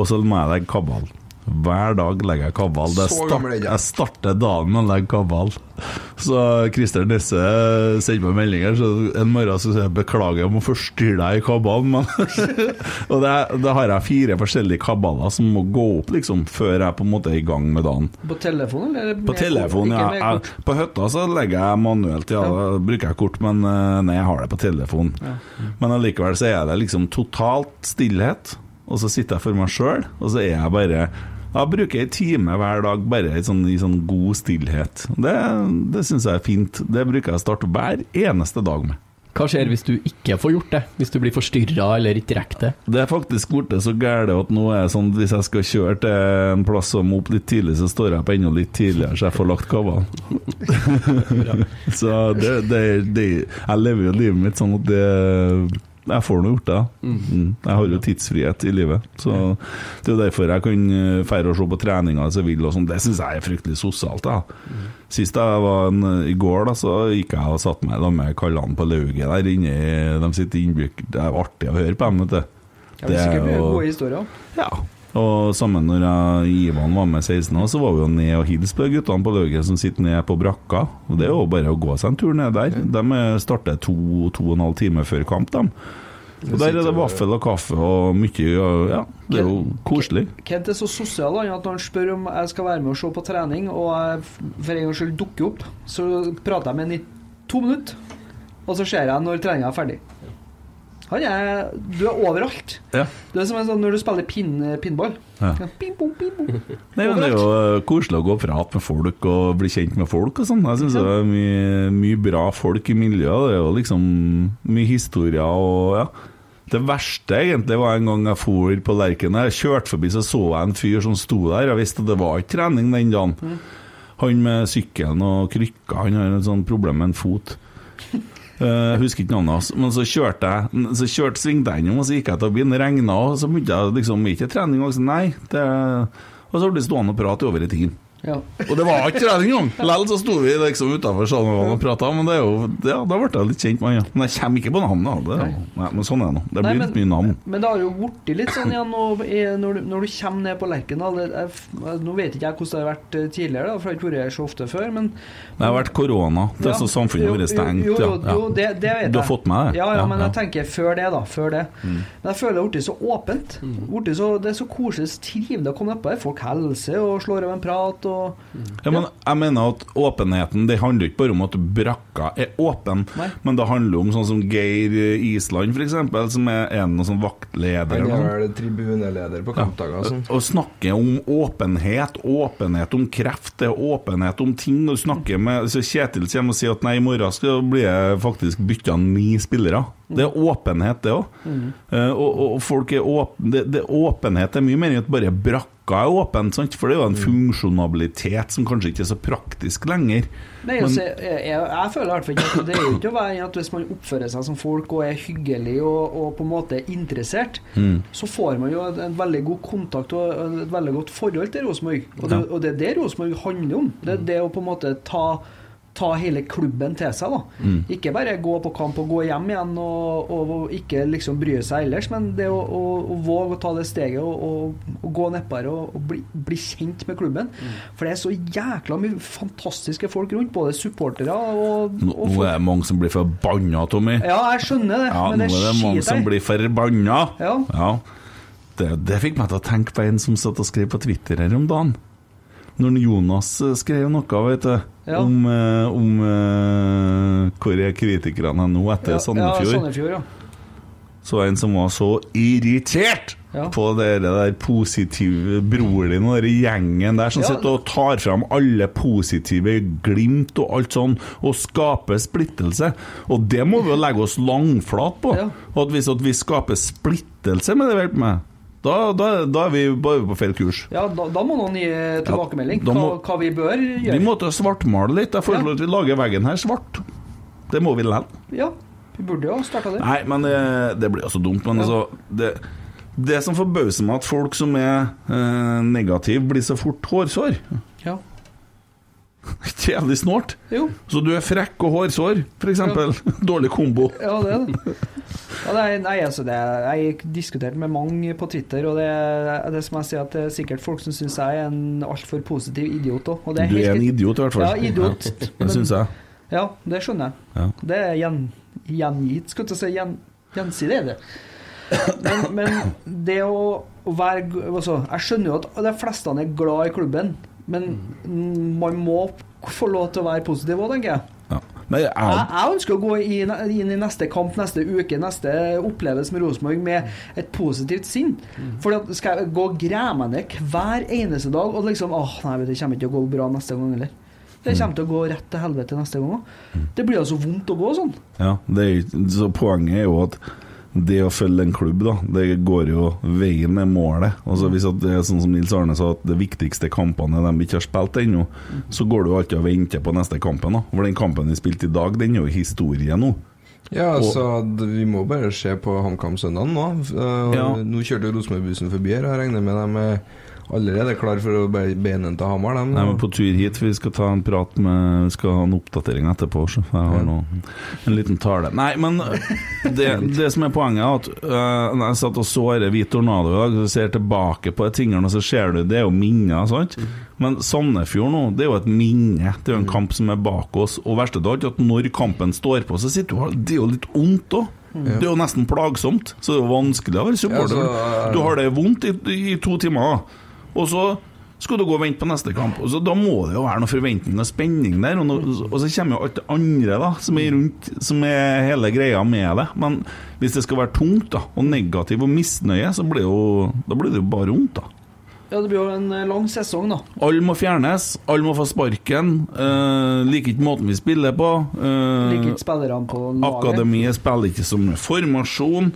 [SPEAKER 2] Og så må jeg legge kabal. Hver dag legger jeg kabal. Det
[SPEAKER 4] Så
[SPEAKER 2] start,
[SPEAKER 4] gammel er jeg.
[SPEAKER 2] jeg starter dagen med å legge kabal. Så Christer Nesse sendte meg meldinger, så en morgen så sier jeg beklager, jeg må forstyrre deg i kabalen. Men og det, er- da har jeg fire forskjellige kabaler som må gå opp liksom før jeg på en måte er i gang med dagen.
[SPEAKER 3] På telefon, eller?
[SPEAKER 2] På
[SPEAKER 3] med-
[SPEAKER 2] telefonen,
[SPEAKER 3] ikke
[SPEAKER 2] ja.
[SPEAKER 3] med
[SPEAKER 2] Jeg,
[SPEAKER 3] kort?
[SPEAKER 2] på hytta så legger jeg manuelt, ja. Da bruker jeg kort, men eh, nei, jeg har det på telefon. Men allikevel så er det liksom totalt stillhet, og så sitter jeg for meg sjøl, og så er jeg bare jeg bruker en time hver dag bare i sånn, i sånn god stillhet. Det, det syns jeg er fint. Det bruker jeg å starte hver eneste dag med.
[SPEAKER 5] Hva skjer hvis du ikke får gjort det? Hvis du blir forstyrra eller ikke rekker det?
[SPEAKER 2] Det er faktisk blitt så gæle at nå er det sånn hvis jeg skal kjøre til en plass som opp litt tidlig, så står jeg på enda litt tidligere, så jeg får lagt kavene. så det, det, det Jeg lever jo livet mitt sånn at det jeg får nå gjort det. da. Mm. Jeg har jo tidsfrihet i livet. Så Det er jo derfor jeg kan eh, fære og se på treninga hvis jeg vil. Og sånn. det syns jeg er fryktelig sosialt. Da. Sist jeg var en, I går da, så gikk jeg og satte meg da med kallene på lauget der inne. i- De sitter innbygd. Det er artig å høre på dem, vet du.
[SPEAKER 3] Ja, det er sikkert mye
[SPEAKER 2] jo-
[SPEAKER 3] gode historier.
[SPEAKER 2] ja. Og sammen når jeg, Ivan var med 16 år, så var vi jo ned og hilse på de guttene på lauget som sitter nede på brakka. Og det er jo bare å gå seg en tur ned der. De eh, starter to, to og en halv time før kamp, dem. Og der er det vaffel og kaffe og mye og Ja, det er jo koselig.
[SPEAKER 3] Kent er så sosial han, at når han spør om jeg skal være med og se på trening, og jeg f- for en gangs skyld dukker opp, så prater jeg med han i to minutter, og så ser jeg når treninga er ferdig. Han er Du er overalt.
[SPEAKER 2] Ja.
[SPEAKER 3] Du er som en sånn når du spiller pin, pinball.
[SPEAKER 2] Ja.
[SPEAKER 3] Ping, pong, ping, pong.
[SPEAKER 2] Nei, men det er jo eh, koselig å gå og prate med folk og bli kjent med folk og sånn. Jeg syns det er mye, mye bra folk i miljøet. Det er jo liksom mye historier og ja. Det verste egentlig var en gang jeg for på Lerken. Jeg kjørte forbi, så så jeg en fyr som sto der. Jeg visste at det var ikke trening den dagen. Han med sykkelen og krykka, han har et sånt problem med en fot. Eh, Jeg husker ikke navnet hans, men så kjørte jeg Så kjørte svingte jeg innom, og så gikk jeg til bilen, regna, og så begynte jeg liksom Ikke trening, og så nei. Det, og så ble det stående og prate i over en time.
[SPEAKER 3] Ja.
[SPEAKER 2] Og det var ikke trening engang! Likevel så sto vi liksom utafor salen og prata, men det er jo ja, da ble jeg litt kjent med han, ja. Men jeg kommer ikke på navnet. Det, er jo- nei, men sånn er det nå. Det
[SPEAKER 3] Nei,
[SPEAKER 2] blir
[SPEAKER 3] men-
[SPEAKER 2] litt mye navn.
[SPEAKER 3] Men det har jo blitt litt sånn igjen nå, i- når, du, når du kommer ned på Lerkendal det er f- Nå vet ikke jeg hvordan det har vært eh, tidligere, da, for jeg har ikke vært her så ofte før, men
[SPEAKER 2] Det har vært korona, det er
[SPEAKER 3] Ja.
[SPEAKER 2] så samfunnet
[SPEAKER 3] Jo,
[SPEAKER 2] vårt er stengt.
[SPEAKER 3] Jo, jo,
[SPEAKER 2] ja,
[SPEAKER 3] jo det,
[SPEAKER 2] ja.
[SPEAKER 3] det vet jeg.
[SPEAKER 2] Du har fått med det?
[SPEAKER 3] Ja, ja,
[SPEAKER 2] Ja,
[SPEAKER 3] men
[SPEAKER 2] ja. Mm.
[SPEAKER 3] jeg tenker før det, da. Før det. Men jeg føler det har blitt så åpent. Blitt så, det er så koselig, så trivelig å komme nedpå her. Folk hilser og slår av en prat og
[SPEAKER 2] Ja, men jeg mener at åpenheten Det handler ikke bare om at brakka er åpen,
[SPEAKER 3] Nei.
[SPEAKER 2] men det handler om sånn som Geir eh, Island, f.eks., som er en sånn vaktleder.
[SPEAKER 4] Han
[SPEAKER 2] eller
[SPEAKER 4] er
[SPEAKER 2] noe.
[SPEAKER 4] vel tribuneleder på kampdager og sånn.
[SPEAKER 2] Å snakke om åpenhet, åpenhet om kreft, det er åpenhet om ting. Når du snakker med så Kjetil kommer og sier at nei, i morgen skal bli faktisk bytta ni spillere. Det er åpenhet, det òg. Og, og, og folk er åpne det, det, Åpenhet er mye mer enn at bare brakka er åpen, sant? for det er jo en funksjonalitet som kanskje ikke er så praktisk lenger.
[SPEAKER 3] Nei, altså, jeg, jeg, jeg føler i hvert fall ikke at det er jo ikke å være at hvis man oppfører seg som folk og er hyggelig og, og på en måte interessert,
[SPEAKER 2] Mm.
[SPEAKER 3] så får man jo en, en veldig god kontakt og en- et veldig godt forhold til Rosenborg. Og, det- og det er det Rosenborg handler om. Det
[SPEAKER 2] Mm.
[SPEAKER 3] er det å på en måte ta, ta hele klubben til seg. da.
[SPEAKER 2] Mm.
[SPEAKER 3] Ikke bare gå på kamp og gå hjem igjen og, og, og ikke liksom bry seg ellers, men det å, å, å våge å ta det steget og, og, og gå nedpå her og, og bli, bli kjent med klubben. For det er så jækla mye fantastiske folk rundt, både supportere og,
[SPEAKER 2] Nå,
[SPEAKER 3] og
[SPEAKER 2] nå
[SPEAKER 3] folk.
[SPEAKER 2] er det mange som blir forbanna, Tommy.
[SPEAKER 3] Ja, jeg skjønner det,
[SPEAKER 2] Ja,
[SPEAKER 3] men
[SPEAKER 2] nå
[SPEAKER 3] det
[SPEAKER 2] er det mange
[SPEAKER 3] skiter
[SPEAKER 2] som
[SPEAKER 3] jeg i.
[SPEAKER 2] blir forbanna.
[SPEAKER 3] Ja.
[SPEAKER 2] Det, det fikk meg til å tenke på en som satt og skrev på Twitter her om dagen. Når Jonas eh, skrev noe vet du,
[SPEAKER 3] Ja.
[SPEAKER 2] om, eh, om eh, hvor er kritikerne nå etter
[SPEAKER 3] Ja, Ja,
[SPEAKER 2] Sandefjord,
[SPEAKER 3] Sandefjord, ja.
[SPEAKER 2] så var det en som var så irritert
[SPEAKER 3] Ja.
[SPEAKER 2] på det der positive broren din og den gjengen der som
[SPEAKER 3] Ja.
[SPEAKER 2] sitter og tar fram alle positive glimt og alt sånn, og skaper splittelse. Og det må vi jo legge oss langflat på.
[SPEAKER 3] Ja.
[SPEAKER 2] Og at hvis at vi skaper splittelse med det vi holder på med, da, da, da er vi bare på feil kurs.
[SPEAKER 3] ja da, da må noen gi tilbakemelding
[SPEAKER 2] da
[SPEAKER 3] hva,
[SPEAKER 2] må-
[SPEAKER 3] hva vi bør
[SPEAKER 2] Vi
[SPEAKER 3] gjøre.
[SPEAKER 2] må til å svartmale litt. Jeg foreslår at vi lager veggen her svart. Det må vi likevel.
[SPEAKER 3] Ja, vi burde jo starta det.
[SPEAKER 2] Nei, men det, det blir jo så dumt. Men altså det, det som forbauser meg, at folk som er eh, negative, blir så fort hårsår.
[SPEAKER 3] Ja.
[SPEAKER 2] Ikke Jævlig snålt.
[SPEAKER 3] Jo.
[SPEAKER 2] Så du er frekk og hårsår, f.eks. Dårlig kombo.
[SPEAKER 3] Ja, det er det. Ja, det er, nei, altså det er, jeg diskuterte med mange på Twitter, og det er det er som jeg sier, at det er sikkert folk som syns jeg er en altfor positiv idiot òg. Og
[SPEAKER 2] Du
[SPEAKER 3] det er
[SPEAKER 2] er en
[SPEAKER 3] helt
[SPEAKER 2] idiot, i hvert fall.
[SPEAKER 3] Ja, idiot.
[SPEAKER 2] Ja, det syns jeg.
[SPEAKER 3] Ja, det skjønner jeg.
[SPEAKER 2] Ja.
[SPEAKER 3] Det er gjen, gjengitt, skulle jeg til å si. Gjen, gjensidig er det. Men, men det å å være g- altså, Jeg skjønner jo at de fleste er glad i klubben, men
[SPEAKER 2] Mm.
[SPEAKER 3] man må få lov til å være positiv òg, tenker jeg.
[SPEAKER 2] Ja. Nei,
[SPEAKER 3] Jeg,
[SPEAKER 2] jeg,
[SPEAKER 3] jeg ønsker å gå i, inn i neste kamp, neste uke, neste opplevelse med Rosenborg med et positivt sinn.
[SPEAKER 2] Mm.
[SPEAKER 3] For skal jeg gå og gremende hver eneste dag og liksom åh, nei, vet du, det kommer ikke til å gå bra neste gang heller.
[SPEAKER 2] Mm.
[SPEAKER 3] Det kommer til å gå rett til helvete neste gang òg. Det blir altså vondt å gå sånn.
[SPEAKER 2] Ja, det er, jo- så poenget er jo at det å følge en klubb, da, det går jo veien med målet. Altså Hvis at det er sånn som Nils Arne sa, at de viktigste kampene er de vi ikke har spilt ennå, så går du alltid og venter på neste kampen. da For den kampen vi spilte i dag, den er jo historie nå.
[SPEAKER 4] Ja, altså, d- vi må bare se på HamKam søndagen nå. Eh,
[SPEAKER 2] Ja.
[SPEAKER 4] Nå kjørte jo Rosenborg-bussen forbi her, og jeg regner med de er allerede klar for å be- beine til Hamar. dem.
[SPEAKER 2] Nei, men på tur hit, vi skal ta en prat med Vi skal ha en oppdatering etterpå, så jeg har nå en liten tale. Nei, men det, det som er poenget, er at øh, når jeg satt og så dette Hvit tornado i dag, så ser jeg tilbake på de tingene, og så ser du det er jo minner, sant? Men Sandefjord nå, det er jo et minne. Det er jo en kamp som er bak oss. Og verste av alt, at når kampen står på, så sitter du og Det er jo litt vondt òg. Det er jo nesten plagsomt, så det er jo vanskelig å være supporter.
[SPEAKER 4] Ja, så- eh,
[SPEAKER 2] du har det vondt i, i to timer, og så skal du gå og vente på neste kamp. Og så Da må det jo være noe forventning og spenning der. Og, nå- og så kommer jo alt det andre da som er rundt, som er hele greia med det. Men hvis det skal være tungt da og negativ og misnøye, så blir det jo, da blir det jo bare vondt, da.
[SPEAKER 3] Ja, det blir jo en eh, lang sesong, da.
[SPEAKER 2] Alle må fjernes, alle må få sparken. Uh, liker ikke måten vi spiller på. eh,
[SPEAKER 3] Liker ikke spillerne på laget.
[SPEAKER 2] Akademiet spiller ikke som formasjon.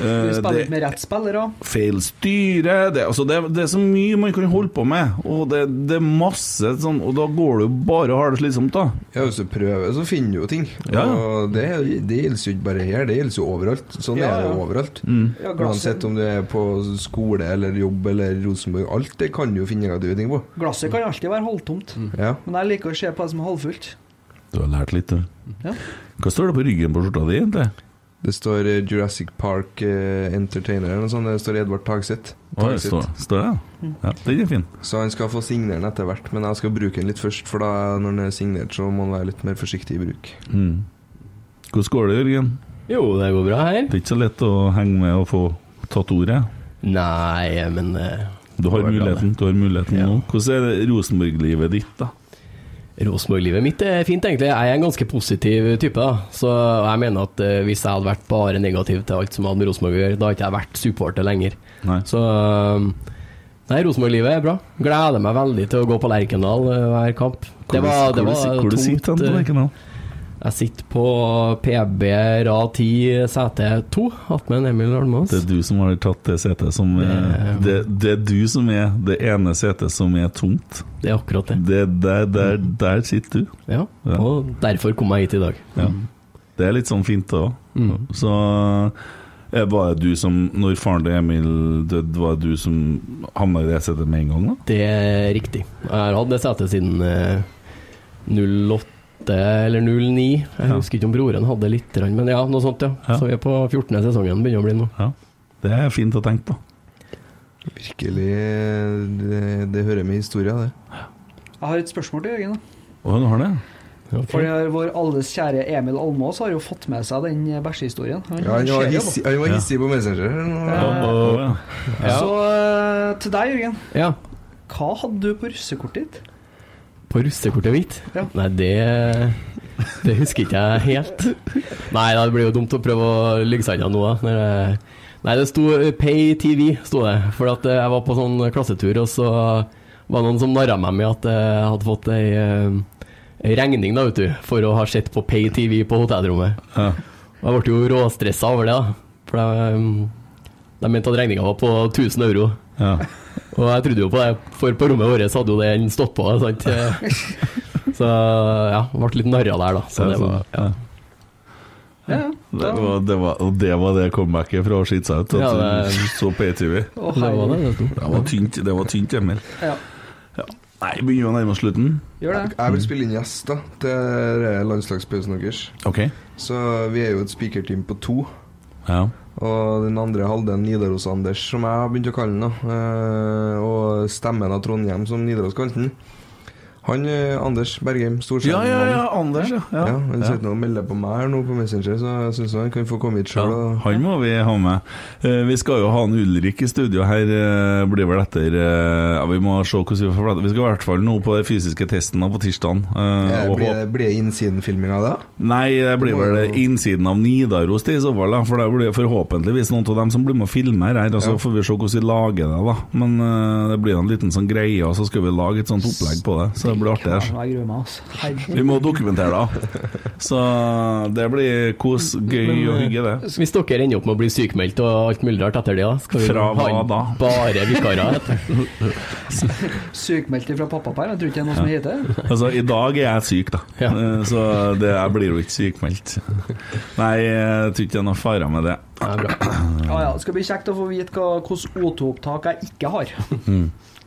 [SPEAKER 2] eh,
[SPEAKER 3] Vi spiller
[SPEAKER 2] det-
[SPEAKER 3] ikke med rett spillere.
[SPEAKER 2] feil styre det, altså det, det er så mye man kan holde på med, og det, det er masse sånn Og da går det jo bare og har det slitsomt, da.
[SPEAKER 4] Ja, hvis du prøver, så finner du jo ting.
[SPEAKER 2] Ja.
[SPEAKER 4] Og det, det gjelder jo ikke bare her, det gjelder jo overalt. Sånn
[SPEAKER 3] Ja,
[SPEAKER 4] er det
[SPEAKER 3] ja.
[SPEAKER 4] overalt.
[SPEAKER 2] Mm.
[SPEAKER 3] Ja, glasset-
[SPEAKER 4] Uansett om du er på skole eller jobb eller Rosenborg, alt det kan du jo finne negative ting på.
[SPEAKER 3] Glasset kan alltid være halvtomt.
[SPEAKER 2] Mm.
[SPEAKER 4] Ja.
[SPEAKER 3] Men jeg liker å se på det som er halvfullt.
[SPEAKER 2] Du har lært litt, du.
[SPEAKER 3] Ja.
[SPEAKER 2] Hva står det på ryggen på skjorta di, egentlig?
[SPEAKER 4] Det står eh, Jurassic Park eh, Entertainer eller noe sånt. Det står Edvard Tagseth.
[SPEAKER 2] Å, det
[SPEAKER 4] Tagseth.
[SPEAKER 2] står, står
[SPEAKER 5] Mm.
[SPEAKER 2] det? Ja, den er fin.
[SPEAKER 4] Så han skal få signere den etter hvert, men jeg skal bruke den litt først. For da når den er signert, så må han være litt mer forsiktig i bruk.
[SPEAKER 2] Mm. Hvordan går det, Jørgen?
[SPEAKER 5] Jo, det går bra her.
[SPEAKER 2] Det er ikke så lett å henge med og få tatt ordet.
[SPEAKER 5] Nei, men eh,
[SPEAKER 2] Du har
[SPEAKER 5] det går bra,
[SPEAKER 2] muligheten, du har muligheten
[SPEAKER 5] Ja.
[SPEAKER 2] nå. Hvordan er det Rosenborg-livet ditt, da?
[SPEAKER 5] Rosenborg-livet mitt er fint, egentlig. Jeg er en ganske positiv type. da. Så jeg mener at eh, hvis jeg hadde vært bare negativ til alt som hadde med Rosenborg å gjøre, da hadde ikke jeg vært supporter lenger.
[SPEAKER 2] Nei.
[SPEAKER 5] Så eh, Nei, Rosenborg-livet er bra. Gleder meg veldig til å gå på Lerkendal eh, hver kamp. Det var, det var
[SPEAKER 2] hvor, du sitter
[SPEAKER 5] tungt.
[SPEAKER 2] den på
[SPEAKER 5] eh,
[SPEAKER 2] Lerkendal?
[SPEAKER 5] Jeg sitter på PB rad 10 sete 2 attmed Emil Almås.
[SPEAKER 2] Det er du som har tatt det setet som er, det, det er du som er det ene setet som er tomt.
[SPEAKER 5] Det er akkurat det. Mm.
[SPEAKER 2] Det, der, der, der sitter du.
[SPEAKER 5] Ja.
[SPEAKER 2] Ja.
[SPEAKER 5] Og derfor kom jeg hit i dag.
[SPEAKER 2] Ja. Det er litt sånn fint, det òg.
[SPEAKER 5] Mm.
[SPEAKER 2] Så eh, var det du som, når faren til Emil døde, var det du som havna i det setet med en gang, da?
[SPEAKER 5] Det er riktig. Jeg har hatt det setet siden eh, 08 eller 09. Jeg husker ikke om broren hadde litt, grann, men ja, noe sånt, ja.
[SPEAKER 2] Ja.
[SPEAKER 5] Så vi er på 14. sesongen, begynner å bli nå.
[SPEAKER 2] Ja. Det er fint å tenke på.
[SPEAKER 4] Virkelig Det, det hører med historia, det.
[SPEAKER 3] Jeg har et spørsmål til Jørgen. da.
[SPEAKER 2] Å, du har det?
[SPEAKER 5] Ok.
[SPEAKER 3] For eh, vår alles kjære Emil Almås har jo fått med seg den eh, bæsjehistorien. Han,
[SPEAKER 4] Ja, han var
[SPEAKER 3] ser jo
[SPEAKER 4] hissig, han var hissig på Messenger. nå.
[SPEAKER 2] Å, å, ja.
[SPEAKER 3] på. Så eh, til deg, Jørgen.
[SPEAKER 5] Ja.
[SPEAKER 3] Hva hadde du på russekortet ditt?
[SPEAKER 5] På russekortet mitt?
[SPEAKER 3] Ja.
[SPEAKER 5] Nei, det Det husker ikke jeg helt. Nei, da, det blir jo dumt å prøve å lyge seg unna nå. da, Når jeg, nei, det sto eh, PayTV, sto det. For at eh, jeg var på sånn klassetur, og så var det noen som narra meg med at eh, jeg hadde fått ei, eh, ei regning da, vet du, for å ha sett på PayTV på hotellrommet.
[SPEAKER 2] Ja.
[SPEAKER 5] Og jeg ble jo råstressa over det, da. For jeg, eh, de mente at regninga var på 1000 euro.
[SPEAKER 2] Ja.
[SPEAKER 5] Og jeg trodde jo på det, for på rommet vårt så hadde jo den stått på. Sant? Så ja, ble litt narra der, da. Så det var, ja.
[SPEAKER 3] Ja,
[SPEAKER 2] Det var, det var, og det var det comebacket fra å skite seg ut, at
[SPEAKER 5] Ja, det-
[SPEAKER 2] du så E PTV.
[SPEAKER 3] Å,
[SPEAKER 5] det var det.
[SPEAKER 3] herregud.
[SPEAKER 5] det sto.
[SPEAKER 2] Det var tynt, det var tynt Emil.
[SPEAKER 3] Ja,
[SPEAKER 2] Nei, begynner vi å nærme oss slutten?
[SPEAKER 3] gjør det.
[SPEAKER 4] Jeg vil spille inn gjest da til eh, landslagspausen deres.
[SPEAKER 2] OK.
[SPEAKER 4] Så vi er jo et speakerteam på to.
[SPEAKER 2] Ja.
[SPEAKER 4] Og den andre halvdelen Nidaros-Anders, som jeg har begynt å kalle den. da. Eh, Og stemmen av Trondheim, som Nidaros kalte den. Han eh, Anders Bergheim,
[SPEAKER 2] Ja,
[SPEAKER 4] storskjermen.
[SPEAKER 2] ja, ja, Anders, ja.
[SPEAKER 4] Ja,
[SPEAKER 2] ja.
[SPEAKER 4] han sitter nå og melder på meg her nå på Messenger, så jeg syns han kan få komme hit sjøl.
[SPEAKER 2] Ja, han må vi ha med. Eh, vi skal jo ha en Ulrik i studio her, eh, blir vel etter eh, Ja, vi må se hvordan vi får plass. Vi skal i hvert fall nå på den fysiske testen nå på tirsdag.
[SPEAKER 4] Eh, Blir det- blir det innsidenfilming av det?
[SPEAKER 2] Nei, det blir vel innsiden av Nidaros det i så fall, da. For det blir forhåpentligvis noen av dem som blir med og filmer her. Og så får vi se hvordan vi lager det, da. Men eh, det blir en liten sånn greie, og så skal vi lage et sånt opplegg på det. Så det blir artig. her.
[SPEAKER 3] Jeg gruer meg, altså. Herregud.
[SPEAKER 2] Vi må dokumentere det. Så det blir kos, gøy
[SPEAKER 3] eh,
[SPEAKER 2] og hygge, det.
[SPEAKER 5] Så Hvis dere ender opp med å bli sykemeldt og alt mulig rart etter det, da skal vi
[SPEAKER 2] Fra
[SPEAKER 5] ha
[SPEAKER 2] hva
[SPEAKER 5] inn
[SPEAKER 2] da?
[SPEAKER 5] bare vikarer. vet du.
[SPEAKER 3] Sykmeldt fra pappaperm, jeg tror ikke det er noe som heter det.
[SPEAKER 2] Altså, I dag er jeg syk, da.
[SPEAKER 5] Ja.
[SPEAKER 2] Eh, Så det, jeg blir jo ikke sykmeldt. Nei, jeg tror ikke det er noe fare med det.
[SPEAKER 5] Ja, bra.
[SPEAKER 3] Ja, ja. Det skal bli kjekt å få vite hva- hvordan O2-opptak jeg ikke har.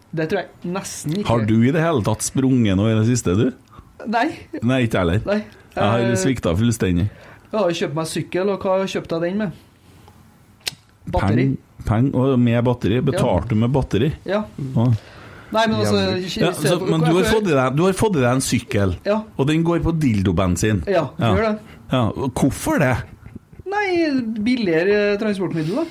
[SPEAKER 3] Det tror jeg nesten ikke.
[SPEAKER 2] Mm. Har du i det hele tatt sprunget noe i det siste, du?
[SPEAKER 3] Nei.
[SPEAKER 2] Nei, ikke jeg heller.
[SPEAKER 3] nei.
[SPEAKER 2] Jeg har
[SPEAKER 3] Eh,
[SPEAKER 2] svikta fullstendig.
[SPEAKER 3] Jeg har jo kjøpt meg sykkel, og hva har jeg kjøpt av den med? Batteri.
[SPEAKER 2] Peng, peng og med batteri. Betalte du med batteri?
[SPEAKER 3] Ja. Mm.
[SPEAKER 2] Å.
[SPEAKER 3] Nei, men altså
[SPEAKER 2] Ja, så, men du har, fått i deg, du har fått i deg en sykkel,
[SPEAKER 3] Ja.
[SPEAKER 2] og den går på dildobensin.
[SPEAKER 3] Ja,
[SPEAKER 2] Ja.
[SPEAKER 3] gjør det.
[SPEAKER 2] Ja, og hvorfor det?
[SPEAKER 3] Nei, billigere eh, transportmiddel, da.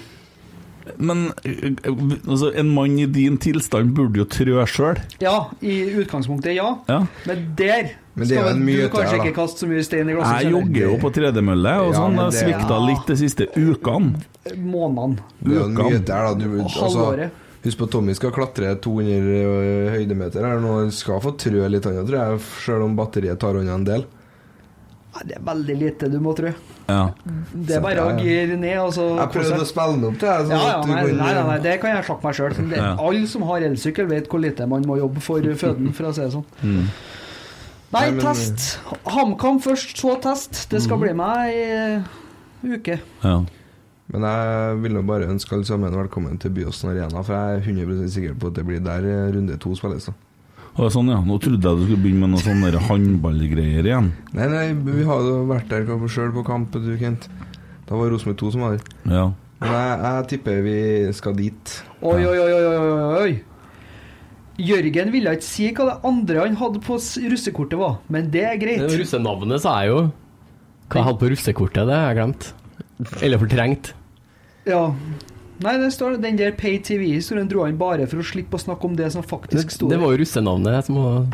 [SPEAKER 2] Men ø, ø, altså, en mann i din tilstand burde jo trø sjøl.
[SPEAKER 3] Ja, i utgangspunktet, ja.
[SPEAKER 2] Ja.
[SPEAKER 3] Men der
[SPEAKER 4] Men det er jo
[SPEAKER 3] skal
[SPEAKER 4] en
[SPEAKER 3] du
[SPEAKER 4] myte
[SPEAKER 3] kanskje
[SPEAKER 4] her, da.
[SPEAKER 3] ikke kaste så mye stein i glasset.
[SPEAKER 2] Jeg
[SPEAKER 3] skjønner
[SPEAKER 2] jogger jo på tredemølle, og
[SPEAKER 4] Altså, Ja,
[SPEAKER 2] sånn. Jeg
[SPEAKER 4] men det-
[SPEAKER 2] svikta litt de siste ukene.
[SPEAKER 3] du. Månedene.
[SPEAKER 4] Det er jo en
[SPEAKER 2] Ukan.
[SPEAKER 4] myte her, da. Du,
[SPEAKER 3] Og
[SPEAKER 4] altså,
[SPEAKER 3] halvåret.
[SPEAKER 4] husk på at Tommy skal klatre 200 ø, høydemeter her nå. Han skal få trø litt, han tror jeg, selv om batteriet tar unna en del.
[SPEAKER 3] Nei, det er veldig lite du må trø.
[SPEAKER 2] Ja.
[SPEAKER 3] Det er bare å gire ned, og så
[SPEAKER 4] Jeg prøvde å spille den opp til deg.
[SPEAKER 3] ja, ja,
[SPEAKER 4] at du
[SPEAKER 3] nei,
[SPEAKER 4] kunne-
[SPEAKER 3] nei, nei, nei, det kan jeg slakke meg sjøl.
[SPEAKER 2] Ja.
[SPEAKER 3] Alle som har elsykkel, vet hvor lite man må jobbe for føden, for å si det sånn.
[SPEAKER 2] Mm.
[SPEAKER 3] Nei,
[SPEAKER 4] Nei, men-
[SPEAKER 3] test. HamKam først, så test. Det
[SPEAKER 2] Mm.
[SPEAKER 3] skal bli meg ei eh, uke.
[SPEAKER 2] ja.
[SPEAKER 4] Men jeg vil nå bare ønske alle sammen velkommen til Byåsen Arena, for jeg er 100 sikker på at det blir der eh, runde to spilles. da.
[SPEAKER 2] Og sånn, ja. Nå trodde jeg du skulle begynne med noen sånne der håndballgreier igjen.
[SPEAKER 4] Nei, nei, vi har jo vært der sjøl på kamp, du, Kent. Da var Rosenborg 2 som var der.
[SPEAKER 2] Ja.
[SPEAKER 4] Men jeg, jeg tipper vi skal dit.
[SPEAKER 3] Oi, oi, oi, oi, oi, oi, oi. Jørgen ville ikke si hva det andre han hadde på s- russekortet var, men det er
[SPEAKER 5] Det
[SPEAKER 3] greit.
[SPEAKER 5] Russenavnet sa jeg jo. Hva jeg hadde på russekortet, det har jeg glemt. Eller fortrengt.
[SPEAKER 3] Ja. Nei, det står det. Den der Pay TV-historien dro han bare for å slippe å snakke om det som
[SPEAKER 5] Det,
[SPEAKER 3] faktisk sto
[SPEAKER 5] det var jo russenavnet som var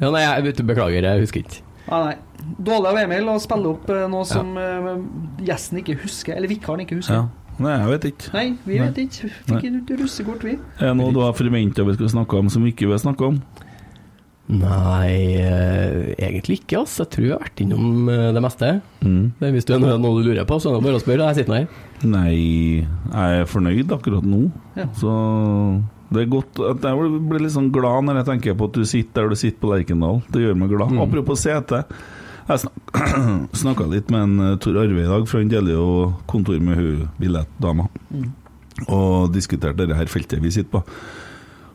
[SPEAKER 5] ja, Nei, jeg vet du, beklager, jeg husker ikke.
[SPEAKER 3] Nei, nei. Dårlig av Emil å spille opp eh, noe som eh, gjesten ikke husker, eller vikaren ikke
[SPEAKER 2] ja.
[SPEAKER 3] husker.
[SPEAKER 2] Nei, jeg vet ikke.
[SPEAKER 3] Nei, vi vet ikke. Fikk ikke russekort, vi.
[SPEAKER 2] Er det noe du har forventa vi skal snakke om som vi ikke vil snakke om?
[SPEAKER 5] Nei, eh, egentlig ikke, ass. Jeg tror jeg har vært innom eh, det meste.
[SPEAKER 2] Mm.
[SPEAKER 5] Men Hvis du er noe noe du lurer på, så er det bare å spørre. Jeg sitter her.
[SPEAKER 2] Nei, jeg er fornøyd akkurat nå.
[SPEAKER 3] Ja.
[SPEAKER 2] Så det er godt at Jeg blir litt sånn glad når jeg tenker på at du sitter der du sitter på Lerkendal. Det gjør meg glad. Apropos sete. Jeg snak snakka litt med en eh, Tor Arve i dag, for han deler jo kontor med hun billettdama. Og diskuterte det her feltet vi sitter på.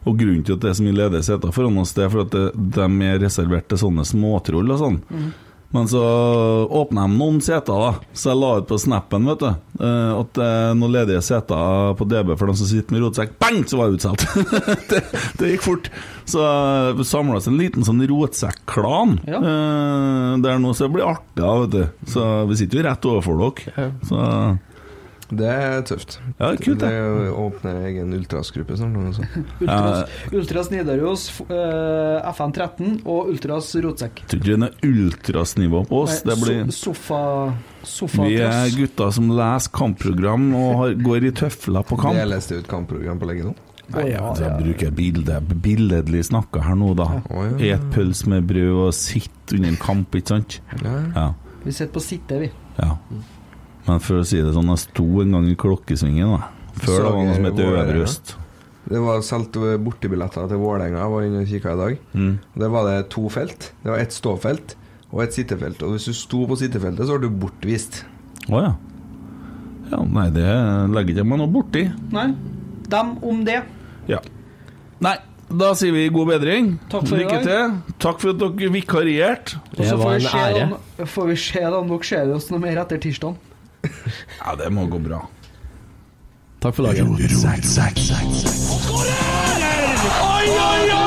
[SPEAKER 2] Og grunnen til at det er så mye ledige seter foran oss, det er for at det, de er reservert til sånne småtroll og sånn. Men så åpna de noen seter, da. Så jeg la ut på snappen vet du, eh, at det er noen ledige seter på DB for dem som sitter med rotsekk. Bang, så var jeg utsolgt! det, det gikk fort. Så vi samla oss en liten sånn rotsekklan
[SPEAKER 3] Ja.
[SPEAKER 2] eh, der nå, så det blir artig, da, vet du. Så vi sitter jo rett overfor dere. Så
[SPEAKER 4] Det er tøft.
[SPEAKER 2] Ja, det er kult, det.
[SPEAKER 4] det. er å åpne egen ultrasgruppe snart. altså.
[SPEAKER 3] Ultras, Ultras Nidaros, f- eh, FN13 og Ultras Rotsekk.
[SPEAKER 2] jeg tror ikke det er noe ultrasnivå på oss. Det blir
[SPEAKER 3] so sofa... sofa
[SPEAKER 2] Vi er gutter som leser kampprogram og har, går i tøfler på kamp.
[SPEAKER 4] Det leste ut kampprogram på lenge nå.
[SPEAKER 2] Nei, jeg, vet, jeg bruker bilde, billedlig snakka her nå, da.
[SPEAKER 4] Å, ja.
[SPEAKER 2] Et pølse med brød og sitt under en kamp, ikke sant?
[SPEAKER 4] Ja.
[SPEAKER 2] Ja.
[SPEAKER 3] Vi sitter på sitte, vi.
[SPEAKER 2] ja. Men for å si det sånn, jeg sto en gang i klokkesvingen, da. Før det var noe som het
[SPEAKER 4] Sager-
[SPEAKER 2] Øvre Øst.
[SPEAKER 4] Det var solgt eh, bortebilletter til Vålerenga. Jeg var inne og kikka i dag.
[SPEAKER 2] Mm.
[SPEAKER 4] Der var det to felt. Det var ett ståfelt og ett sittefelt. Og hvis du sto på sittefeltet, så ble du bortvist.
[SPEAKER 2] Å ja. ja. Nei, det legger ikke jeg meg noe borti.
[SPEAKER 3] Nei, dem om det.
[SPEAKER 2] Ja. Nei, da sier vi god bedring.
[SPEAKER 3] Takk for i
[SPEAKER 2] Lykke
[SPEAKER 3] dag.
[SPEAKER 2] til. Takk for at dere vikarierte.
[SPEAKER 3] Og så
[SPEAKER 5] Det
[SPEAKER 3] får
[SPEAKER 5] var
[SPEAKER 3] vi
[SPEAKER 5] en
[SPEAKER 3] se
[SPEAKER 5] ære.
[SPEAKER 3] om- får vi se da om dere ser oss noe mer etter tirsdag.
[SPEAKER 2] Ja, det må gå bra.
[SPEAKER 5] Takk for dagen.
[SPEAKER 1] Oi, oi, oi!